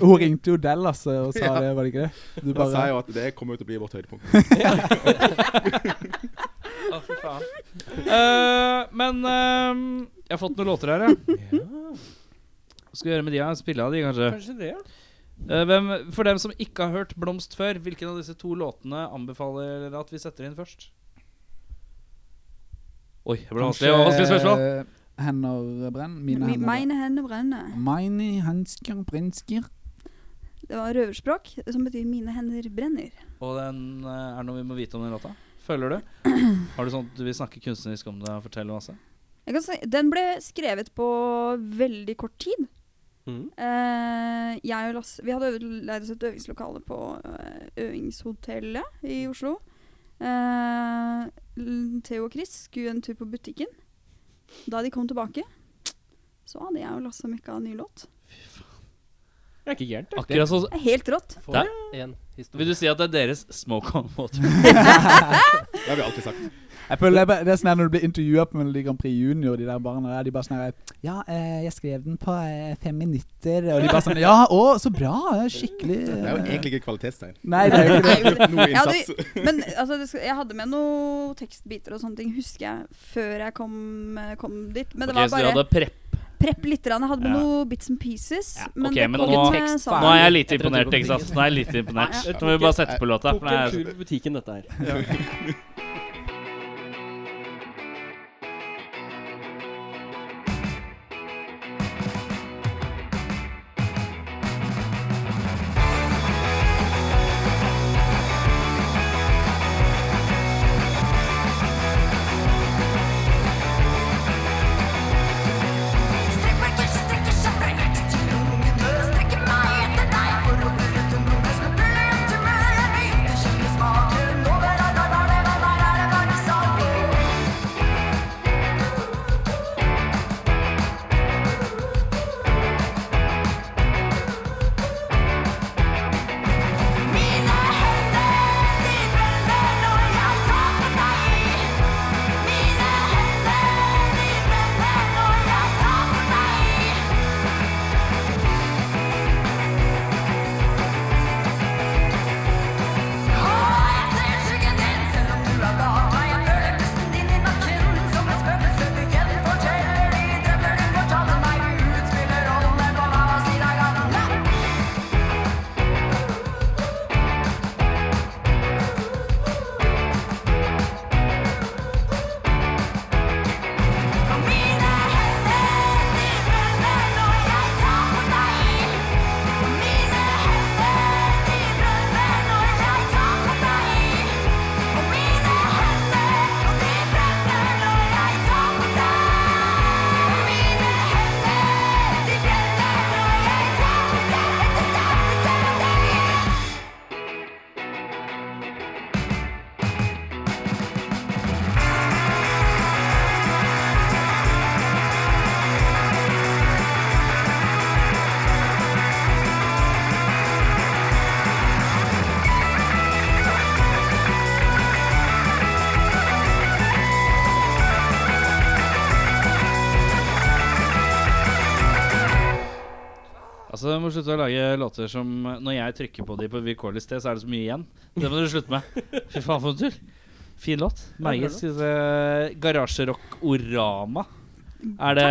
[SPEAKER 7] Hun ringte jo Dallas eh, og sa
[SPEAKER 6] Ja.
[SPEAKER 7] det, var det ikke det? Du
[SPEAKER 6] Han sa
[SPEAKER 7] bare
[SPEAKER 6] jo at det kommer jo til å bli vårt høydepunkt.
[SPEAKER 2] åh, fy faen. Eh, men ehm, jeg har fått noen låter her, ja. Hva skal vi gjøre med de her? Spille av de, kanskje?
[SPEAKER 1] Kanskje det, ja.
[SPEAKER 2] Eh, hvem, for dem som ikke har hørt Blomst før, hvilken av disse to låtene anbefaler dere at vi setter inn først? Oi, det ble vanskelig. Det var Vanskelig spørsmål.
[SPEAKER 7] eh, Hender brenn Mine
[SPEAKER 5] Mi-
[SPEAKER 7] hender brenn
[SPEAKER 5] Mine hender brenner.
[SPEAKER 7] Mine hansker brensker
[SPEAKER 5] Det var røverspråk som betyr 'mine hender brenner'.
[SPEAKER 2] Og den eh, er det noe vi må vite om den låta. Føler du? Har du sånn at du vil snakke kunstnerisk om det og fortelle masse?
[SPEAKER 5] Jeg kan si, den ble skrevet på veldig kort tid.
[SPEAKER 2] Mm.
[SPEAKER 1] Mhm.
[SPEAKER 5] Eh, jeg og Lasse, vi hadde øvd- leid oss et øvingslokale på eh, Øvingshotellet
[SPEAKER 2] Mm.
[SPEAKER 5] i Oslo. Eh, l- Theo og Chris skulle en tur på butikken. Da de kom tilbake, så hadde jeg og Lasse mekka en ny låt.
[SPEAKER 1] Det er ikke gærent, det.
[SPEAKER 2] Akkurat sånn så
[SPEAKER 5] Det er helt rått.
[SPEAKER 3] Får en
[SPEAKER 2] Vil
[SPEAKER 3] historie.
[SPEAKER 2] du si at det er deres smoke on water?
[SPEAKER 6] Det har vi alltid sagt.
[SPEAKER 7] Jeg føler det, er bare- det er sånn her når du blir intervjua på Melodi Grand Prix Junior, de der barna der, de bare sånn her Ja, eh, jeg skrev den på eh, fem minutter, og de bare sånn Ja, å, så bra! eh, Skikkelig
[SPEAKER 6] Det er jo
[SPEAKER 7] eh.
[SPEAKER 6] egentlig ikke kvalitetstegn.
[SPEAKER 7] Nei, det er jo ikke det.
[SPEAKER 5] Nei, men-
[SPEAKER 6] Noe
[SPEAKER 5] Ja, det-
[SPEAKER 6] innsats.
[SPEAKER 5] Men altså, det skal, jeg hadde med noen tekstbiter og sånne ting, husker jeg, før jeg kom, eh, kom dit. Men det
[SPEAKER 2] Ok, så
[SPEAKER 5] var
[SPEAKER 2] du
[SPEAKER 5] bare
[SPEAKER 2] hadde prepp.
[SPEAKER 5] prepp litt. grann. Jeg hadde med
[SPEAKER 2] Ja.
[SPEAKER 5] noen bits and pieces.
[SPEAKER 2] Ja,
[SPEAKER 5] Men
[SPEAKER 2] ok,
[SPEAKER 5] det
[SPEAKER 2] men
[SPEAKER 5] kom
[SPEAKER 2] nå-
[SPEAKER 5] med
[SPEAKER 3] tekst-
[SPEAKER 5] sammen.
[SPEAKER 2] Nå er jeg litt
[SPEAKER 3] Jeg tror
[SPEAKER 2] imponert,
[SPEAKER 3] det
[SPEAKER 2] ikke sant?
[SPEAKER 3] butikken.
[SPEAKER 2] Nå er jeg litt imponert.
[SPEAKER 5] Nei,
[SPEAKER 2] Nå må vi bare sette på låta.
[SPEAKER 1] Tok
[SPEAKER 2] For
[SPEAKER 1] en
[SPEAKER 2] det er
[SPEAKER 1] tur på butikken, dette her.
[SPEAKER 2] Altså, Du må slutte å lage låter som Når jeg trykker på de på vilkårlig sted, så er det så mye igjen. Det må du slutte med. Fy faen, for en tull. Fin låt. Meget. Skal vi se Garasjerock-orama. Er det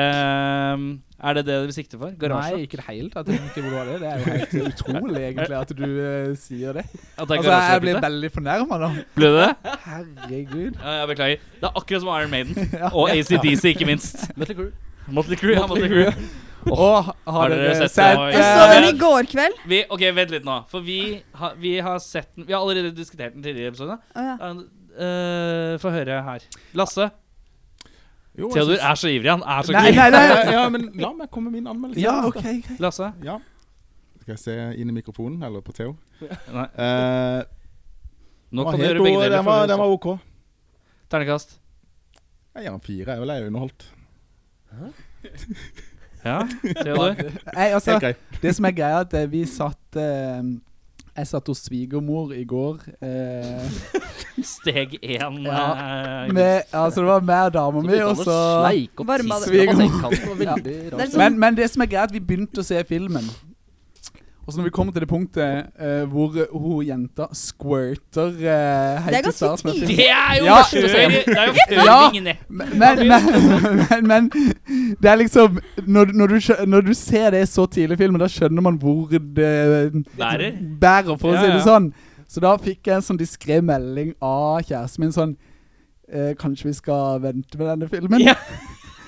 [SPEAKER 2] Er det det vi sikter for? Garasje?
[SPEAKER 7] Nei, ikke det hele tatt. Jeg vet ikke hvor det var det. Det er jo helt utrolig, egentlig, at du eh, sier det.
[SPEAKER 2] At det er
[SPEAKER 7] Altså, jeg
[SPEAKER 2] garasjerock
[SPEAKER 7] blir
[SPEAKER 2] ute?
[SPEAKER 7] veldig fornærma nå.
[SPEAKER 2] Ble det det?
[SPEAKER 7] Herregud.
[SPEAKER 2] Ja, jeg beklager. Det er akkurat som Iron Maiden.
[SPEAKER 7] Ja.
[SPEAKER 2] Og ACDC, ikke minst.
[SPEAKER 3] Metal Crew.
[SPEAKER 2] Motley Crue. Ja, Motley Crue.
[SPEAKER 7] Og har dere sett,
[SPEAKER 2] det?
[SPEAKER 5] Jeg
[SPEAKER 7] eh,
[SPEAKER 5] så den i går kveld.
[SPEAKER 2] Vi, ok, Vent litt nå. For vi, har- vi har sett den Vi har allerede diskutert den tidligere i episoden.
[SPEAKER 5] Å, ja.
[SPEAKER 2] Eh, Få høre her. Lasse.
[SPEAKER 6] Jo, jeg
[SPEAKER 2] Theodor
[SPEAKER 6] synes-
[SPEAKER 2] er så ivrig. Han er så
[SPEAKER 7] Nei,
[SPEAKER 2] gira.
[SPEAKER 7] nei, nei.
[SPEAKER 6] Ja, men la meg komme med min anmeldelse.
[SPEAKER 7] Ja, OK. greit.
[SPEAKER 2] Lasse.
[SPEAKER 6] Ja. Skal jeg se inn i mikrofonen, eller på Theo?
[SPEAKER 2] Nei.
[SPEAKER 6] Eh,
[SPEAKER 2] Nå kan
[SPEAKER 6] den var
[SPEAKER 2] du
[SPEAKER 6] helt
[SPEAKER 2] gjøre begge
[SPEAKER 6] o-
[SPEAKER 2] deler.
[SPEAKER 6] Den var,
[SPEAKER 2] for
[SPEAKER 6] den
[SPEAKER 2] å-
[SPEAKER 6] var OK.
[SPEAKER 2] Ternekast.
[SPEAKER 6] Jeg gir den fire, jeg er jo lei underholdt.
[SPEAKER 2] Ja, Theodor.
[SPEAKER 7] Nei, altså,
[SPEAKER 6] Helt grei.
[SPEAKER 7] det som er greia, er at eh, vi satt eh, Jeg satt hos svigermor i går. Eh,
[SPEAKER 2] Steg én.
[SPEAKER 7] Ja.
[SPEAKER 2] eh,
[SPEAKER 7] med, altså, det var meg og dama
[SPEAKER 3] Så
[SPEAKER 7] mi,
[SPEAKER 3] begynte
[SPEAKER 7] og
[SPEAKER 3] han å liksom.
[SPEAKER 7] så
[SPEAKER 3] sleike opp
[SPEAKER 5] Varma
[SPEAKER 3] tissen
[SPEAKER 7] det.
[SPEAKER 3] på sengekanten. Det var veldig
[SPEAKER 5] Det er
[SPEAKER 3] rart.
[SPEAKER 5] sånn-
[SPEAKER 7] men, men det som er greit, vi begynte å se filmen. Og så når vi kommer til det punktet eh, hvor eh, hun jenta squirter eh, helt
[SPEAKER 5] Det er
[SPEAKER 7] i
[SPEAKER 5] ganske
[SPEAKER 7] starten av filmen.
[SPEAKER 2] Det er jo
[SPEAKER 7] Ja.
[SPEAKER 2] før Det er jo før
[SPEAKER 7] Ja.
[SPEAKER 2] vingene.
[SPEAKER 7] Men, men, men, men, men det er liksom når, du- når, du, skjø- når du ser det så tidlig i filmen, da skjønner man hvor det
[SPEAKER 2] Bærer.
[SPEAKER 7] bærer, for å
[SPEAKER 2] Ja,
[SPEAKER 7] si det
[SPEAKER 2] ja.
[SPEAKER 7] sånn. Så da fikk jeg en sånn diskré melding av kjæresten min sånn eh, Kanskje vi skal vente med denne filmen?
[SPEAKER 2] Ja.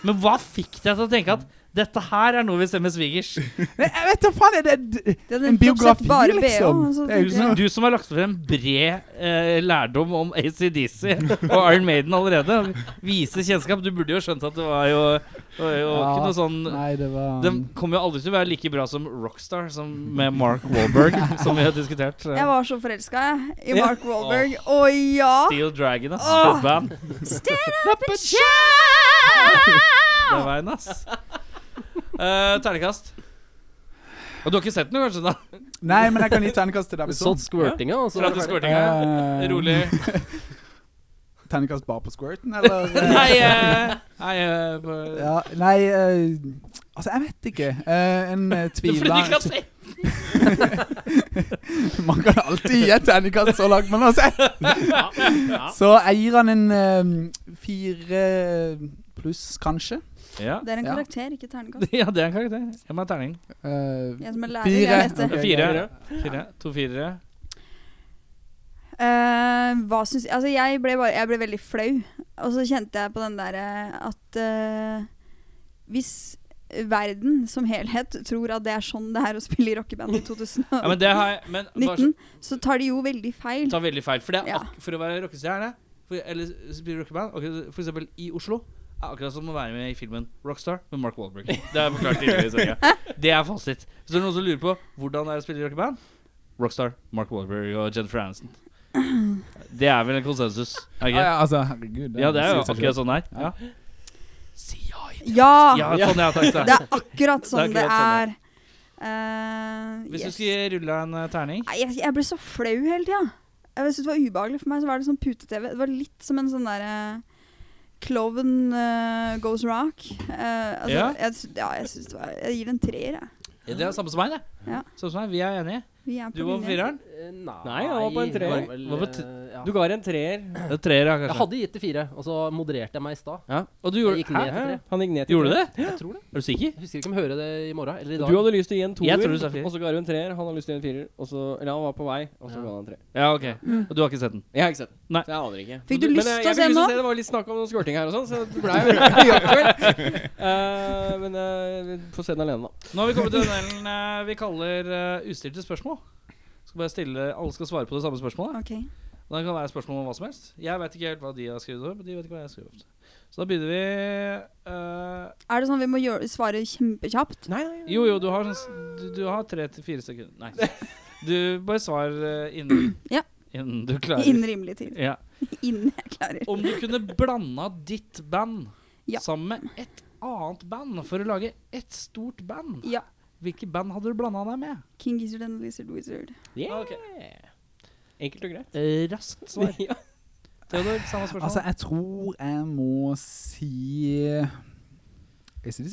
[SPEAKER 2] Men hva fikk deg til å tenke at dette her er noe vi ser med svigers?
[SPEAKER 7] Nei, jeg vet da faen! Er det,
[SPEAKER 5] Det
[SPEAKER 7] en biografi, liksom.
[SPEAKER 5] så
[SPEAKER 7] Det er jo
[SPEAKER 5] tenkte
[SPEAKER 7] sånn-
[SPEAKER 5] jeg-
[SPEAKER 2] Du som har lagt frem bred eh, lærdom om ACDC og Iron Maiden allerede. Vise kjennskap. Du burde jo skjønt at det var jo, det var jo
[SPEAKER 7] Ja.
[SPEAKER 2] ikke noe sånn
[SPEAKER 7] nei, det var
[SPEAKER 2] Den kommer jo aldri til å være like bra som Rockstar som med Mark Wahlberg, som vi har diskutert.
[SPEAKER 5] Jeg var så forelska i
[SPEAKER 1] Ja.
[SPEAKER 5] Mark Wahlberg. Å ja!
[SPEAKER 2] Steel Dragon, ass.
[SPEAKER 5] Åh.
[SPEAKER 2] Oh. Band.
[SPEAKER 5] Stand up and shout!
[SPEAKER 2] Det er veien, ass. Eh, ternekast. Og du har ikke sett den, kanskje? da?
[SPEAKER 7] Nei, men jeg kan gi terningkast til Davison.
[SPEAKER 3] Sånn squirtinga, og så
[SPEAKER 2] Fra
[SPEAKER 3] var
[SPEAKER 2] til
[SPEAKER 3] det ferdig.
[SPEAKER 2] squirtinga.
[SPEAKER 7] Eh,
[SPEAKER 2] Rolig.
[SPEAKER 7] Terningkast bare på squirten, eller?
[SPEAKER 2] Nei, eh, nei eh, på-
[SPEAKER 7] Ja, nei eh, Altså, jeg vet ikke. Eh, en eh, tviler
[SPEAKER 2] Niklas, eh,
[SPEAKER 7] Man kan alltid gi et terningkast så langt man har sett. Så jeg gir han en eh, fire pluss, kanskje.
[SPEAKER 2] Ja.
[SPEAKER 5] Det er en
[SPEAKER 7] Ja.
[SPEAKER 5] karakter, ikke terningkast.
[SPEAKER 2] ja, det er en karakter. Jeg må ha terning.
[SPEAKER 7] Eh,
[SPEAKER 5] Jeg som er lærer,
[SPEAKER 7] Fire.
[SPEAKER 5] jeg leste.
[SPEAKER 7] Ok.
[SPEAKER 2] Fire. Fire. To firere.
[SPEAKER 5] Eh, hva syns Altså, jeg ble, bare, jeg ble veldig flau. Og så kjente jeg på den derre at eh, Hvis verden som helhet tror at det er sånn det er å spille i rockeband i
[SPEAKER 2] Ja, men
[SPEAKER 5] 2019,
[SPEAKER 2] det har jeg men, bare så-
[SPEAKER 5] så tar de jo veldig feil.
[SPEAKER 2] tar veldig feil. For, det er
[SPEAKER 5] Ja.
[SPEAKER 2] ak for å være rockestjerne, for, eller spille rockeband, akkurat- for eksempel i Oslo, er akkurat som å være med i filmen Rockstar med Mark Wahlberg. Det har jeg forklart tidligere i sendinga. Det er fasit. Hvis det er noen som lurer på hvordan det er å spille i rockeband, Rockstar, Mark Wahlberg og Jennifer Aniston. Det er vel en konsensus? Er det
[SPEAKER 7] ja,
[SPEAKER 2] ikke?
[SPEAKER 7] ja, altså, herregud.
[SPEAKER 2] Ja, det er jo
[SPEAKER 7] sier seg selv.
[SPEAKER 2] akkurat sånn her. Ja. Si ja.
[SPEAKER 5] Ja!
[SPEAKER 2] Ja, sånn, ja, takk, takk.
[SPEAKER 5] Det er akkurat sånn
[SPEAKER 2] Det
[SPEAKER 5] det
[SPEAKER 2] er akkurat
[SPEAKER 5] er. Eh,
[SPEAKER 2] Hvis du
[SPEAKER 5] yes.
[SPEAKER 2] skulle rulle en eh, terning
[SPEAKER 5] Nei, jeg, jeg ble så flau hele tida. Jeg syntes det var ubehagelig for meg. Så var det sånn pute-TV. Det var litt som en sånn derre Klovn eh, goes rock. Eh, altså,
[SPEAKER 2] Ja.
[SPEAKER 5] Jeg, sy- ja, jeg syns det var Jeg gir det en treer, jeg.
[SPEAKER 2] Det er samme som meg, det.
[SPEAKER 5] Ja.
[SPEAKER 2] Samme som meg, Vi er enige.
[SPEAKER 5] Vi er på
[SPEAKER 2] Du var på
[SPEAKER 5] linje.
[SPEAKER 2] fireren.
[SPEAKER 3] Eh,
[SPEAKER 1] Nei, jeg var på en treer.
[SPEAKER 3] jeg var vel,
[SPEAKER 2] Hva på
[SPEAKER 3] eh, ja.
[SPEAKER 1] Du ga en treer.
[SPEAKER 2] Det er treer, ja,
[SPEAKER 3] Jeg
[SPEAKER 2] kanskje.
[SPEAKER 3] hadde gitt det fire, og så modererte jeg meg i stad.
[SPEAKER 2] Og du
[SPEAKER 3] Jeg
[SPEAKER 2] gjorde,
[SPEAKER 3] gikk ned
[SPEAKER 2] Hæ?
[SPEAKER 3] til tre.
[SPEAKER 1] Han gikk ned til
[SPEAKER 2] gjorde du
[SPEAKER 1] tre.
[SPEAKER 2] det?
[SPEAKER 3] Jeg tror det.
[SPEAKER 2] Er du sikker?
[SPEAKER 3] Jeg husker ikke om jeg hører det i morgen eller i dag.
[SPEAKER 1] Du hadde lyst til å gi en
[SPEAKER 2] Jeg
[SPEAKER 1] toer,
[SPEAKER 2] tror du sa fire.
[SPEAKER 1] og så ga du en treer. Han har lyst til å gi en firer. Og så, eller han var på vei, og så
[SPEAKER 3] Ja.
[SPEAKER 1] ga han en treer.
[SPEAKER 2] Ja, ok. Og du har ikke sett den?
[SPEAKER 1] Jeg har ikke sett den.
[SPEAKER 2] Nei.
[SPEAKER 1] Så jeg aner ikke.
[SPEAKER 5] Fikk du
[SPEAKER 1] Men,
[SPEAKER 5] lyst
[SPEAKER 1] eh,
[SPEAKER 5] til å
[SPEAKER 1] jeg
[SPEAKER 5] se
[SPEAKER 1] fikk
[SPEAKER 5] den
[SPEAKER 1] lyst
[SPEAKER 5] nå?
[SPEAKER 1] Det var litt snakk om noe squirting her og sånn, så det ble jo veldig aktuelt. Eh, Men eh, vi får se den alene, da.
[SPEAKER 2] Nå har vi kommet til den delen eh, vi kaller eh, ustilte spørsmål. Skal bare stille, Alle skal svare på det samme spørsmålet.
[SPEAKER 5] Ok.
[SPEAKER 2] Det kan være spørsmål om hva som helst. Jeg vet ikke helt hva de har skrevet over, men de vet ikke hva jeg har skrevet over. Så da begynner vi eh,
[SPEAKER 5] Er det sånn vi må gjøre, svare kjempekjapt?
[SPEAKER 1] Nei, nei,
[SPEAKER 2] Jo, jo, du har, sånn, s- du, du har tre til fire sekunder. Nei. Du bare svar eh, innen,
[SPEAKER 5] Ja.
[SPEAKER 2] innen du klarer.
[SPEAKER 5] Innen rimelig tid.
[SPEAKER 2] Ja.
[SPEAKER 5] Innen jeg klarer.
[SPEAKER 2] Om du kunne blanda ditt band
[SPEAKER 5] Ja.
[SPEAKER 2] sammen med et annet band for å lage ett stort band,
[SPEAKER 5] Ja.
[SPEAKER 2] hvilke band hadde du blanda deg med?
[SPEAKER 5] King Gizzard and the Lizard Wizard.
[SPEAKER 1] Yeah.
[SPEAKER 2] Ok.
[SPEAKER 1] Enkelt og greit.
[SPEAKER 2] Eh, Raskt svar.
[SPEAKER 1] Ja.
[SPEAKER 2] Theodor, samme spørsmål.
[SPEAKER 7] Altså, jeg tror jeg må si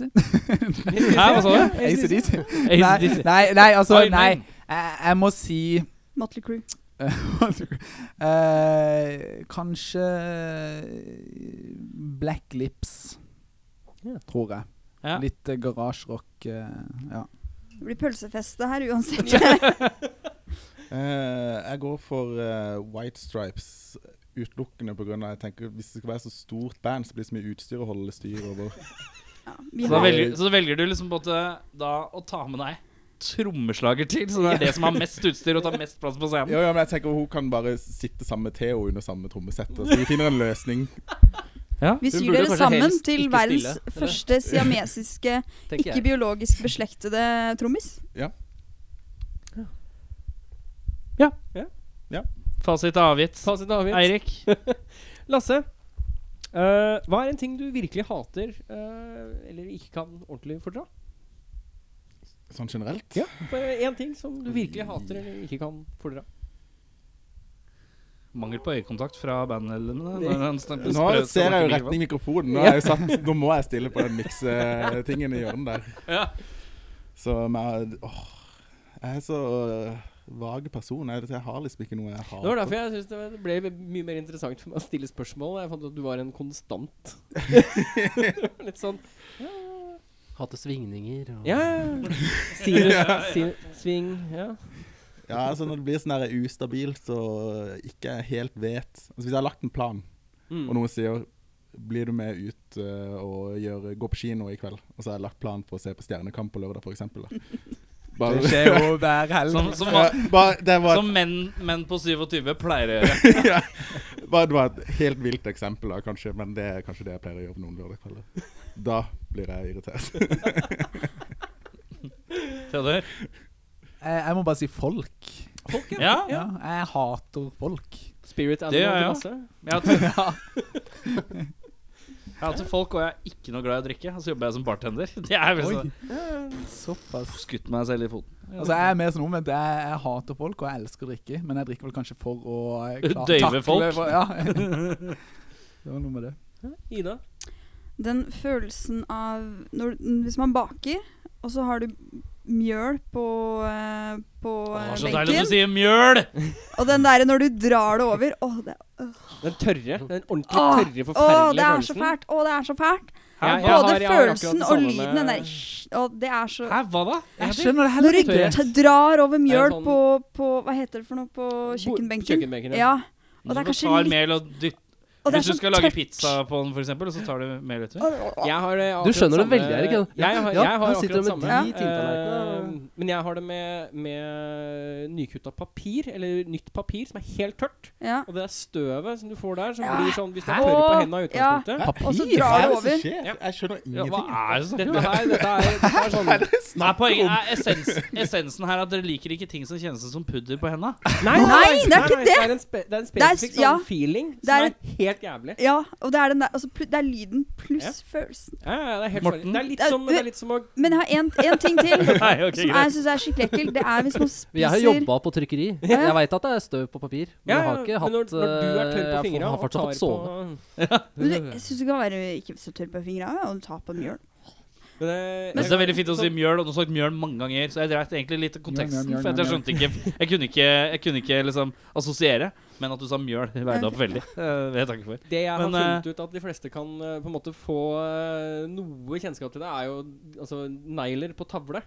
[SPEAKER 7] ACDC.
[SPEAKER 2] Hæ, hva sa du?
[SPEAKER 7] ACDC. Nei,
[SPEAKER 2] ACDC.
[SPEAKER 7] nei, nei, altså
[SPEAKER 2] Iron
[SPEAKER 7] Nei,
[SPEAKER 2] Man.
[SPEAKER 7] jeg, jeg må si
[SPEAKER 5] Motley Crew.
[SPEAKER 7] eh, Kanskje eh, Black Lips,
[SPEAKER 1] Ja.
[SPEAKER 7] tror jeg.
[SPEAKER 2] Ja.
[SPEAKER 7] Litt eh, garasjerock. eh, ja.
[SPEAKER 5] Det blir pølsefest det her uansett.
[SPEAKER 6] Eh, jeg går for eh, White Stripes utelukkende pga. jeg tenker hvis det skal være så stort band, så blir det så mye utstyr å holde styr over.
[SPEAKER 5] Ja,
[SPEAKER 2] Så,
[SPEAKER 5] vi
[SPEAKER 2] da
[SPEAKER 5] har
[SPEAKER 2] velger, så da velger du liksom på en måte da å ta med deg trommeslager til, så det er det som har mest utstyr og tar mest plass på scenen.
[SPEAKER 6] Ja, ja, men jeg tenker Hun kan bare sitte sammen med Theo under samme trommesett. Altså, vi finner en løsning.
[SPEAKER 5] Vi
[SPEAKER 2] Hun
[SPEAKER 5] syr
[SPEAKER 2] burde
[SPEAKER 5] dere
[SPEAKER 2] kanskje
[SPEAKER 5] sammen
[SPEAKER 2] helst
[SPEAKER 5] til
[SPEAKER 2] ikke
[SPEAKER 5] verdens
[SPEAKER 2] spille, eller?
[SPEAKER 5] første siamesiske,
[SPEAKER 3] tenker
[SPEAKER 5] ikke
[SPEAKER 3] jeg.
[SPEAKER 5] biologisk beslektede trommis.
[SPEAKER 2] Fasit er avgitt.
[SPEAKER 1] Fasit er avgitt.
[SPEAKER 2] Eirik.
[SPEAKER 1] Lasse, eh, hva er en ting du virkelig hater eh, eller ikke kan ordentlig fordra?
[SPEAKER 6] Sånn generelt.
[SPEAKER 1] Ja. Bare én ting som du virkelig hater eller ikke kan fordra.
[SPEAKER 2] Mangel på øyekontakt fra bandmedlemmene. når han snakker-
[SPEAKER 6] Nå
[SPEAKER 2] spør-
[SPEAKER 6] ser jeg jo
[SPEAKER 2] snakker
[SPEAKER 6] retning mikrofonen. Nå, er jeg jo satt, nå må jeg stille på den miksetingen i hjørnet der.
[SPEAKER 2] Ja.
[SPEAKER 6] Så men, åh, Jeg er så øh, vag person. Jeg, jeg har liksom ikke noe jeg
[SPEAKER 1] Det var
[SPEAKER 6] hater.
[SPEAKER 1] derfor jeg synes det ble mye mer interessant for meg å stille spørsmål. Jeg fant ut at du var en konstant. Litt sånn
[SPEAKER 3] Hatt svingninger og
[SPEAKER 1] Ja, sinus, sin, sving ja.
[SPEAKER 6] Ja, altså Når det blir sånn der ustabilt og ikke helt vet altså Hvis jeg har lagt en plan,
[SPEAKER 1] Mm.
[SPEAKER 6] og noen sier blir du med ut øh, og gjør, gå på kino i kveld? Og så har jeg lagt plan på å se på Stjernekamp på lørdag, f.eks.
[SPEAKER 7] Det
[SPEAKER 6] Bare,
[SPEAKER 7] skjer jo hver helg.
[SPEAKER 2] Som, som,
[SPEAKER 6] ja, bare, det var
[SPEAKER 2] som menn, menn på 27 pleier å gjøre.
[SPEAKER 6] Bare det var et helt vilt eksempel, da, kanskje, men det er kanskje det jeg pleier å gjøre på noen lørdagskvelder. Da blir jeg irritert.
[SPEAKER 2] Theodor?
[SPEAKER 7] Eh, jeg må bare si folk.
[SPEAKER 2] Ja,
[SPEAKER 7] Ja, jeg hater folk.
[SPEAKER 1] Spirit
[SPEAKER 2] Det
[SPEAKER 1] animal
[SPEAKER 2] er
[SPEAKER 1] til
[SPEAKER 2] jeg.
[SPEAKER 1] Lasse.
[SPEAKER 2] Jeg hater, jeg hater altså, folk, og jeg er ikke noe glad i å drikke. Og så jobber jeg som bartender. Det er vel så
[SPEAKER 7] Såpass.
[SPEAKER 2] Skutt meg selv i foten.
[SPEAKER 7] Altså Jeg er mer sånn omvendt. Jeg, jeg hater folk, og jeg elsker å drikke. Men jeg drikker vel kanskje for å eh, kla-
[SPEAKER 2] Døyve
[SPEAKER 7] takle
[SPEAKER 2] folk?
[SPEAKER 7] for- Ja. det var noe med det.
[SPEAKER 1] Ida?
[SPEAKER 5] Den følelsen av når, Hvis man baker, og så har du mjøl på, eh, på eh,
[SPEAKER 2] Så deilig at du
[SPEAKER 5] benken,
[SPEAKER 2] sier mjøl!
[SPEAKER 5] og den derre når du drar det over Åh, det,
[SPEAKER 1] Den tørre. Den ordentlig tørre,
[SPEAKER 5] åh, åh,
[SPEAKER 1] forferdelige
[SPEAKER 5] det er så
[SPEAKER 1] følelsen.
[SPEAKER 5] fælt! Åh, det er så fælt!
[SPEAKER 1] Hæ? Jeg har-
[SPEAKER 5] Både
[SPEAKER 1] jeg har akkurat det
[SPEAKER 5] følelsen og
[SPEAKER 1] samme
[SPEAKER 5] lyden, den
[SPEAKER 1] med-
[SPEAKER 5] der «sj», og det er så
[SPEAKER 2] Hæ, hva da?
[SPEAKER 7] Jeg skjønner det
[SPEAKER 5] Når
[SPEAKER 7] heller
[SPEAKER 5] du
[SPEAKER 7] ikke.
[SPEAKER 5] t- drar over mjøl
[SPEAKER 1] sånn-
[SPEAKER 5] på, på Hva heter det for noe? På kjøkkenbenken?
[SPEAKER 1] Kjøkkenbenken, ja.
[SPEAKER 5] Ja. Og det er kanskje
[SPEAKER 2] tar
[SPEAKER 5] litt
[SPEAKER 2] mel og dytt.
[SPEAKER 5] og det er
[SPEAKER 2] Hvis du
[SPEAKER 5] sånn
[SPEAKER 2] skal lage
[SPEAKER 5] tørt.
[SPEAKER 2] pizza på den, for eksempel, så tar du mel utover.
[SPEAKER 5] Åh,
[SPEAKER 1] Jeg har det akkurat
[SPEAKER 3] Du skjønner det
[SPEAKER 1] samme-
[SPEAKER 3] veldig, Erik, ja.
[SPEAKER 1] Jeg har,
[SPEAKER 3] Ja,
[SPEAKER 1] jeg har
[SPEAKER 3] han sitter
[SPEAKER 1] akkurat
[SPEAKER 3] med
[SPEAKER 1] samme.
[SPEAKER 3] de tinntallerkenene.
[SPEAKER 1] Eh, men jeg har det med, med nykutta papir, eller nytt papir, som er helt tørt.
[SPEAKER 5] Ja.
[SPEAKER 1] Og det er støvet som du får der, som
[SPEAKER 5] Ja.
[SPEAKER 1] blir sånn hvis det
[SPEAKER 5] Hæ?
[SPEAKER 1] er tørre på
[SPEAKER 5] Åh,
[SPEAKER 1] hendene i utgangspunktet.
[SPEAKER 5] Og så
[SPEAKER 7] Papir?
[SPEAKER 6] Hva
[SPEAKER 5] drar det
[SPEAKER 6] er det som
[SPEAKER 5] over.
[SPEAKER 6] skjer? Jeg skjønner
[SPEAKER 2] Ja, hva
[SPEAKER 6] ingenting.
[SPEAKER 2] er det som
[SPEAKER 1] Dette er, dette er, dette er sånn
[SPEAKER 2] Nei, poenget er essens, essensen her at dere liker ikke ting som kjennes ut som pudder på henda.
[SPEAKER 1] Nei,
[SPEAKER 5] Nei, det er ikke
[SPEAKER 1] det! Er en spe, det er en
[SPEAKER 5] er s-
[SPEAKER 1] spesifikk
[SPEAKER 5] ja.
[SPEAKER 1] sånn feeling
[SPEAKER 5] Det er
[SPEAKER 1] som er helt jævlig.
[SPEAKER 5] Ja, og det er, den der, altså, plu- det er lyden pluss følelsen.
[SPEAKER 1] Ja, ja, det er helt
[SPEAKER 2] Morten?
[SPEAKER 1] farlig. Det er litt
[SPEAKER 5] Det er-
[SPEAKER 1] som, det er litt som å
[SPEAKER 5] Men jeg har en, en ting til
[SPEAKER 2] Nei, ok,
[SPEAKER 5] som jeg
[SPEAKER 2] greit.
[SPEAKER 5] syns er skikkelig ekkel. Det er hvis man
[SPEAKER 3] Jeg har
[SPEAKER 5] spiser
[SPEAKER 3] jobba på trykkeri.
[SPEAKER 5] Ja.
[SPEAKER 3] Jeg veit at det er støv på papir. Men
[SPEAKER 1] Ja,
[SPEAKER 3] jeg har
[SPEAKER 1] ja,
[SPEAKER 3] ikke
[SPEAKER 1] men
[SPEAKER 3] hatt
[SPEAKER 1] når, når du er tørr
[SPEAKER 3] eh,
[SPEAKER 1] på
[SPEAKER 3] jeg
[SPEAKER 1] fingra
[SPEAKER 3] har
[SPEAKER 1] og
[SPEAKER 3] fortsatt
[SPEAKER 1] tar
[SPEAKER 3] fått sove.
[SPEAKER 1] på
[SPEAKER 5] Men du- Jeg syns du kan være ikke så tørr på fingra og ta på mjøl.
[SPEAKER 1] Men eh, det,
[SPEAKER 2] Jeg synes det er veldig fint å si mjøl, og du har sagt mjøl mange ganger. Så jeg dreit egentlig litt i konteksten.
[SPEAKER 7] Mjøl, mjøl, mjøl,
[SPEAKER 2] for jeg
[SPEAKER 7] mjøl.
[SPEAKER 2] skjønte ikke Jeg kunne ikke, jeg kunne ikke liksom assosiere. Men at du sa mjøl, veide opp veldig. Eh, Det er jeg takker for.
[SPEAKER 1] Det jeg
[SPEAKER 2] Men,
[SPEAKER 1] har funnet ut at de fleste kan eh, på en måte få eh, noe kjennskap til det, er jo altså, negler på tavle.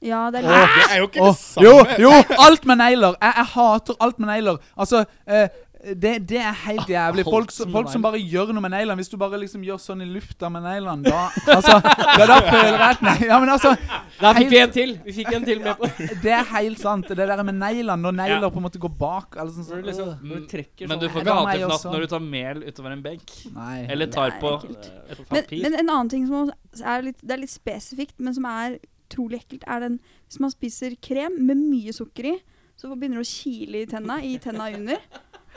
[SPEAKER 5] Ja, det er
[SPEAKER 7] Åh,
[SPEAKER 5] litt
[SPEAKER 6] Det er jo ikke
[SPEAKER 7] Åh,
[SPEAKER 6] det
[SPEAKER 7] jo,
[SPEAKER 6] samme.
[SPEAKER 7] jo! Alt med negler. Jeg, jeg hater alt med negler. Altså eh, det, det er helt jævlig. Folk, som- folk som bare gjør noe med neglene. Hvis du bare liksom gjør sånn i lufta med neglene, da altså, ja, Da føler jeg at nei, Ja, men altså
[SPEAKER 1] Der fikk vi en
[SPEAKER 7] Helt-
[SPEAKER 1] til! Vi fikk en til med på Så
[SPEAKER 7] Det er helt sant. Det der med neglene, når negler på en måte går bak eller sånn,
[SPEAKER 1] du
[SPEAKER 7] sånn,
[SPEAKER 1] liksom,
[SPEAKER 7] øh.
[SPEAKER 1] når du trekker
[SPEAKER 2] Men du
[SPEAKER 1] sånn
[SPEAKER 2] får
[SPEAKER 7] Det
[SPEAKER 2] ikke
[SPEAKER 7] var meg
[SPEAKER 2] hatefnatt
[SPEAKER 7] også.
[SPEAKER 2] når du tar mel utover en benk.
[SPEAKER 7] Nei.
[SPEAKER 2] Eller tar
[SPEAKER 5] Nei,
[SPEAKER 2] på
[SPEAKER 5] ekkelt.
[SPEAKER 2] et
[SPEAKER 5] men,
[SPEAKER 2] papir.
[SPEAKER 5] men en annen ting som også er litt, det er litt spesifikt, men som er utrolig ekkelt, er den hvis man spiser krem med mye sukker i, så begynner det å kile i tenna, i tenna under.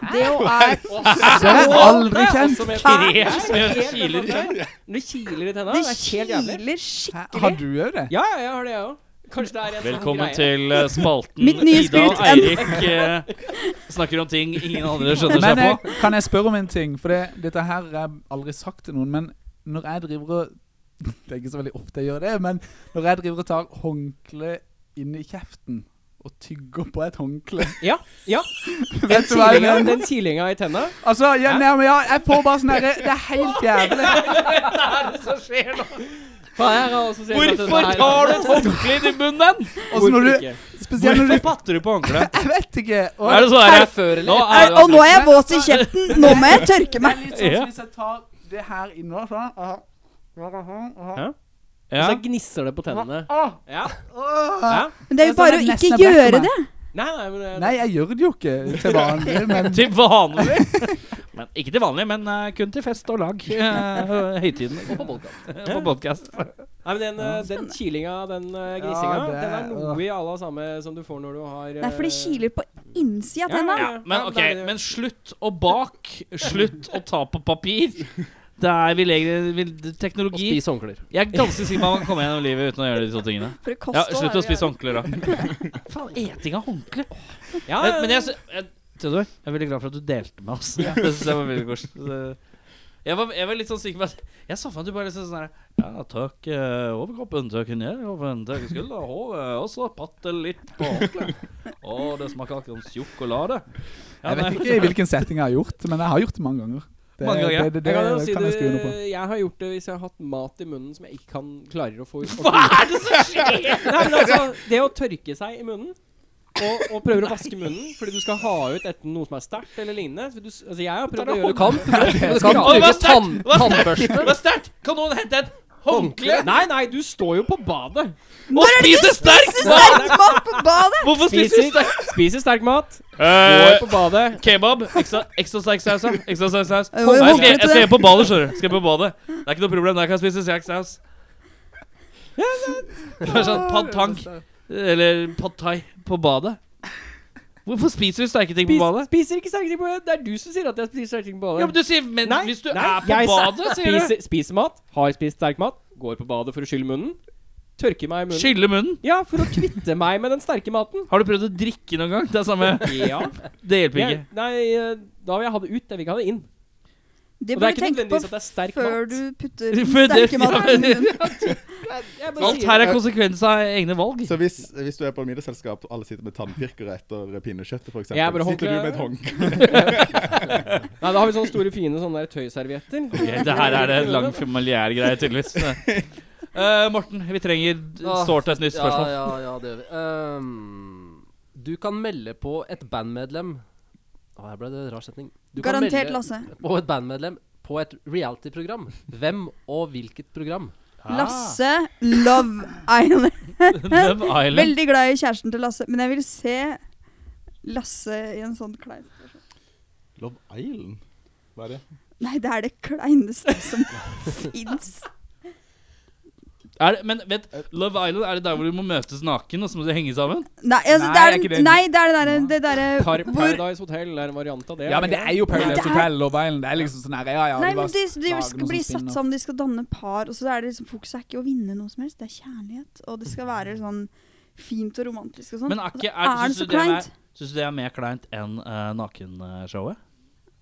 [SPEAKER 5] Det jo er
[SPEAKER 7] Det har jeg aldri kjent.
[SPEAKER 1] Også med-
[SPEAKER 2] Krem som gjør at det kiler.
[SPEAKER 1] Når det kiler i tenna, det
[SPEAKER 5] Det
[SPEAKER 1] er helt jævlig.
[SPEAKER 5] kiler
[SPEAKER 7] Hæ, Har
[SPEAKER 5] skikkelig.
[SPEAKER 7] du òg det?
[SPEAKER 1] Ja, ja, jeg har det, jeg òg. Kanskje det er en
[SPEAKER 2] Velkommen
[SPEAKER 1] sånn greie.
[SPEAKER 2] til eh, spalten
[SPEAKER 5] Mitt nye
[SPEAKER 2] Ida og
[SPEAKER 5] spirit
[SPEAKER 2] Eirik eh, snakker om ting ingen andre skjønner
[SPEAKER 7] Men
[SPEAKER 2] seg på.
[SPEAKER 7] eh, kan jeg spørre om en ting? For det, dette her har jeg aldri sagt til noen. Men når jeg driver og Det er ikke så veldig ofte jeg gjør det, men når jeg driver og tar håndkle inn i kjeften og tygger på et håndkle
[SPEAKER 1] Ja, ja. Den
[SPEAKER 7] Vet du hva jeg
[SPEAKER 1] kilinga-
[SPEAKER 7] mener?
[SPEAKER 1] Den kilinga i tenna.
[SPEAKER 7] Altså, ja, nei, men ja, jeg får bare sånn herre Det er helt jævlig.
[SPEAKER 2] Hvorfor tar du et håndkle inn i munnen?
[SPEAKER 7] Og så Altså, når du
[SPEAKER 1] ikke?
[SPEAKER 7] Spesielt når
[SPEAKER 2] Hvorfor
[SPEAKER 7] du
[SPEAKER 2] patter du på håndkleet?
[SPEAKER 7] Jeg vet ikke. Og
[SPEAKER 2] Er det sånn her
[SPEAKER 3] før
[SPEAKER 2] Nå
[SPEAKER 3] eller
[SPEAKER 2] er
[SPEAKER 5] Og nå er jeg våt i kjeften! Nå må jeg tørke
[SPEAKER 7] det
[SPEAKER 5] meg!
[SPEAKER 7] er litt sånn
[SPEAKER 2] Ja.
[SPEAKER 7] som hvis jeg tar det her innover sånn aha, aha, aha.
[SPEAKER 1] Og
[SPEAKER 2] ja.
[SPEAKER 1] så gnisser det på tennene.
[SPEAKER 7] Åh,
[SPEAKER 1] Ja.
[SPEAKER 7] åh.
[SPEAKER 1] ja.
[SPEAKER 5] Men det er jo
[SPEAKER 7] Det er
[SPEAKER 5] bare å
[SPEAKER 7] sånn at
[SPEAKER 5] ikke
[SPEAKER 7] nesten er
[SPEAKER 5] gjøre
[SPEAKER 7] brekk på
[SPEAKER 5] det.
[SPEAKER 1] Nei, nei, men eh, det-
[SPEAKER 7] Nei, jeg gjør det jo ikke til vanlig, men
[SPEAKER 2] Til vanlig. Men, ikke til vanlig, men eh, kun til fest og lag. eh, høytiden. Og på podcast. På podcast.
[SPEAKER 1] Nei, men den, eh, den kilinga, den eh, grisinga,
[SPEAKER 7] Ja, det-
[SPEAKER 1] den er noe i alla samme som du får når du har
[SPEAKER 5] Nei, for det
[SPEAKER 1] eh,
[SPEAKER 5] kiler på innsida av tenna.
[SPEAKER 1] Ja,
[SPEAKER 2] Men ok,
[SPEAKER 1] det er det.
[SPEAKER 2] men slutt å bak. Slutt å ta på papir. Det er vi leger, vi,
[SPEAKER 3] Og
[SPEAKER 2] teknologi
[SPEAKER 3] spis håndklær.
[SPEAKER 2] Jeg er ganske sikker på at man kan komme gjennom livet uten å gjøre de to tingene.
[SPEAKER 5] For det
[SPEAKER 2] Ja,
[SPEAKER 5] koster
[SPEAKER 2] Slutt å spise håndklær, da. Faen, eting av håndkle.
[SPEAKER 1] ja,
[SPEAKER 2] Men, men jeg, sy- jeg, Theodor, jeg er veldig glad for at du delte med oss. Det synes jeg var veldig kort. Det- Jeg var, jeg var litt sånn sikker på at Jeg så for meg at du bare liksom sånn her Ja, tørk eh, overkroppen, tørk ned, overkroppen, tørk skulder, håret, og så patte litt på håndkleet. Å, det smaker akkurat som sjokolade. Ja,
[SPEAKER 7] Jeg vet
[SPEAKER 2] nei,
[SPEAKER 7] ikke i hvilken setting jeg har gjort det, men jeg har gjort det mange ganger. Det,
[SPEAKER 2] Mange ganger?
[SPEAKER 7] Det, det, det,
[SPEAKER 1] jeg kan jo
[SPEAKER 7] Eh, kan
[SPEAKER 1] si
[SPEAKER 7] jeg skrive under på.
[SPEAKER 1] det, jeg har gjort det hvis jeg har hatt mat i munnen som jeg ikke kan klarer å få ut.
[SPEAKER 2] Hva er det som skjer?!
[SPEAKER 1] Nei, men altså, det å tørke seg i munnen og, og prøver å vaske munnen fordi du skal ha ut enten noe som er sterkt eller lignende. Så du, s- altså, jeg har prøvd å gjøre
[SPEAKER 3] Kan det
[SPEAKER 2] Å, det
[SPEAKER 3] skal
[SPEAKER 2] var
[SPEAKER 3] brukes tann,
[SPEAKER 2] sterkt! Det var sterkt! Det
[SPEAKER 3] tannbørste.
[SPEAKER 2] var sterkt! Kan noen hente et håndkle?
[SPEAKER 1] Nei, nei, du står jo på badet.
[SPEAKER 2] Og spise sterkt! Hva?
[SPEAKER 5] Sterk mat på badet!
[SPEAKER 2] Hvorfor spiser du
[SPEAKER 1] Spiser,
[SPEAKER 2] sterkt?
[SPEAKER 1] spiser sterk mat,
[SPEAKER 2] Eh,
[SPEAKER 1] går på badet.
[SPEAKER 2] Kebab, ekstra, ekstra sterk saus. ja. Ekstra sterk saus.
[SPEAKER 5] Jeg må jo
[SPEAKER 2] Nei, Jeg
[SPEAKER 5] holde
[SPEAKER 2] skal,
[SPEAKER 5] til
[SPEAKER 2] jeg skal
[SPEAKER 5] det.
[SPEAKER 2] på badet, skjønner du. Skal jeg på badet. Det er ikke noe problem, der kan jeg spise sterk saus. Det er sånn pad thang eller pad thai på badet. Hvorfor spiser du sterke ting på
[SPEAKER 1] Spis,
[SPEAKER 2] badet?
[SPEAKER 1] spiser ikke sterke ting på badet. Det er du som sier at jeg spiser sterke ting på badet.
[SPEAKER 2] Ja, men du sier men
[SPEAKER 1] Nei,
[SPEAKER 2] hvis du
[SPEAKER 1] nei,
[SPEAKER 2] er på
[SPEAKER 1] jeg sa-
[SPEAKER 2] badet, sier du.
[SPEAKER 1] spiser, spiser mat, har spist sterk mat, går på badet for å skylle munnen. Tørke meg i munnen.
[SPEAKER 2] Skylle munnen!
[SPEAKER 1] Ja, for å kvitte meg med den sterke maten.
[SPEAKER 2] Har du prøvd å drikke noen gang? Det er samme
[SPEAKER 1] Ja.
[SPEAKER 2] Det hjelper
[SPEAKER 1] Jeg,
[SPEAKER 2] ikke.
[SPEAKER 1] nei, eh, da vil jeg ha det ut. Jeg vil ikke ha det inn. Og
[SPEAKER 5] Det
[SPEAKER 1] det er
[SPEAKER 5] bør
[SPEAKER 1] ikke
[SPEAKER 5] du tenke på
[SPEAKER 1] nødvendigvis at det er sterk
[SPEAKER 5] før
[SPEAKER 1] mat.
[SPEAKER 5] du putter den
[SPEAKER 2] Før det-
[SPEAKER 5] sterke maten i munnen.
[SPEAKER 1] Jeg bare
[SPEAKER 2] Alt
[SPEAKER 1] sier
[SPEAKER 2] her
[SPEAKER 1] det.
[SPEAKER 2] er konsekvens av egne valg.
[SPEAKER 6] Så hvis, hvis du er på et middagsselskap og alle sitter med tannpirkere etter pinnekjøttet, f.eks.,
[SPEAKER 1] Jeg er
[SPEAKER 6] sitter
[SPEAKER 1] bare
[SPEAKER 6] du med et
[SPEAKER 1] håndkle.
[SPEAKER 6] håndkle?
[SPEAKER 1] Nei, da har vi sånne store, fine sånne der tøyservietter.
[SPEAKER 2] Ok, det her er det en lang familiær greie, tydeligvis. Eh, Morten, vi trenger
[SPEAKER 3] Ah,
[SPEAKER 2] sårt et nytt spørsmål.
[SPEAKER 3] Ja, ja, ja, det gjør vi. Ehm, du kan melde på et bandmedlem Å, her ble det en rar setning. Du kan
[SPEAKER 5] Garantert
[SPEAKER 3] melde
[SPEAKER 5] Lasse.
[SPEAKER 3] På et bandmedlem på et reality-program. Hvem og hvilket program?
[SPEAKER 5] Lasse Love Island.
[SPEAKER 2] Love Island.
[SPEAKER 5] Veldig glad i kjæresten til Lasse, men jeg vil se Lasse i en sånn klein
[SPEAKER 6] Love Island? Hva er det?
[SPEAKER 5] Nei, det er det kleineste som fins.
[SPEAKER 2] Er det, men vent, Love Island er det der hvor du må møtes naken, og så må du henge sammen?
[SPEAKER 5] Nei, altså,
[SPEAKER 7] Nei,
[SPEAKER 5] det
[SPEAKER 7] er
[SPEAKER 5] er,
[SPEAKER 7] ikke det-
[SPEAKER 5] nei, det er det derre det derre
[SPEAKER 1] Par
[SPEAKER 5] hvor
[SPEAKER 1] Paradise Hotel er en variant av det.
[SPEAKER 7] Ja, men det er jo
[SPEAKER 5] Det
[SPEAKER 7] Paradise
[SPEAKER 5] er-
[SPEAKER 7] Hotel Love Island. Det er liksom sånn her, ja, ja,
[SPEAKER 5] Nei,
[SPEAKER 7] vi
[SPEAKER 5] men
[SPEAKER 7] bare
[SPEAKER 5] de, de
[SPEAKER 7] lager
[SPEAKER 5] skal
[SPEAKER 7] noe
[SPEAKER 5] bli
[SPEAKER 7] som
[SPEAKER 5] satt
[SPEAKER 7] spinner.
[SPEAKER 5] sammen, de skal danne par. Og så er det liksom, Fokuset er ikke å vinne noe som helst, det er kjærlighet. Og det skal være sånn fint og romantisk og sånn.
[SPEAKER 2] Men er, ikke,
[SPEAKER 5] Altså,
[SPEAKER 2] er,
[SPEAKER 5] er det
[SPEAKER 2] synes
[SPEAKER 5] så
[SPEAKER 2] du det er,
[SPEAKER 5] kleint?
[SPEAKER 2] synes du det er mer kleint enn eh, nakenshowet?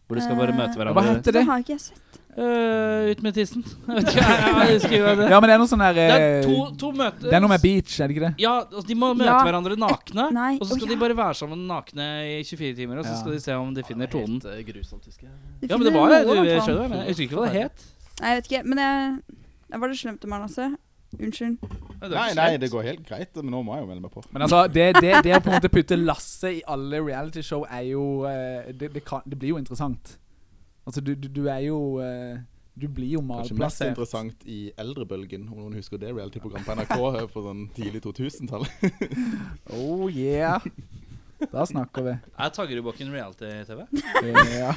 [SPEAKER 2] Hvor du skal bare
[SPEAKER 5] Eh,
[SPEAKER 2] møte
[SPEAKER 7] Hva
[SPEAKER 2] hverandre
[SPEAKER 7] heter det?
[SPEAKER 5] Det har ikke jeg sett.
[SPEAKER 2] Eh, Ut med tissen. Jeg vet ikke, jeg, jeg husker ikke hva det.
[SPEAKER 7] Ja, men det er noe sånn her
[SPEAKER 2] Det er
[SPEAKER 7] eh,
[SPEAKER 2] to, to møter.
[SPEAKER 7] Det er noe med beach, er det ikke det?
[SPEAKER 2] Ja, altså, de må møte
[SPEAKER 5] Ja.
[SPEAKER 2] hverandre nakne.
[SPEAKER 5] Nei,
[SPEAKER 2] Og så skal
[SPEAKER 5] å
[SPEAKER 2] de
[SPEAKER 5] ja.
[SPEAKER 2] bare være sammen nakne i 24 timer, og så
[SPEAKER 7] Ja.
[SPEAKER 2] skal de se om de finner
[SPEAKER 3] Det er
[SPEAKER 2] tonen.
[SPEAKER 3] Helt eh, grusomt, husker jeg.
[SPEAKER 5] De
[SPEAKER 2] Ja, men det
[SPEAKER 5] finner
[SPEAKER 2] var
[SPEAKER 5] noe, i
[SPEAKER 2] du
[SPEAKER 5] hvert fall.
[SPEAKER 2] skjønner, men Jeg husker ikke hva det het.
[SPEAKER 5] Nei, jeg vet ikke. Men jeg, jeg var det slemt om meg, Lasse. Unnskyld.
[SPEAKER 2] Det er
[SPEAKER 6] Nei,
[SPEAKER 2] ikke
[SPEAKER 6] nei,
[SPEAKER 2] slemt.
[SPEAKER 6] det går helt greit, men nå må jeg jo melde meg på.
[SPEAKER 7] Men altså, det, det, det å på en måte putte Lasse i alle realityshow er jo eh, det, det, kan, det blir jo interessant. Altså, du, du, du er jo eh, Du blir jo
[SPEAKER 6] Kanskje mest
[SPEAKER 7] malplassert.
[SPEAKER 6] interessant i eldrebølgen, om noen husker det reality-program på NRK på sånn tidlig 2000-tallet.
[SPEAKER 7] Oh yeah. Da snakker vi.
[SPEAKER 2] Er Tangerudbakken reality-TV?
[SPEAKER 7] Ja.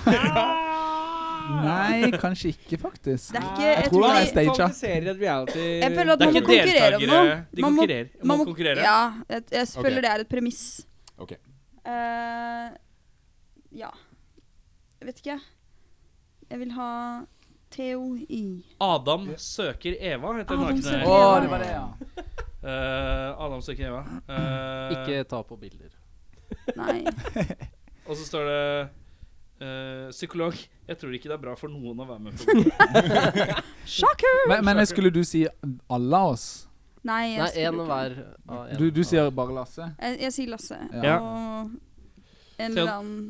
[SPEAKER 7] Nei, kanskje ikke, faktisk.
[SPEAKER 5] Det er ikke
[SPEAKER 7] Jeg
[SPEAKER 5] Jeg
[SPEAKER 7] tror
[SPEAKER 5] tror
[SPEAKER 7] det er
[SPEAKER 5] de
[SPEAKER 7] staged, ja.
[SPEAKER 1] Kvalifiserer et reality
[SPEAKER 5] Jeg føler at
[SPEAKER 2] Eh, Det er
[SPEAKER 5] man må
[SPEAKER 2] ikke
[SPEAKER 5] konkurrere om noe.
[SPEAKER 2] deltakere. De
[SPEAKER 5] Man må-
[SPEAKER 2] konkurrerer. Man må konkurrere.
[SPEAKER 5] Ja, jeg, jeg føler
[SPEAKER 6] Ok.
[SPEAKER 5] det er et premiss.
[SPEAKER 6] Ok.
[SPEAKER 5] Eh, ja. Jeg vet ikke. Jeg vil ha TOI.
[SPEAKER 2] Adam søker Eva heter
[SPEAKER 5] Adam
[SPEAKER 2] nakne.
[SPEAKER 5] søker
[SPEAKER 7] Å, det var det, ja.
[SPEAKER 2] Eh, Adam søker Eva. Eh,
[SPEAKER 3] Ikke ta på bilder.
[SPEAKER 5] Nei.
[SPEAKER 2] Og så står det eh, Psykolog. Jeg tror ikke det er bra for noen å være med på det.
[SPEAKER 5] Sjokker!
[SPEAKER 7] Men, men skulle du si alle oss?
[SPEAKER 5] Nei, jeg,
[SPEAKER 3] Nei,
[SPEAKER 5] skulle
[SPEAKER 3] én
[SPEAKER 5] ikke.
[SPEAKER 3] hver. av en.
[SPEAKER 7] Du, du sier bare Lasse?
[SPEAKER 5] Jeg, jeg sier Lasse.
[SPEAKER 7] Ja.
[SPEAKER 5] Og en
[SPEAKER 2] Theo-
[SPEAKER 5] eller annen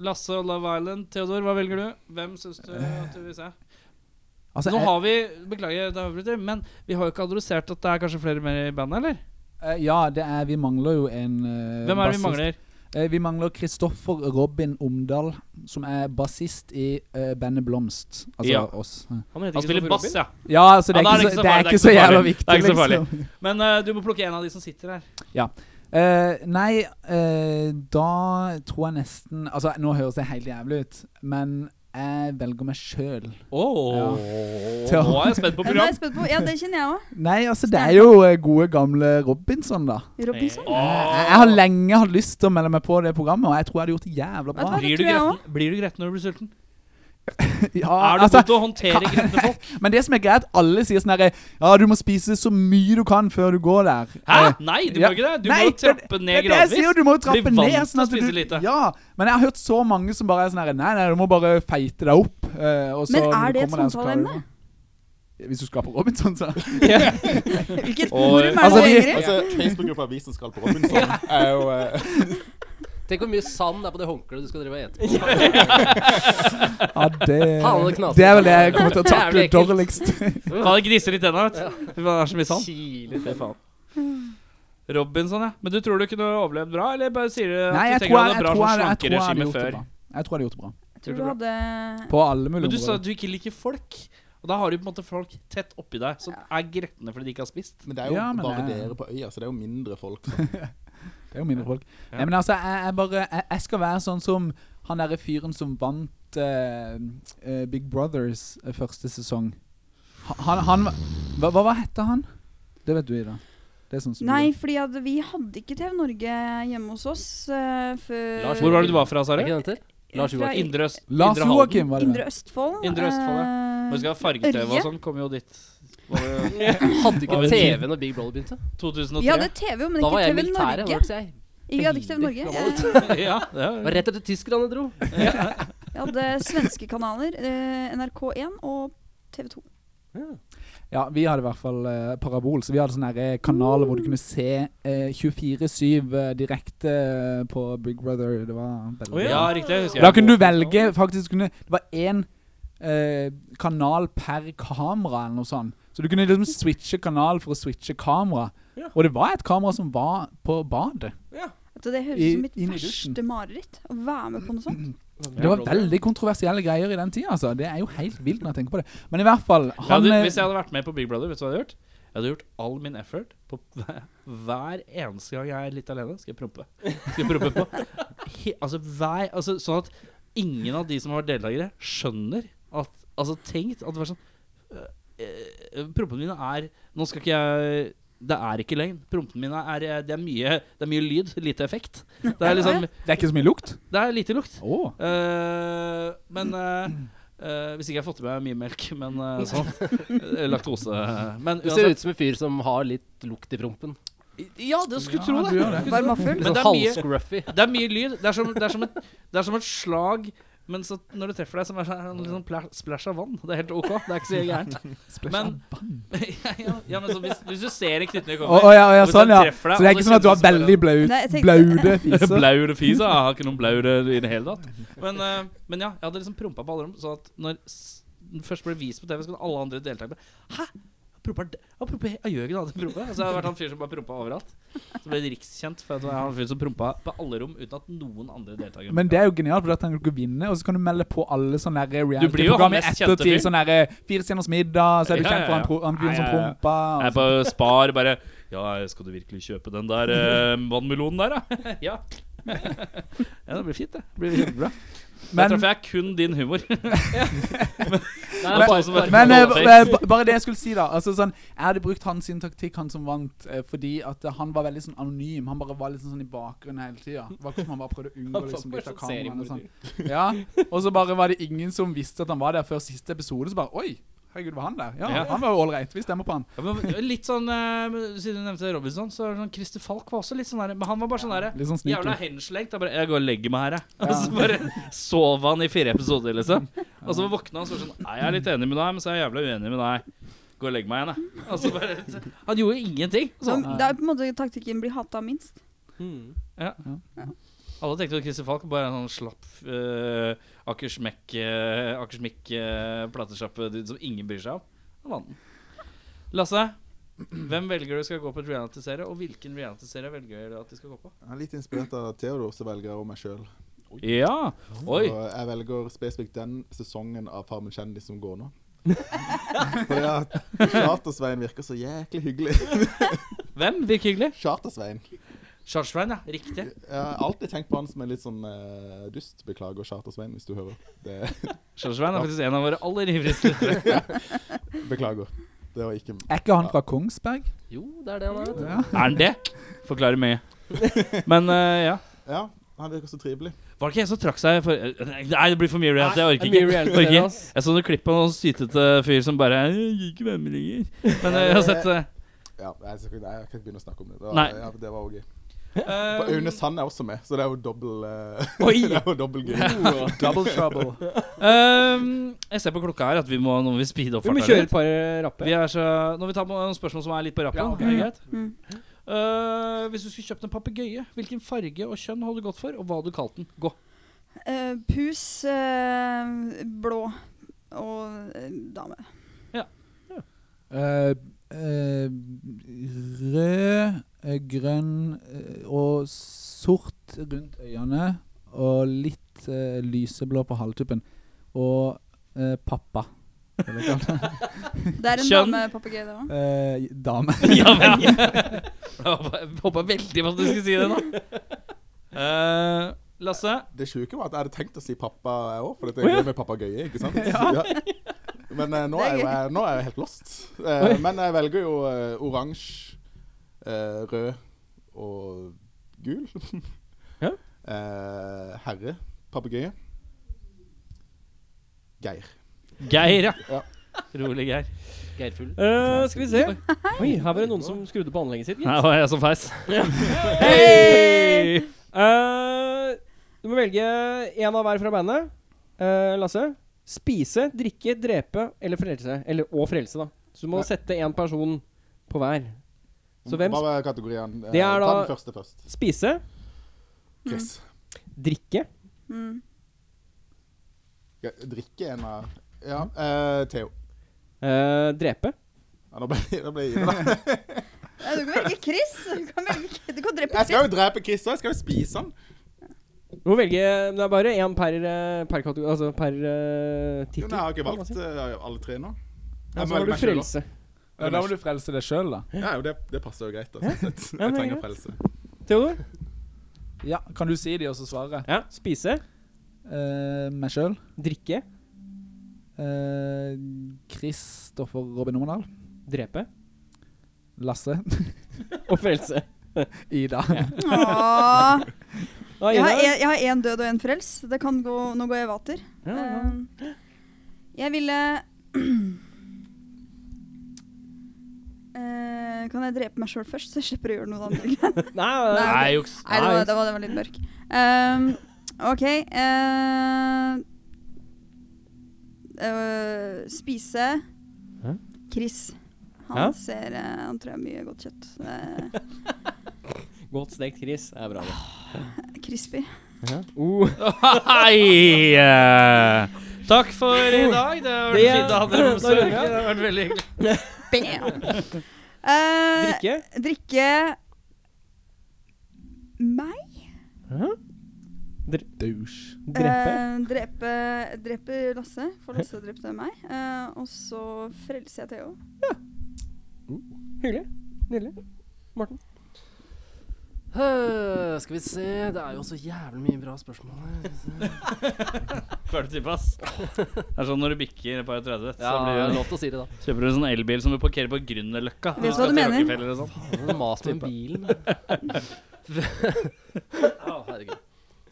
[SPEAKER 2] Lasse og Love Island. Theodor, hva velger du? Hvem syns du
[SPEAKER 6] Eh.
[SPEAKER 2] at du vil se?
[SPEAKER 7] Altså,
[SPEAKER 2] Nå
[SPEAKER 7] jeg-
[SPEAKER 2] har vi Beklager, det avbryter, men vi har jo ikke adressert at det er kanskje flere mer i bandet, eller?
[SPEAKER 7] eh, ja, det er Vi mangler jo en eh,
[SPEAKER 2] Hvem er det
[SPEAKER 7] bassist.
[SPEAKER 2] vi mangler?
[SPEAKER 7] Eh, vi mangler Kristoffer Robin Omdal, som er bassist i eh, bandet Blomst. Altså
[SPEAKER 2] Ja.
[SPEAKER 7] oss.
[SPEAKER 1] Han heter
[SPEAKER 2] Han spiller
[SPEAKER 1] Kristoffer
[SPEAKER 2] bass,
[SPEAKER 1] Robin.
[SPEAKER 2] ja.
[SPEAKER 7] Ja, altså, det
[SPEAKER 2] Ja,
[SPEAKER 7] er ikke så- det er ikke så
[SPEAKER 2] farlig,
[SPEAKER 7] jævla
[SPEAKER 2] det er
[SPEAKER 7] viktig,
[SPEAKER 2] ikke så farlig.
[SPEAKER 7] liksom.
[SPEAKER 2] Men eh, du må plukke en av de som sitter her.
[SPEAKER 7] Eh, nei, eh, da tror jeg nesten Altså, nå høres det helt jævlig ut, men jeg velger meg sjøl.
[SPEAKER 2] Oh.
[SPEAKER 7] Ja.
[SPEAKER 2] Nå er jeg spent på
[SPEAKER 5] Ja, nå er jeg
[SPEAKER 2] program.
[SPEAKER 5] spent på. Ja, det kjenner jeg òg.
[SPEAKER 7] Nei, altså, det er jo eh, gode, gamle Robinson, da.
[SPEAKER 5] Robinson.
[SPEAKER 2] Åh.
[SPEAKER 7] Jeg, jeg har lenge hatt lyst til å melde meg på det programmet, og jeg tror jeg hadde gjort det
[SPEAKER 5] Vet
[SPEAKER 7] jævla
[SPEAKER 5] du
[SPEAKER 7] bra.
[SPEAKER 5] hva? det
[SPEAKER 2] Blir du,
[SPEAKER 5] tror jeg
[SPEAKER 2] gretten, blir du gretten når du blir sulten? Er
[SPEAKER 7] Ja,
[SPEAKER 2] du
[SPEAKER 7] altså,
[SPEAKER 2] god til å håndtere
[SPEAKER 7] kan-
[SPEAKER 2] gretne folk?
[SPEAKER 7] Men det som er greit, alle sier sånn herre Ja, du må spise så mye du kan før du går der.
[SPEAKER 2] Hæ?
[SPEAKER 7] Eh,
[SPEAKER 2] Nei, du
[SPEAKER 7] ja.
[SPEAKER 2] må ikke det. Du
[SPEAKER 7] Nei,
[SPEAKER 2] må trappe
[SPEAKER 7] det
[SPEAKER 2] ned
[SPEAKER 7] er det jeg
[SPEAKER 2] gradvis.
[SPEAKER 7] sier, du må jo trappe
[SPEAKER 2] Bli vant
[SPEAKER 7] ned.
[SPEAKER 2] til
[SPEAKER 7] Sånn
[SPEAKER 2] å
[SPEAKER 7] at du,
[SPEAKER 2] spise lite.
[SPEAKER 7] Ja, men jeg har hørt så mange som bare er sånn herre Nei, nei, du må bare feite deg opp. eh, og så
[SPEAKER 5] Men
[SPEAKER 7] når
[SPEAKER 5] er
[SPEAKER 7] du
[SPEAKER 5] det et
[SPEAKER 7] kommer der, så klarer du
[SPEAKER 5] samtaleemne?
[SPEAKER 7] det. Hvis du skal på Robinson, så.
[SPEAKER 5] Hvilket
[SPEAKER 2] Og-
[SPEAKER 5] forum er det
[SPEAKER 7] Altså,
[SPEAKER 5] du
[SPEAKER 7] vi-
[SPEAKER 5] henger i?
[SPEAKER 6] Altså, Facebook-gruppa Vi som skal på Robinson er jo eh,
[SPEAKER 3] Tenk hvor mye sand det er på det håndkleet du skal drive og ete på.
[SPEAKER 7] Ja, det,
[SPEAKER 3] Faen, det knaser.
[SPEAKER 7] det er vel det jeg kommer til å takle
[SPEAKER 3] Jævlig ekkelt.
[SPEAKER 7] dårligst.
[SPEAKER 2] Faen, det griser litt ennå, vet du. Fy faen, Det er så mye sand.
[SPEAKER 3] Kiler, fy faen.
[SPEAKER 2] Robinson, ja. Men du tror du kunne overlevd bra, eller bare sier du at
[SPEAKER 7] Nei, jeg
[SPEAKER 2] du tenker
[SPEAKER 7] tror
[SPEAKER 2] at
[SPEAKER 7] jeg,
[SPEAKER 2] det
[SPEAKER 7] jeg,
[SPEAKER 2] er bra
[SPEAKER 7] tror
[SPEAKER 2] som
[SPEAKER 7] jeg, jeg, tror jeg hadde
[SPEAKER 2] slankeregime
[SPEAKER 7] gjort det
[SPEAKER 2] før?
[SPEAKER 7] bra. Jeg tror jeg hadde gjort det bra.
[SPEAKER 5] Jeg tror du hadde
[SPEAKER 7] På alle
[SPEAKER 2] Men
[SPEAKER 7] mulige
[SPEAKER 2] du sa at
[SPEAKER 7] områder.
[SPEAKER 2] du ikke liker folk. Og da har du på en måte folk tett oppi deg som er gretne fordi de ikke har spist.
[SPEAKER 6] Men det er jo
[SPEAKER 7] Ja, men
[SPEAKER 6] bare
[SPEAKER 7] det er-
[SPEAKER 6] dere på øya, så det er jo mindre folk.
[SPEAKER 7] Det er jo mindre folk.
[SPEAKER 2] Ja.
[SPEAKER 7] Nei, men altså, jeg, jeg bare jeg, jeg skal være sånn som han derre fyren som vant eh, eh, Big Brothers eh, første sesong. Ha- Han, han Hva, hva, hva heter han? Det vet du, Ida. Det er sånn som
[SPEAKER 5] Nei,
[SPEAKER 7] du-
[SPEAKER 5] fordi at vi hadde ikke TV Norge hjemme hos oss eh, før
[SPEAKER 3] Lars
[SPEAKER 2] Hvor var det du var fra,
[SPEAKER 3] Er
[SPEAKER 2] Sare?
[SPEAKER 3] ikke den til? Lars
[SPEAKER 5] Fra
[SPEAKER 3] Joakim.
[SPEAKER 2] Indre Øst.
[SPEAKER 7] Lars
[SPEAKER 2] Indre Halden.
[SPEAKER 7] Joakim, var det det?
[SPEAKER 5] Indre Østfold.
[SPEAKER 2] Indre Østfold, ja.
[SPEAKER 5] eh,
[SPEAKER 2] Når vi skal ha farge-TV og
[SPEAKER 5] Ørje.
[SPEAKER 2] sånn, kommer jo dit. Var det
[SPEAKER 3] Hadde
[SPEAKER 2] Hva
[SPEAKER 3] ikke
[SPEAKER 2] vet
[SPEAKER 3] TV når Big Brother begynte?
[SPEAKER 2] 2003?
[SPEAKER 5] Vi hadde TV, men
[SPEAKER 3] Da var
[SPEAKER 5] ikke
[SPEAKER 3] jeg i
[SPEAKER 5] TV
[SPEAKER 3] militæret.
[SPEAKER 5] Norge.
[SPEAKER 3] var ikke jeg.
[SPEAKER 5] Vi hadde ikke TV Norge.
[SPEAKER 3] Veldig
[SPEAKER 5] Jeg,
[SPEAKER 2] ja, det
[SPEAKER 3] Det
[SPEAKER 2] er
[SPEAKER 3] var rett etter tyskerne dro.
[SPEAKER 5] jeg hadde svenske kanaler. Eh, NRK1 og TV 2.
[SPEAKER 7] Ja, vi hadde i hvert fall eh, parabol, så vi hadde sånne her, eh, kanaler hvor du kunne se eh, 24-7 eh, direkte eh, på Big Brother. Det var veldig
[SPEAKER 1] Å,
[SPEAKER 2] ja, riktig. jeg Husker
[SPEAKER 7] Da kunne du velge faktisk kunne, Det var én eh, kanal per kamera eller noe sånt. Så du kunne liksom switche kanal for å switche kamera.
[SPEAKER 1] Ja.
[SPEAKER 7] Og det var et kamera som var på badet.
[SPEAKER 5] Vet du, Det høres ut
[SPEAKER 7] I-
[SPEAKER 5] som mitt
[SPEAKER 7] inn i dusjen.
[SPEAKER 5] verste mareritt. Å være med på noe sånt.
[SPEAKER 7] Det var veldig kontroversielle greier i den tida, altså. Det er jo helt vilt når jeg tenker på det. Men i hvert fall
[SPEAKER 2] Jeg
[SPEAKER 7] han,
[SPEAKER 2] hadde,
[SPEAKER 7] eh,
[SPEAKER 2] hvis jeg hadde vært med på Big Brother, vet du hva jeg hadde gjort? Jeg hadde gjort all min effort på hver, hver eneste gang jeg er litt alene. Skal jeg prompe? Skal jeg prompe på? He, altså, hver, altså, sånn at ingen av de som har vært deltakere, skjønner at Altså, tenkt at det var sånn eh, eh, Prompene mine er Nå skal ikke jeg Det er ikke løgn. Prompene mine er eh, Det er mye, det er mye lyd, lite effekt. Det er liksom
[SPEAKER 7] Det er ikke så mye lukt.
[SPEAKER 2] Det er lite lukt.
[SPEAKER 7] Å.
[SPEAKER 2] Eh, men eh, eh, Hvis ikke jeg har fått i meg mye melk, men eh, sånn. Eh, Laktose. Men
[SPEAKER 3] Du ser
[SPEAKER 2] uansett
[SPEAKER 3] ut som en fyr som har litt lukt i prompen.
[SPEAKER 2] Ja, det skulle
[SPEAKER 7] Ja,
[SPEAKER 2] tro det.
[SPEAKER 7] du gjør det.
[SPEAKER 2] Skulle tro det.
[SPEAKER 5] Varmafull.
[SPEAKER 2] Men
[SPEAKER 3] Sånn
[SPEAKER 2] det er mye-
[SPEAKER 3] halvscruffy.
[SPEAKER 2] Det er mye lyd. Det er som, det er som, et, det er som et slag, men så når du treffer deg, så er det en liksom pla- splæsj av vann. Det er helt OK. Det er ikke så gærent. Men, ja, ja, ja, men så hvis, hvis du ser en knyttneve
[SPEAKER 7] Å
[SPEAKER 2] komme
[SPEAKER 7] å, ja, å, ja,
[SPEAKER 2] Hvis
[SPEAKER 7] sånn,
[SPEAKER 2] jeg
[SPEAKER 7] ja.
[SPEAKER 2] treffer deg,
[SPEAKER 7] Så det er
[SPEAKER 2] og
[SPEAKER 7] ikke
[SPEAKER 2] så
[SPEAKER 7] sånn at du har
[SPEAKER 2] kjennes det
[SPEAKER 7] veldig blau,
[SPEAKER 5] Nei, jeg tenkte-
[SPEAKER 7] blaude fiser.
[SPEAKER 2] Blaure fis, ja. Jeg har ikke noen blaure i det hele tatt. Men, eh, men ja, jeg hadde liksom prompa på alle dem, sånn at når s- den først ble vist på TV, så kunne alle andre deltakere bare Hæ? Jeg promper d- jeg promper he- Jeg gjør ikke noe annet enn å prompe. Så jeg Altså, har vært han fyr som bare prompa overalt. Så ble jeg rikskjent for at jeg var han fyr som prompa på alle rom uten at noen andre deltakere
[SPEAKER 7] Men det er jo genialt, for da kan du vinne, og så kan du melde på alle sånne der
[SPEAKER 2] Du blir jo han
[SPEAKER 7] reality-program i
[SPEAKER 2] mest kjente
[SPEAKER 7] ettertid.
[SPEAKER 2] fyren.
[SPEAKER 7] Sånn der eh, Fire stjerners middag, så er du
[SPEAKER 2] Ja,
[SPEAKER 7] kjent for
[SPEAKER 2] ja,
[SPEAKER 7] han, pro-
[SPEAKER 2] ja.
[SPEAKER 7] han fyren som
[SPEAKER 2] Ja, ja, ja.
[SPEAKER 7] prompa.
[SPEAKER 2] Jeg er
[SPEAKER 7] og
[SPEAKER 2] på Spar bare Ja, skal du virkelig kjøpe den der eh, vannmelonen der, da? ja. ja, det blir fint, det. Det blir kjempebra.
[SPEAKER 7] sånn.
[SPEAKER 2] Der
[SPEAKER 7] Men,
[SPEAKER 2] traff jeg kun din humor.
[SPEAKER 3] Det
[SPEAKER 2] Men-
[SPEAKER 3] er bare som
[SPEAKER 2] men-
[SPEAKER 3] bare
[SPEAKER 7] men eh,
[SPEAKER 2] Ballface.
[SPEAKER 7] ba- ba- bare det jeg skulle si, da. Altså sånn Jeg hadde brukt hans sin taktikk, han som vant, eh, fordi at eh, han var veldig sånn anonym. Han bare var litt sånn i bakgrunnen hele tida. Det var ikke som han bare prøvde å unngå liksom, litt av kameraene. og Sånn. Ja. Og så bare var det ingen som visste at han var der før siste episode, så bare Oi! Herregud, var han der? Ja,
[SPEAKER 2] Ja.
[SPEAKER 7] han var jo ålreit. Vi stemmer på han.
[SPEAKER 2] Ja, men litt sånn eh, Siden du nevnte Robinson, så er det sånn Christer Falk var også litt sånn der. Men han var bare sånn der
[SPEAKER 7] Litt sånn
[SPEAKER 2] Jævla
[SPEAKER 7] sneaky.
[SPEAKER 2] henslengt. Jeg, bare, jeg går og legger meg her, jeg. Og så bare sov han i fire episoder, liksom. Og så våkna han og så var sånn Nei, jeg er litt enig med deg, men så er jeg jævla uenig med deg. Gå og legg meg igjen, jeg. Og så bare Han gjorde ingenting.
[SPEAKER 5] Så
[SPEAKER 2] Sånn.
[SPEAKER 5] det er på en måte taktikken blir hata minst.
[SPEAKER 1] Mm.
[SPEAKER 2] Alle tenkte at Christer Falk bare er en sånn slapp uh, Akersmekk uh, Akersmikk uh, platesjappe-dude som ingen bryr seg om. Han vant den. Lasse, hvem velger du skal gå på et reality-serie, og hvilken reality-serie velger du at de skal gå på?
[SPEAKER 6] Jeg er litt inspirert av Theodor, så velger jeg og meg sjøl.
[SPEAKER 2] Ja! Oi!
[SPEAKER 6] Jeg velger spesifikt den sesongen av Farmen kjendis som går nå. Fordi at Chartersveien virker så jæklig hyggelig.
[SPEAKER 2] Hvem? Virker hyggelig.
[SPEAKER 6] Chartersveien.
[SPEAKER 2] Charlesvein, ja. Riktig.
[SPEAKER 6] Jeg har alltid tenkt på han som en litt sånn eh, dust. Beklager, Chartersveien, hvis du hører. Det,
[SPEAKER 2] Charlesvein er faktisk en av våre aller ivrigste. lyttere.
[SPEAKER 6] beklager. Det var ikke
[SPEAKER 7] Er ikke han fra Kongsberg?
[SPEAKER 3] Jo, det er det han er. vet du.
[SPEAKER 7] Ja.
[SPEAKER 2] Er han det? Forklarer mye. Men eh, ja.
[SPEAKER 6] Ja, han virker så trivelig.
[SPEAKER 2] Var det ikke en som trakk seg for Nei, det blir for mye reality. altså. Jeg orker
[SPEAKER 1] Mye
[SPEAKER 2] ikke.
[SPEAKER 1] reality
[SPEAKER 2] Orker.
[SPEAKER 1] der, ass.
[SPEAKER 2] Jeg så noen klipp av noen sytete fyr som bare «Jeg gir ikke hvem lenger. Men eh, jeg har sett eh,
[SPEAKER 6] Ja, jeg, skal ikke- nei, jeg kan ikke begynne å snakke om det. Det var,
[SPEAKER 2] Nei.
[SPEAKER 6] Ja, det var også gøy.
[SPEAKER 2] eh,
[SPEAKER 6] Og Aune Sand er også med, så det er jo dobbel eh,
[SPEAKER 1] Oi!
[SPEAKER 6] Det er jo dobbel gøy.
[SPEAKER 7] Double trouble.
[SPEAKER 2] ehm, Jeg ser på klokka her at vi må, nå må vi speede opp
[SPEAKER 1] Vi må
[SPEAKER 2] farta
[SPEAKER 1] kjøre
[SPEAKER 2] litt.
[SPEAKER 1] et par rappe.
[SPEAKER 2] Vi er så, når vi tar på noen spørsmål som er litt på rappen,
[SPEAKER 7] Ja, ok.
[SPEAKER 2] er det greit?
[SPEAKER 5] Mm.
[SPEAKER 2] Eh, hvis du skulle kjøpt en papegøye, hvilken farge og kjønn hadde du gått for, og hva hadde du kalt den? Gå.
[SPEAKER 5] Eh, pus, eh, blå og eh, dame.
[SPEAKER 7] Eh, eh, rød, eh, grønn eh, og sort rundt øynene. Og litt eh, lyseblå på halvtuppen. Og eh, pappa. vil jeg kalle det.
[SPEAKER 5] Det er en
[SPEAKER 2] Kjønn.
[SPEAKER 5] damepapegøye, det òg.
[SPEAKER 7] Eh, dame.
[SPEAKER 2] Ja vel! Jeg håpa veldig på at du skulle si det nå. Eh, Lasse,
[SPEAKER 6] Det sjuke var at jeg hadde tenkt å si pappa, jeg òg, for dette er gøy med papegøye, ikke sant? Ja. Men eh, nå,
[SPEAKER 5] Det er
[SPEAKER 6] er jo
[SPEAKER 5] gøy.
[SPEAKER 6] jeg, nå er jeg helt lost. Eh, men jeg velger jo eh, oransje, eh, rød og gul.
[SPEAKER 1] Ja.
[SPEAKER 6] Eh, herre, papegøye. Geir.
[SPEAKER 2] Geir, ja.
[SPEAKER 6] Ja.
[SPEAKER 2] Rolig, Geir.
[SPEAKER 3] Geirfull.
[SPEAKER 1] Eh, skal vi se. Oi, her var det noen som skrudde på anlegget sitt.
[SPEAKER 2] Nei, det var jeg som feis.
[SPEAKER 1] Hei! Eh, du må velge én av hver fra bandet. Eh, Lasse. Spise, drikke, drepe eller frelse. Eller og frelse, da. Så du må
[SPEAKER 8] Ja.
[SPEAKER 1] sette én person på hver. Så hvem
[SPEAKER 8] Hva var kategorien? Eh,
[SPEAKER 1] Det er
[SPEAKER 8] Ta
[SPEAKER 1] da- Mm.
[SPEAKER 8] den første først.
[SPEAKER 1] Spise,
[SPEAKER 8] Chris.
[SPEAKER 1] drikke,
[SPEAKER 5] Mm.
[SPEAKER 8] Ja, drikke en av Ja,
[SPEAKER 1] Mm.
[SPEAKER 8] eh, Theo.
[SPEAKER 1] eh, drepe.
[SPEAKER 8] Ja, nå ble nå ble jeg ivrig, da.
[SPEAKER 5] Ja, Eh, du kan velge Chris. Du kan, velge, du kan
[SPEAKER 8] Jeg
[SPEAKER 5] drepe
[SPEAKER 8] skal
[SPEAKER 5] Chris.
[SPEAKER 8] jo drepe Chris òg. Jeg skal jo spise han.
[SPEAKER 1] Du må velge Det er bare én per, eh, per kategori Altså per eh,
[SPEAKER 8] Jo,
[SPEAKER 1] tittel.
[SPEAKER 8] men jeg har ikke
[SPEAKER 1] kan man
[SPEAKER 8] valgt
[SPEAKER 1] si.
[SPEAKER 8] eh, alle tre nå.
[SPEAKER 1] Ja,
[SPEAKER 8] Jeg må
[SPEAKER 1] så har
[SPEAKER 8] velge
[SPEAKER 1] du
[SPEAKER 8] meg selv, da.
[SPEAKER 1] frelse.
[SPEAKER 7] Ja, da må du frelse deg sjøl, da.
[SPEAKER 8] Ja, jo, det, det passer jo greit. da, sånn sett.
[SPEAKER 1] Ja,
[SPEAKER 8] Jeg
[SPEAKER 1] men
[SPEAKER 8] trenger
[SPEAKER 1] greit.
[SPEAKER 8] frelse.
[SPEAKER 1] Theodor.
[SPEAKER 7] Ja, Kan du si de og så svare?
[SPEAKER 1] Ja. Spise,
[SPEAKER 7] Eh, meg sjøl.
[SPEAKER 1] drikke,
[SPEAKER 7] Eh, Kristoffer Robin Omedal.
[SPEAKER 1] drepe
[SPEAKER 7] Lasse.
[SPEAKER 1] og frelse.
[SPEAKER 7] Ida.
[SPEAKER 5] Åh.
[SPEAKER 1] Da,
[SPEAKER 5] Jeg har
[SPEAKER 1] Ida.
[SPEAKER 5] en- jeg har én død og én frels. Det kan gå, nå går jeg vater.
[SPEAKER 1] Ja, ja.
[SPEAKER 5] Eh, jeg ville Eh, Kan jeg drepe meg sjøl først, så jeg slipper å gjøre noe annet?
[SPEAKER 1] Nei,
[SPEAKER 5] Nei.
[SPEAKER 2] Nei, juks.
[SPEAKER 5] Nei, det var, det var, det var litt mørk. Ehm, OK eh, eh, Spise
[SPEAKER 1] Hæ?
[SPEAKER 5] Chris. Han
[SPEAKER 1] Ja?
[SPEAKER 5] ser eh, Han tror jeg har mye godt kjøtt. Eh,
[SPEAKER 1] Godt stekt Chris. Det er bra. det.
[SPEAKER 5] crispy.
[SPEAKER 1] Oh.
[SPEAKER 2] Hei! eh, Takk for i dag. Det har vært
[SPEAKER 1] Det-
[SPEAKER 2] fint å ha dere på
[SPEAKER 1] Da runder
[SPEAKER 2] besøk.
[SPEAKER 1] vi
[SPEAKER 2] Det
[SPEAKER 1] av.
[SPEAKER 2] har vært veldig hyggelig.
[SPEAKER 5] Bam! Eh,
[SPEAKER 1] Drikke.
[SPEAKER 5] drikke meg?
[SPEAKER 7] Douche.
[SPEAKER 1] Drepe.
[SPEAKER 5] Eh, drepe, drepe Lasse, for Lasse drepte meg. Eh, og så frelser jeg Theo.
[SPEAKER 1] Hyggelig. Nydelig. Morten.
[SPEAKER 3] Eh, skal vi se Det er jo så jævlig mye bra spørsmål her.
[SPEAKER 2] Føler du tilpass? Det er sånn når du bikker et par og 30, så
[SPEAKER 3] Ja, det
[SPEAKER 2] blir
[SPEAKER 3] er
[SPEAKER 2] det
[SPEAKER 3] lov til å si det, da.
[SPEAKER 2] Kjøper du en sånn elbil som du parkerer på Grünerløkka?
[SPEAKER 5] Vet du
[SPEAKER 2] Skal
[SPEAKER 5] hva du
[SPEAKER 2] til
[SPEAKER 5] mener?
[SPEAKER 2] Rockefeller og sånn.
[SPEAKER 3] Det er mas med bilen. Å, herregud.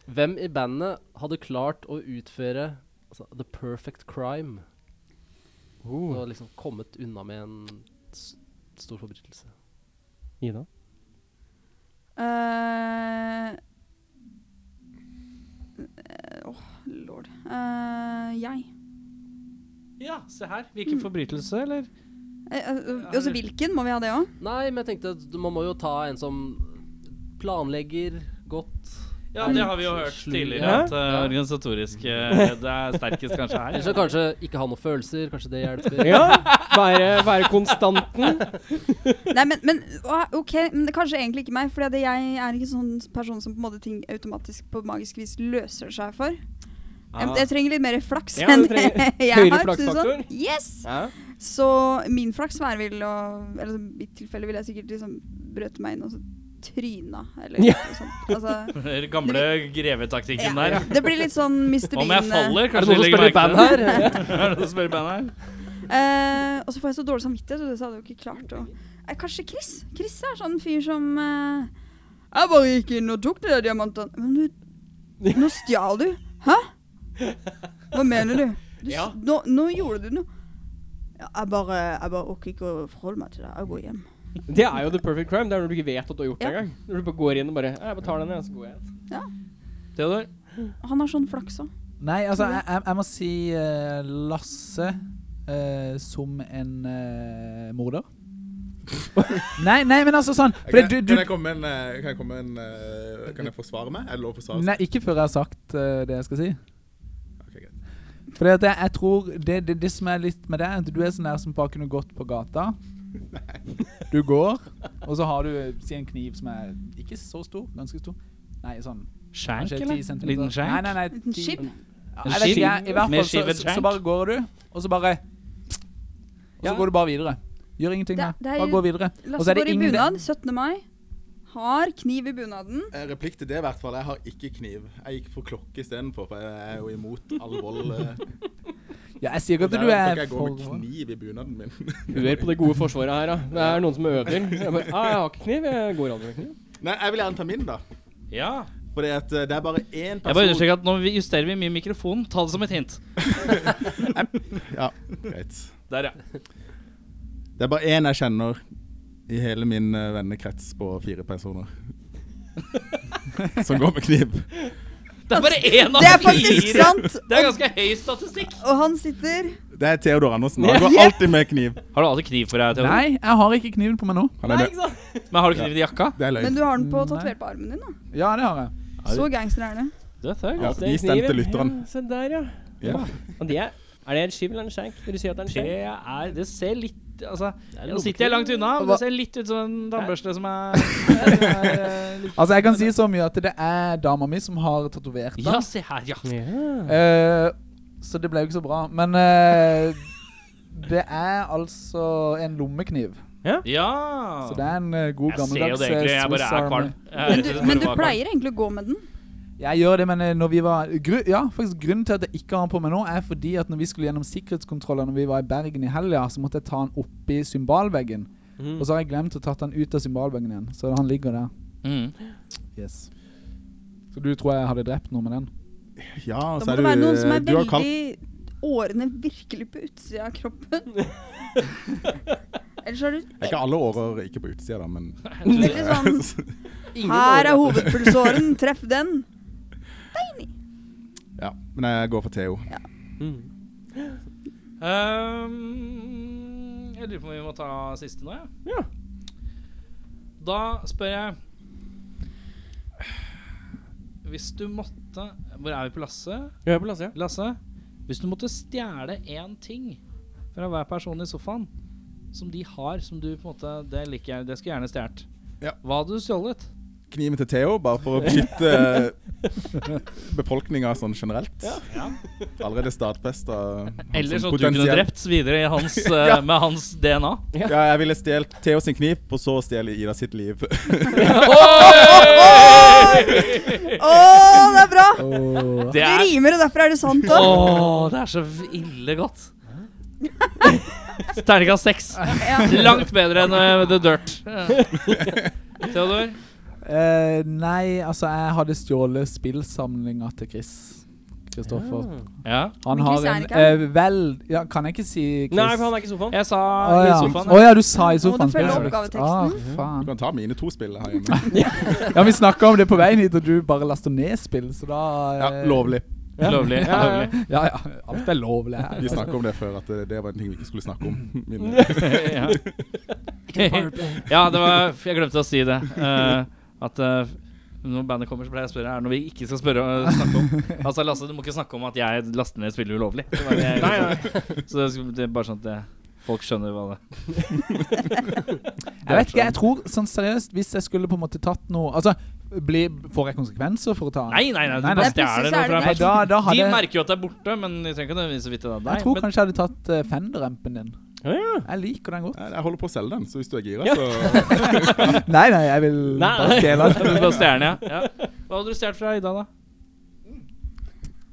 [SPEAKER 3] Hvem i bandet hadde klart å utføre altså, the perfect crime? Og liksom kommet unna med en s stor forbrytelse.
[SPEAKER 1] Ida.
[SPEAKER 5] Eh, eh, Åh, lord. Eh, jeg.
[SPEAKER 2] Ja, se her. Hvilken forbrytelse, eller?
[SPEAKER 5] Eh, eh, også hvilken? Må vi ha det òg?
[SPEAKER 3] Nei, men jeg tenkte at man må jo ta en som planlegger godt.
[SPEAKER 2] Ja, det har vi jo hørt
[SPEAKER 3] Slu-
[SPEAKER 2] tidligere.
[SPEAKER 1] Ja.
[SPEAKER 2] At eh, organisatorisk eh, det er sterkest kanskje her.
[SPEAKER 3] Eller så kanskje ikke ha noen følelser. Kanskje det hjelper.
[SPEAKER 1] Ja. Være, være konstanten.
[SPEAKER 5] Nei, men, men åh, OK, men det er kanskje egentlig ikke meg. For jeg er ikke sånn person som på en måte ting automatisk på magisk vis løser seg for. Jeg, jeg trenger litt mer flaks
[SPEAKER 1] Ah. Ja,
[SPEAKER 5] enn
[SPEAKER 1] du trenger
[SPEAKER 5] jeg
[SPEAKER 1] høyere
[SPEAKER 5] har. for å si det
[SPEAKER 1] flaksfaktor.
[SPEAKER 5] Sånn. Yes!
[SPEAKER 1] Ja.
[SPEAKER 5] Så min flaks var vel å Eller så, i mitt tilfelle ville jeg sikkert liksom brøt meg inn og så tryna, eller
[SPEAKER 1] Ja.
[SPEAKER 5] noe sånt. Altså,
[SPEAKER 2] Den gamle grevetaktikken der,
[SPEAKER 5] ja.
[SPEAKER 2] ja.
[SPEAKER 5] Det blir litt sånn Mr. Bean.
[SPEAKER 2] Om jeg faller,
[SPEAKER 3] Er
[SPEAKER 2] kanskje
[SPEAKER 3] det noen
[SPEAKER 2] de
[SPEAKER 3] som
[SPEAKER 2] legger
[SPEAKER 3] spiller i
[SPEAKER 2] merke
[SPEAKER 3] band
[SPEAKER 2] til det.
[SPEAKER 3] her?
[SPEAKER 2] Er det noen som spiller i band her?
[SPEAKER 5] Eh, og så får jeg så dårlig samvittighet, og det så hadde jeg jo ikke klart å Nei, Kanskje Chris? Chris er sånn fyr som eh, Jeg bare gikk inn og tok de der diamantene. Men du Nå stjal du. Hæ? Hva mener du? du s-
[SPEAKER 1] Ja.
[SPEAKER 5] nå, nå gjorde du noe. Ja, jeg bare Jeg bare orker ikke å forholde meg til det. Jeg går hjem.
[SPEAKER 1] Det er jo the perfect crime. Det er når du ikke vet at du har gjort det
[SPEAKER 5] Ja.
[SPEAKER 1] engang. Når du bare går inn og bare Jeg betaler den, jeg, så går jeg.
[SPEAKER 2] Theodor?
[SPEAKER 5] Han har sånn flaks òg.
[SPEAKER 7] Nei, altså, jeg, jeg, jeg må si eh, Lasse eh, som en eh, morder. nei, nei, men altså sånn
[SPEAKER 8] Kan,
[SPEAKER 7] fordi du, du,
[SPEAKER 8] kan jeg komme med en, eh, kan jeg komme med en eh, Kan jeg forsvare meg? Er det lov å forsvare seg?
[SPEAKER 7] Nei, ikke før jeg har sagt eh, det jeg skal si.
[SPEAKER 8] Ok, greit.
[SPEAKER 7] Fordi at jeg, jeg tror det, det, det som er litt med det, er at du er sånn der som bare kunne gått på gata. Du går, og så har du eh, si en kniv som er ikke så stor, ganske stor. Nei, sånn
[SPEAKER 2] Skjenk,
[SPEAKER 7] kanskje 10
[SPEAKER 2] eller?
[SPEAKER 7] centimeter.
[SPEAKER 2] Liten skjenk?
[SPEAKER 7] Nei, nei, nei,
[SPEAKER 5] Liten
[SPEAKER 7] 10
[SPEAKER 5] skib.
[SPEAKER 7] Ja,
[SPEAKER 2] En
[SPEAKER 7] jeg vet ikke,
[SPEAKER 2] skib?
[SPEAKER 7] jeg, I hvert
[SPEAKER 2] Med
[SPEAKER 7] fall så,
[SPEAKER 2] skibet
[SPEAKER 7] så,
[SPEAKER 2] skjenk?
[SPEAKER 7] så bare går du, og så bare Og
[SPEAKER 1] Ja.
[SPEAKER 7] så går du bare videre. Gjør ingenting
[SPEAKER 5] Det-
[SPEAKER 7] mer.
[SPEAKER 5] det er
[SPEAKER 7] Bare
[SPEAKER 5] jo-
[SPEAKER 7] gå videre. Og så
[SPEAKER 5] Lasse
[SPEAKER 7] er det
[SPEAKER 5] går i
[SPEAKER 7] ingen-
[SPEAKER 5] bunad 17. mai. Har kniv i bunaden.
[SPEAKER 8] Eh, Replikk til det, i hvert fall. Jeg har ikke kniv. Jeg gikk for klokke istedenfor, for jeg er jo imot all vold. eh.
[SPEAKER 7] Ja, jeg sier ikke
[SPEAKER 8] Og
[SPEAKER 7] at
[SPEAKER 8] der
[SPEAKER 7] du
[SPEAKER 8] kan ikke
[SPEAKER 7] er
[SPEAKER 8] jeg gå med
[SPEAKER 7] for
[SPEAKER 8] kniv i bunaden min.
[SPEAKER 1] Hør på det gode forsvaret her, da. Det er noen som øver. Jeg bare ah, 'Jeg har ikke kniv. Jeg går aldri med kniv'.
[SPEAKER 8] Nei, jeg vil gjerne ta min, da.
[SPEAKER 2] Ja.
[SPEAKER 8] Fordi at eh, det er bare én
[SPEAKER 2] Jeg bare
[SPEAKER 8] person
[SPEAKER 2] understreker at nå vi- justerer vi mye mikrofonen. Ta det som et hint.
[SPEAKER 8] Ja, greit.
[SPEAKER 2] Der, ja.
[SPEAKER 6] Det er bare én jeg kjenner i hele min eh, vennekrets på fire personer. Som går med kniv.
[SPEAKER 2] Det er bare én av
[SPEAKER 5] Det er faktisk
[SPEAKER 2] fire!
[SPEAKER 5] sant!
[SPEAKER 2] Det er ganske høy statistikk.
[SPEAKER 5] Og han sitter
[SPEAKER 6] Det er Theodor Andersen. Han går alltid med kniv.
[SPEAKER 2] Har du alltid kniv på deg? Theodor?
[SPEAKER 7] Nei, jeg har ikke kniven på meg nå.
[SPEAKER 6] Han er med.
[SPEAKER 2] Men har du kniv i jakka?
[SPEAKER 6] Det er
[SPEAKER 5] Men
[SPEAKER 6] løgn.
[SPEAKER 5] du har den på
[SPEAKER 7] Nei.
[SPEAKER 5] tatovert på armen din, da.
[SPEAKER 7] Ja, det har jeg.
[SPEAKER 5] Så gangster er det.
[SPEAKER 2] Det er
[SPEAKER 6] Ja,
[SPEAKER 1] Det er
[SPEAKER 6] de stemte
[SPEAKER 1] kniven.
[SPEAKER 6] lytterne.
[SPEAKER 1] Ja, se der, ja.
[SPEAKER 6] Ja.
[SPEAKER 1] Og det er, er det en skiv eller en skjenk? Vil du si at det er en skjenk?
[SPEAKER 2] Det er Det ser litt Altså,
[SPEAKER 3] er
[SPEAKER 2] nå sitter jeg langt unna, men det ser litt ut som en tannbørste som er eh,
[SPEAKER 7] Altså, jeg kan si så mye at det er dama mi som har tatovert den.
[SPEAKER 2] Ja, se her, ja.
[SPEAKER 7] Eh, så det ble jo ikke så bra. Men eh, det er altså en lommekniv.
[SPEAKER 2] Ja.
[SPEAKER 7] Så det er en eh, god
[SPEAKER 2] Ah. Jeg ser jo
[SPEAKER 7] gammeldags
[SPEAKER 2] det
[SPEAKER 7] eh,
[SPEAKER 2] egentlig, jeg bare
[SPEAKER 7] Swiss
[SPEAKER 2] er
[SPEAKER 7] Army.
[SPEAKER 2] kvalm. Jeg er
[SPEAKER 5] Men
[SPEAKER 2] rett
[SPEAKER 5] du,
[SPEAKER 2] og slett
[SPEAKER 5] men du
[SPEAKER 2] bare kvalm.
[SPEAKER 5] pleier egentlig å gå med den.
[SPEAKER 7] Jeg gjør det, men eh, når vi var gru, Ja, faktisk grunnen til at jeg ikke har den på meg nå, er fordi at når vi skulle gjennom sikkerhetskontroller når vi var i Bergen i helga, så måtte jeg ta den oppi symbalveggen. Og så har jeg glemt å ta den ut av symbalveggen igjen. Så han ligger der.
[SPEAKER 2] Mm.
[SPEAKER 7] Yes. Så du tror jeg hadde drept noe med den?
[SPEAKER 6] Ja,
[SPEAKER 5] Da
[SPEAKER 6] og så
[SPEAKER 5] må
[SPEAKER 6] er
[SPEAKER 5] det være noen som er
[SPEAKER 6] du Du har kalt
[SPEAKER 5] veldig Årene virkelig på utsida av kroppen. Ellers er du
[SPEAKER 6] Det er ikke alle årer ikke på utsida, da, men
[SPEAKER 5] veldig sånn Her er hovedpulsåren, treff den.
[SPEAKER 6] Ja, men jeg går for Theo.
[SPEAKER 2] Ehm, jeg lurer på om vi må ta siste nå, jeg. Ja. Da spør jeg Hvis du måtte Hvor er vi på Lasse?
[SPEAKER 1] Vi er på Lasse, ja.
[SPEAKER 2] Lasse, hvis du måtte stjele én ting fra hver person i sofaen som de har, som du på en måte Det liker jeg, det skulle jeg gjerne stjålet.
[SPEAKER 6] Ja.
[SPEAKER 2] Hva hadde du stjålet?
[SPEAKER 6] Kniven til Theo, bare for å beskytte befolkninga sånn generelt.
[SPEAKER 2] Ja.
[SPEAKER 6] Allerede stadfesta.
[SPEAKER 2] Eller så du kunne drept videre i hans, eh,
[SPEAKER 6] Ja.
[SPEAKER 2] med hans DNA.
[SPEAKER 6] Ja, jeg ville stjålet Theo sin kniv, og så stjele Ida sitt liv.
[SPEAKER 5] Å, det er bra!
[SPEAKER 2] Det
[SPEAKER 5] Det
[SPEAKER 2] er
[SPEAKER 5] rimer, og derfor er det sant
[SPEAKER 2] Å,
[SPEAKER 5] òg.
[SPEAKER 2] det er så ille godt. Terningkast seks. Langt bedre enn eh, The Dirt. Theodor?
[SPEAKER 7] Eh, nei, altså, jeg hadde stjålet spillsamlinga til Chris. Kristoffer.
[SPEAKER 2] Ja.
[SPEAKER 7] Han
[SPEAKER 5] Men
[SPEAKER 7] har
[SPEAKER 5] Chris er
[SPEAKER 7] en
[SPEAKER 5] ikke her.
[SPEAKER 7] eh, vel ja, Kan jeg ikke si Chris?
[SPEAKER 1] Nei, for han er ikke i sofaen.
[SPEAKER 2] Jeg sa
[SPEAKER 7] Å
[SPEAKER 2] i
[SPEAKER 7] ja.
[SPEAKER 2] sofaen.
[SPEAKER 7] Å ja, du sa i sofaen.
[SPEAKER 5] Må du følge
[SPEAKER 7] Chris.
[SPEAKER 5] oppgaveteksten?
[SPEAKER 7] Ah,
[SPEAKER 6] Du
[SPEAKER 7] faen.
[SPEAKER 6] kan ta mine to spill her hjemme.
[SPEAKER 7] Ja, vi snakka om det på veien hit, og du bare lasta ned spill, så da
[SPEAKER 6] Ja,
[SPEAKER 7] eh,
[SPEAKER 6] Lovlig.
[SPEAKER 2] Lovlig.
[SPEAKER 1] Ja, ja, ja.
[SPEAKER 2] lovlig.
[SPEAKER 7] Ja, ja. Alt er lovlig her.
[SPEAKER 6] Vi snakka om det før, at det- det var en ting vi ikke skulle snakke om. Mine.
[SPEAKER 2] ja. ja, det var Jeg glemte å si det. eh, at eh, når bandet kommer, så pleier jeg å spørre Er det noe vi ikke skal spørre eh, snakke om. Altså, Lasse, du må ikke snakke om at jeg laster ned spiller ulovlig. Det var det jeg
[SPEAKER 1] Nei,
[SPEAKER 2] glemte. Så det skulle- det er bare sånn at det, folk skjønner hva det
[SPEAKER 7] Jeg vet ikke, jeg tror sånn seriøst, hvis jeg skulle på en måte tatt noe Altså, bli, får jeg konsekvenser for å ta den?
[SPEAKER 2] Nei, nei, nei, du
[SPEAKER 7] Nei,
[SPEAKER 2] bare
[SPEAKER 7] nei.
[SPEAKER 2] stjeler
[SPEAKER 5] Plutselig så
[SPEAKER 2] noe
[SPEAKER 5] er
[SPEAKER 2] fra
[SPEAKER 5] det
[SPEAKER 7] Nei, da,
[SPEAKER 2] personen.
[SPEAKER 7] da
[SPEAKER 2] De
[SPEAKER 7] hadde jeg
[SPEAKER 2] merker jo at det er borte, men de trenger ikke nødvendigvis å vite det av deg.
[SPEAKER 7] Jeg tror
[SPEAKER 2] men-
[SPEAKER 7] kanskje jeg hadde tatt uh, Fender-rampen din.
[SPEAKER 1] Ja, ja.
[SPEAKER 7] Jeg liker den godt.
[SPEAKER 6] Nei, Jeg holder på å selge den, så hvis du er gira, så
[SPEAKER 7] Nei, nei, jeg vil
[SPEAKER 1] Nei,
[SPEAKER 7] bare stjele
[SPEAKER 2] Du
[SPEAKER 7] den.
[SPEAKER 2] bare stjeler den, ja. ja. Hva hadde du stjålet fra Ida, da?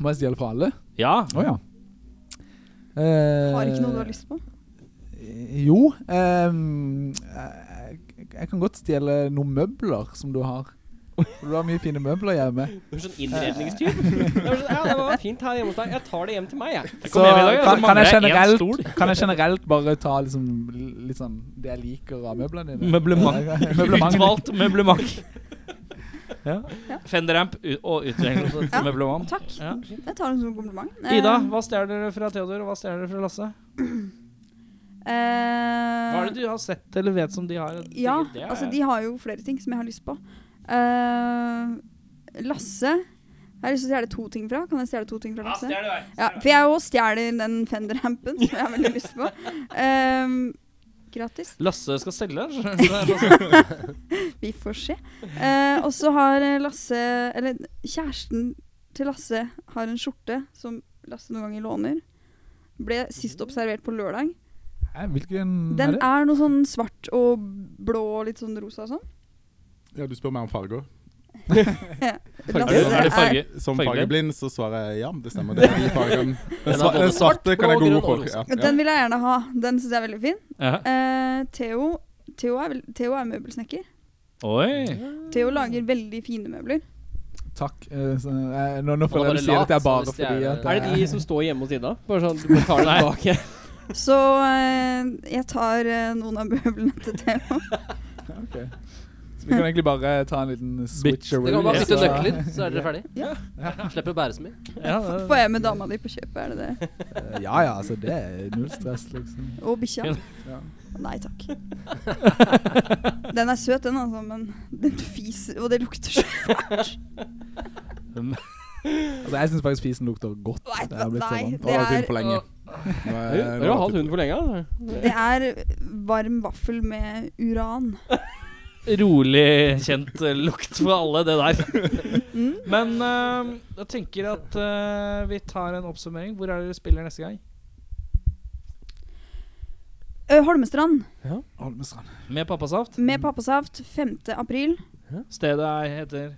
[SPEAKER 7] Må jeg stjele fra alle?
[SPEAKER 2] Ja.
[SPEAKER 7] Å ja. Eh,
[SPEAKER 5] Har ikke noe du har lyst på?
[SPEAKER 7] Jo. ehm, jeg, jeg kan godt stjele noen møbler som du har. For du har mye fine møbler hjemme.
[SPEAKER 1] Du er sånn innredningstyv. Det var sånn, Ja, det var fint her hjemme hos deg. Jeg tar det hjem til meg, jeg.
[SPEAKER 7] Så
[SPEAKER 2] hjem i dag, ja, så
[SPEAKER 7] kan, kan,
[SPEAKER 2] mangler
[SPEAKER 7] jeg
[SPEAKER 2] jeg en
[SPEAKER 7] generelt,
[SPEAKER 2] stol.
[SPEAKER 7] kan jeg generelt bare ta liksom, l- litt sånn det jeg liker av møblene dine?
[SPEAKER 2] Møblement.
[SPEAKER 7] Ja, ja, Møblement.
[SPEAKER 2] Utvalt møblement.
[SPEAKER 7] Ja.
[SPEAKER 2] Fenderamp u- og utvikling
[SPEAKER 5] Ja.
[SPEAKER 2] til møblement.
[SPEAKER 5] Takk.
[SPEAKER 2] Ja.
[SPEAKER 5] Jeg tar den som en kompliment.
[SPEAKER 2] Ida,
[SPEAKER 5] Eh,
[SPEAKER 2] hva stjeler du fra Theodor, og hva stjeler du fra Lasse? Hva er
[SPEAKER 5] eh,
[SPEAKER 2] det du har sett eller vet som de har? Jeg tenker,
[SPEAKER 5] Ja,
[SPEAKER 2] det er-
[SPEAKER 5] altså de har jo flere ting som jeg har lyst på. Eh, Lasse Jeg har lyst til å stjele to ting fra. Kan jeg stjele to ting fra
[SPEAKER 2] Ja,
[SPEAKER 5] Lasse?
[SPEAKER 2] stjel det, vei.
[SPEAKER 5] Ja, for jeg òg stjeler den Fender-hampen som jeg har veldig lyst på. Eh, gratis.
[SPEAKER 2] Lasse skal selge den. skjønner du?
[SPEAKER 5] Vi får se. Eh, og så har eh, Lasse Eller kjæresten til Lasse har en skjorte som Lasse noen ganger låner. Ble sist
[SPEAKER 2] Mm.
[SPEAKER 5] observert på lørdag.
[SPEAKER 7] Hæ, Eh, Hvilken er
[SPEAKER 5] Den
[SPEAKER 7] det?
[SPEAKER 5] er noe sånn svart og blå og litt sånn rosa og sånn.
[SPEAKER 6] Ja, du spør meg om farger.
[SPEAKER 2] Er det, er det farge?
[SPEAKER 6] Som
[SPEAKER 2] Fargeblind?
[SPEAKER 6] fargeblind så svarer jeg ja, det stemmer. Det er de fargene.
[SPEAKER 2] er
[SPEAKER 6] Den, sva
[SPEAKER 2] både
[SPEAKER 6] den svarte
[SPEAKER 2] svart,
[SPEAKER 6] kan jeg
[SPEAKER 2] blå,
[SPEAKER 6] gå
[SPEAKER 2] grønn
[SPEAKER 6] god for.
[SPEAKER 2] og
[SPEAKER 6] Ja,
[SPEAKER 5] Ja,
[SPEAKER 6] ja.
[SPEAKER 5] Den vil jeg gjerne ha. Den syns jeg er veldig fin.
[SPEAKER 2] Ja.
[SPEAKER 5] Eh, Theo, Theo, er vel, Theo er møbelsnekker.
[SPEAKER 2] Oi.
[SPEAKER 5] Theo lager veldig fine møbler.
[SPEAKER 7] Takk. eh, så, eh, nå,
[SPEAKER 3] var
[SPEAKER 7] nå føler jeg
[SPEAKER 3] det
[SPEAKER 7] du sier at
[SPEAKER 3] lat,
[SPEAKER 7] det er bare
[SPEAKER 3] så hvis
[SPEAKER 7] fordi
[SPEAKER 3] det er-
[SPEAKER 7] at eh,
[SPEAKER 1] Er det de som står hjemme hos Ida? Bare sånn, du må ta det
[SPEAKER 2] Nei.
[SPEAKER 1] tilbake.
[SPEAKER 5] Så eh, jeg tar eh, noen av møblene til Theo.
[SPEAKER 7] Ok. Så vi kan egentlig bare ta en liten switcheroo. liksom.
[SPEAKER 3] Dere kan bare
[SPEAKER 7] og
[SPEAKER 3] bytte
[SPEAKER 7] så-
[SPEAKER 3] nøkler, så er dere ferdig. Slipper å bære så mye.
[SPEAKER 2] Ja,
[SPEAKER 5] F- Får jeg med dama di på kjøpet, er det det?
[SPEAKER 7] Eh, Ja ja, altså det er null stress, liksom.
[SPEAKER 5] Og bikkja.
[SPEAKER 7] Ja.
[SPEAKER 5] Nei takk. Den er søt, den, altså, men den fiser, og det lukter så
[SPEAKER 7] Altså Jeg syns faktisk fisen lukter godt.
[SPEAKER 5] Nei,
[SPEAKER 7] Jeg har blitt så
[SPEAKER 5] nei,
[SPEAKER 7] vant.
[SPEAKER 5] det
[SPEAKER 6] har hatt hund
[SPEAKER 5] er,
[SPEAKER 6] for lenge. Nå
[SPEAKER 1] Du
[SPEAKER 6] er-
[SPEAKER 1] har jo hatt hund for lenge. Altså.
[SPEAKER 5] det er varm vaffel med uran.
[SPEAKER 2] rolig kjent eh, lukt for alle, det der. Men eh, jeg tenker at eh, vi tar en oppsummering. Hvor er det dere spiller neste gang?
[SPEAKER 5] Ø, Holmestrand
[SPEAKER 7] Holmestrand.
[SPEAKER 2] Med pappasaft?
[SPEAKER 5] med pappasaft 5. april.
[SPEAKER 2] Stedet er, heter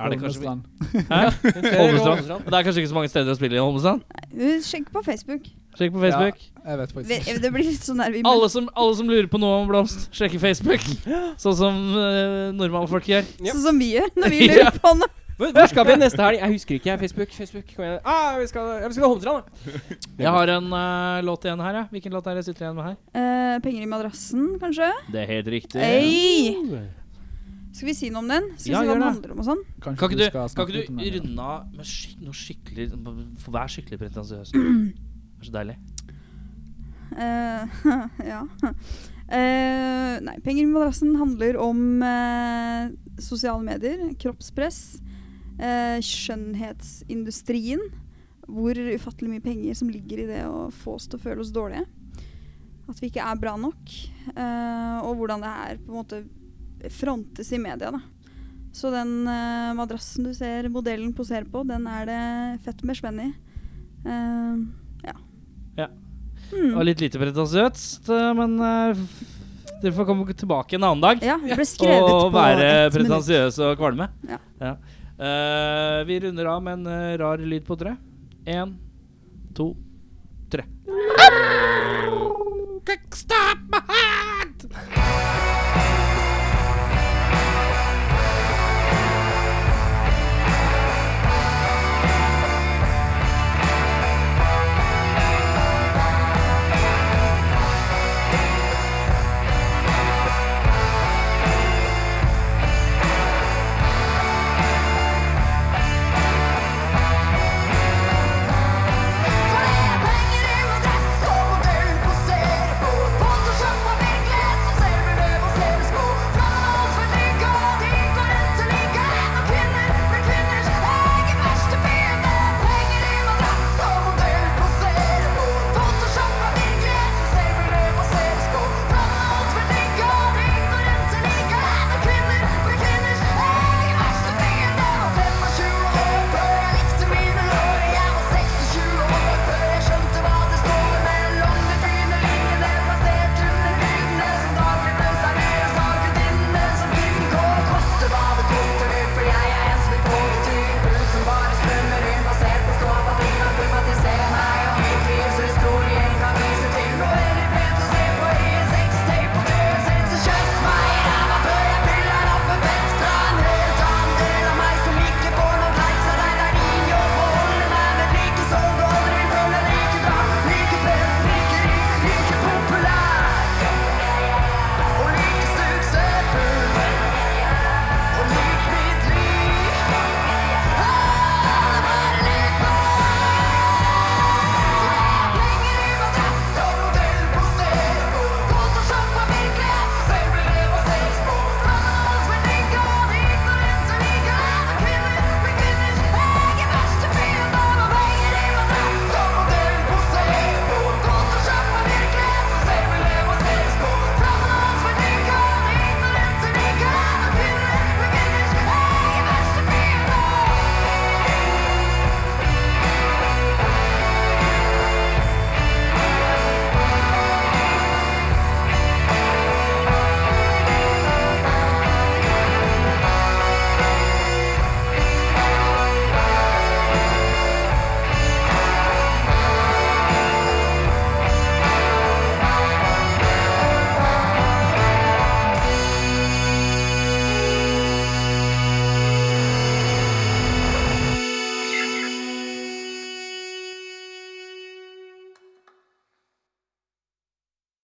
[SPEAKER 2] Er det kanskje
[SPEAKER 7] Holmestrand.
[SPEAKER 2] Hæ? Holmestrand? Det er kanskje ikke så mange steder å spille i Holmestrand?
[SPEAKER 5] Ø, Sjekk på Facebook.
[SPEAKER 2] Sjekk på Facebook.
[SPEAKER 7] Jeg vet faktisk
[SPEAKER 5] Det,
[SPEAKER 7] ikke.
[SPEAKER 5] det blir litt sånn der vi
[SPEAKER 2] Alle, som, alle som lurer på noe om blomst, sjekker Facebook. Sånn som eh, normale folk gjør.
[SPEAKER 5] Sånn som vi gjør når vi lurer på noe.
[SPEAKER 1] Hvor hvor skal vi neste helg? Jeg husker ikke. jeg. Facebook. Facebook, kom igjen. Ah, vi skal, ja, vi skal til Holmestrand, da.
[SPEAKER 2] Jeg har en eh, låt igjen her. Ja. Hvilken låt er det jeg sitter igjen med her?
[SPEAKER 5] Ø, Eh, penger i madrassen, kanskje?
[SPEAKER 2] Det er helt riktig.
[SPEAKER 5] Ei! Skal vi si noe om den? Skal vi
[SPEAKER 2] Ja,
[SPEAKER 5] si hva
[SPEAKER 2] gjør
[SPEAKER 5] den
[SPEAKER 2] det.
[SPEAKER 5] handler om og sånn?
[SPEAKER 7] Kanskje
[SPEAKER 2] Kan ikke du,
[SPEAKER 7] skal
[SPEAKER 2] kan
[SPEAKER 7] snakke litt
[SPEAKER 2] ikke
[SPEAKER 7] om
[SPEAKER 2] du
[SPEAKER 7] det.
[SPEAKER 2] runde av med skik noe skikkelig For Vær skikkelig pretensiøs. Det er så deilig.
[SPEAKER 5] Eh, ja. Eh, nei, penger i madrassen handler om eh, sosiale medier, kroppspress, eh, skjønnhetsindustrien. Hvor ufattelig mye penger som ligger i det å få oss til å føle oss dårlige. At vi ikke er bra nok. eh, og hvordan det her på en måte frontes i media. da. Så den eh, madrassen du ser modellen poserer på, den er det fett med spenn i. Eh, ja.
[SPEAKER 2] Ja. Det
[SPEAKER 5] Hmm.
[SPEAKER 2] var litt lite pretensiøst, eh, men eh, f- dere får komme tilbake en annen dag
[SPEAKER 5] Ja, det ble skrevet
[SPEAKER 2] og
[SPEAKER 5] på
[SPEAKER 2] være
[SPEAKER 5] ett minutt.
[SPEAKER 2] pretensiøse og kvalme.
[SPEAKER 5] Ja.
[SPEAKER 2] Eh, vi runder av med en eh, rar lyd på tre. Én,
[SPEAKER 5] Ah!
[SPEAKER 2] to, tre. Kickstop my heart!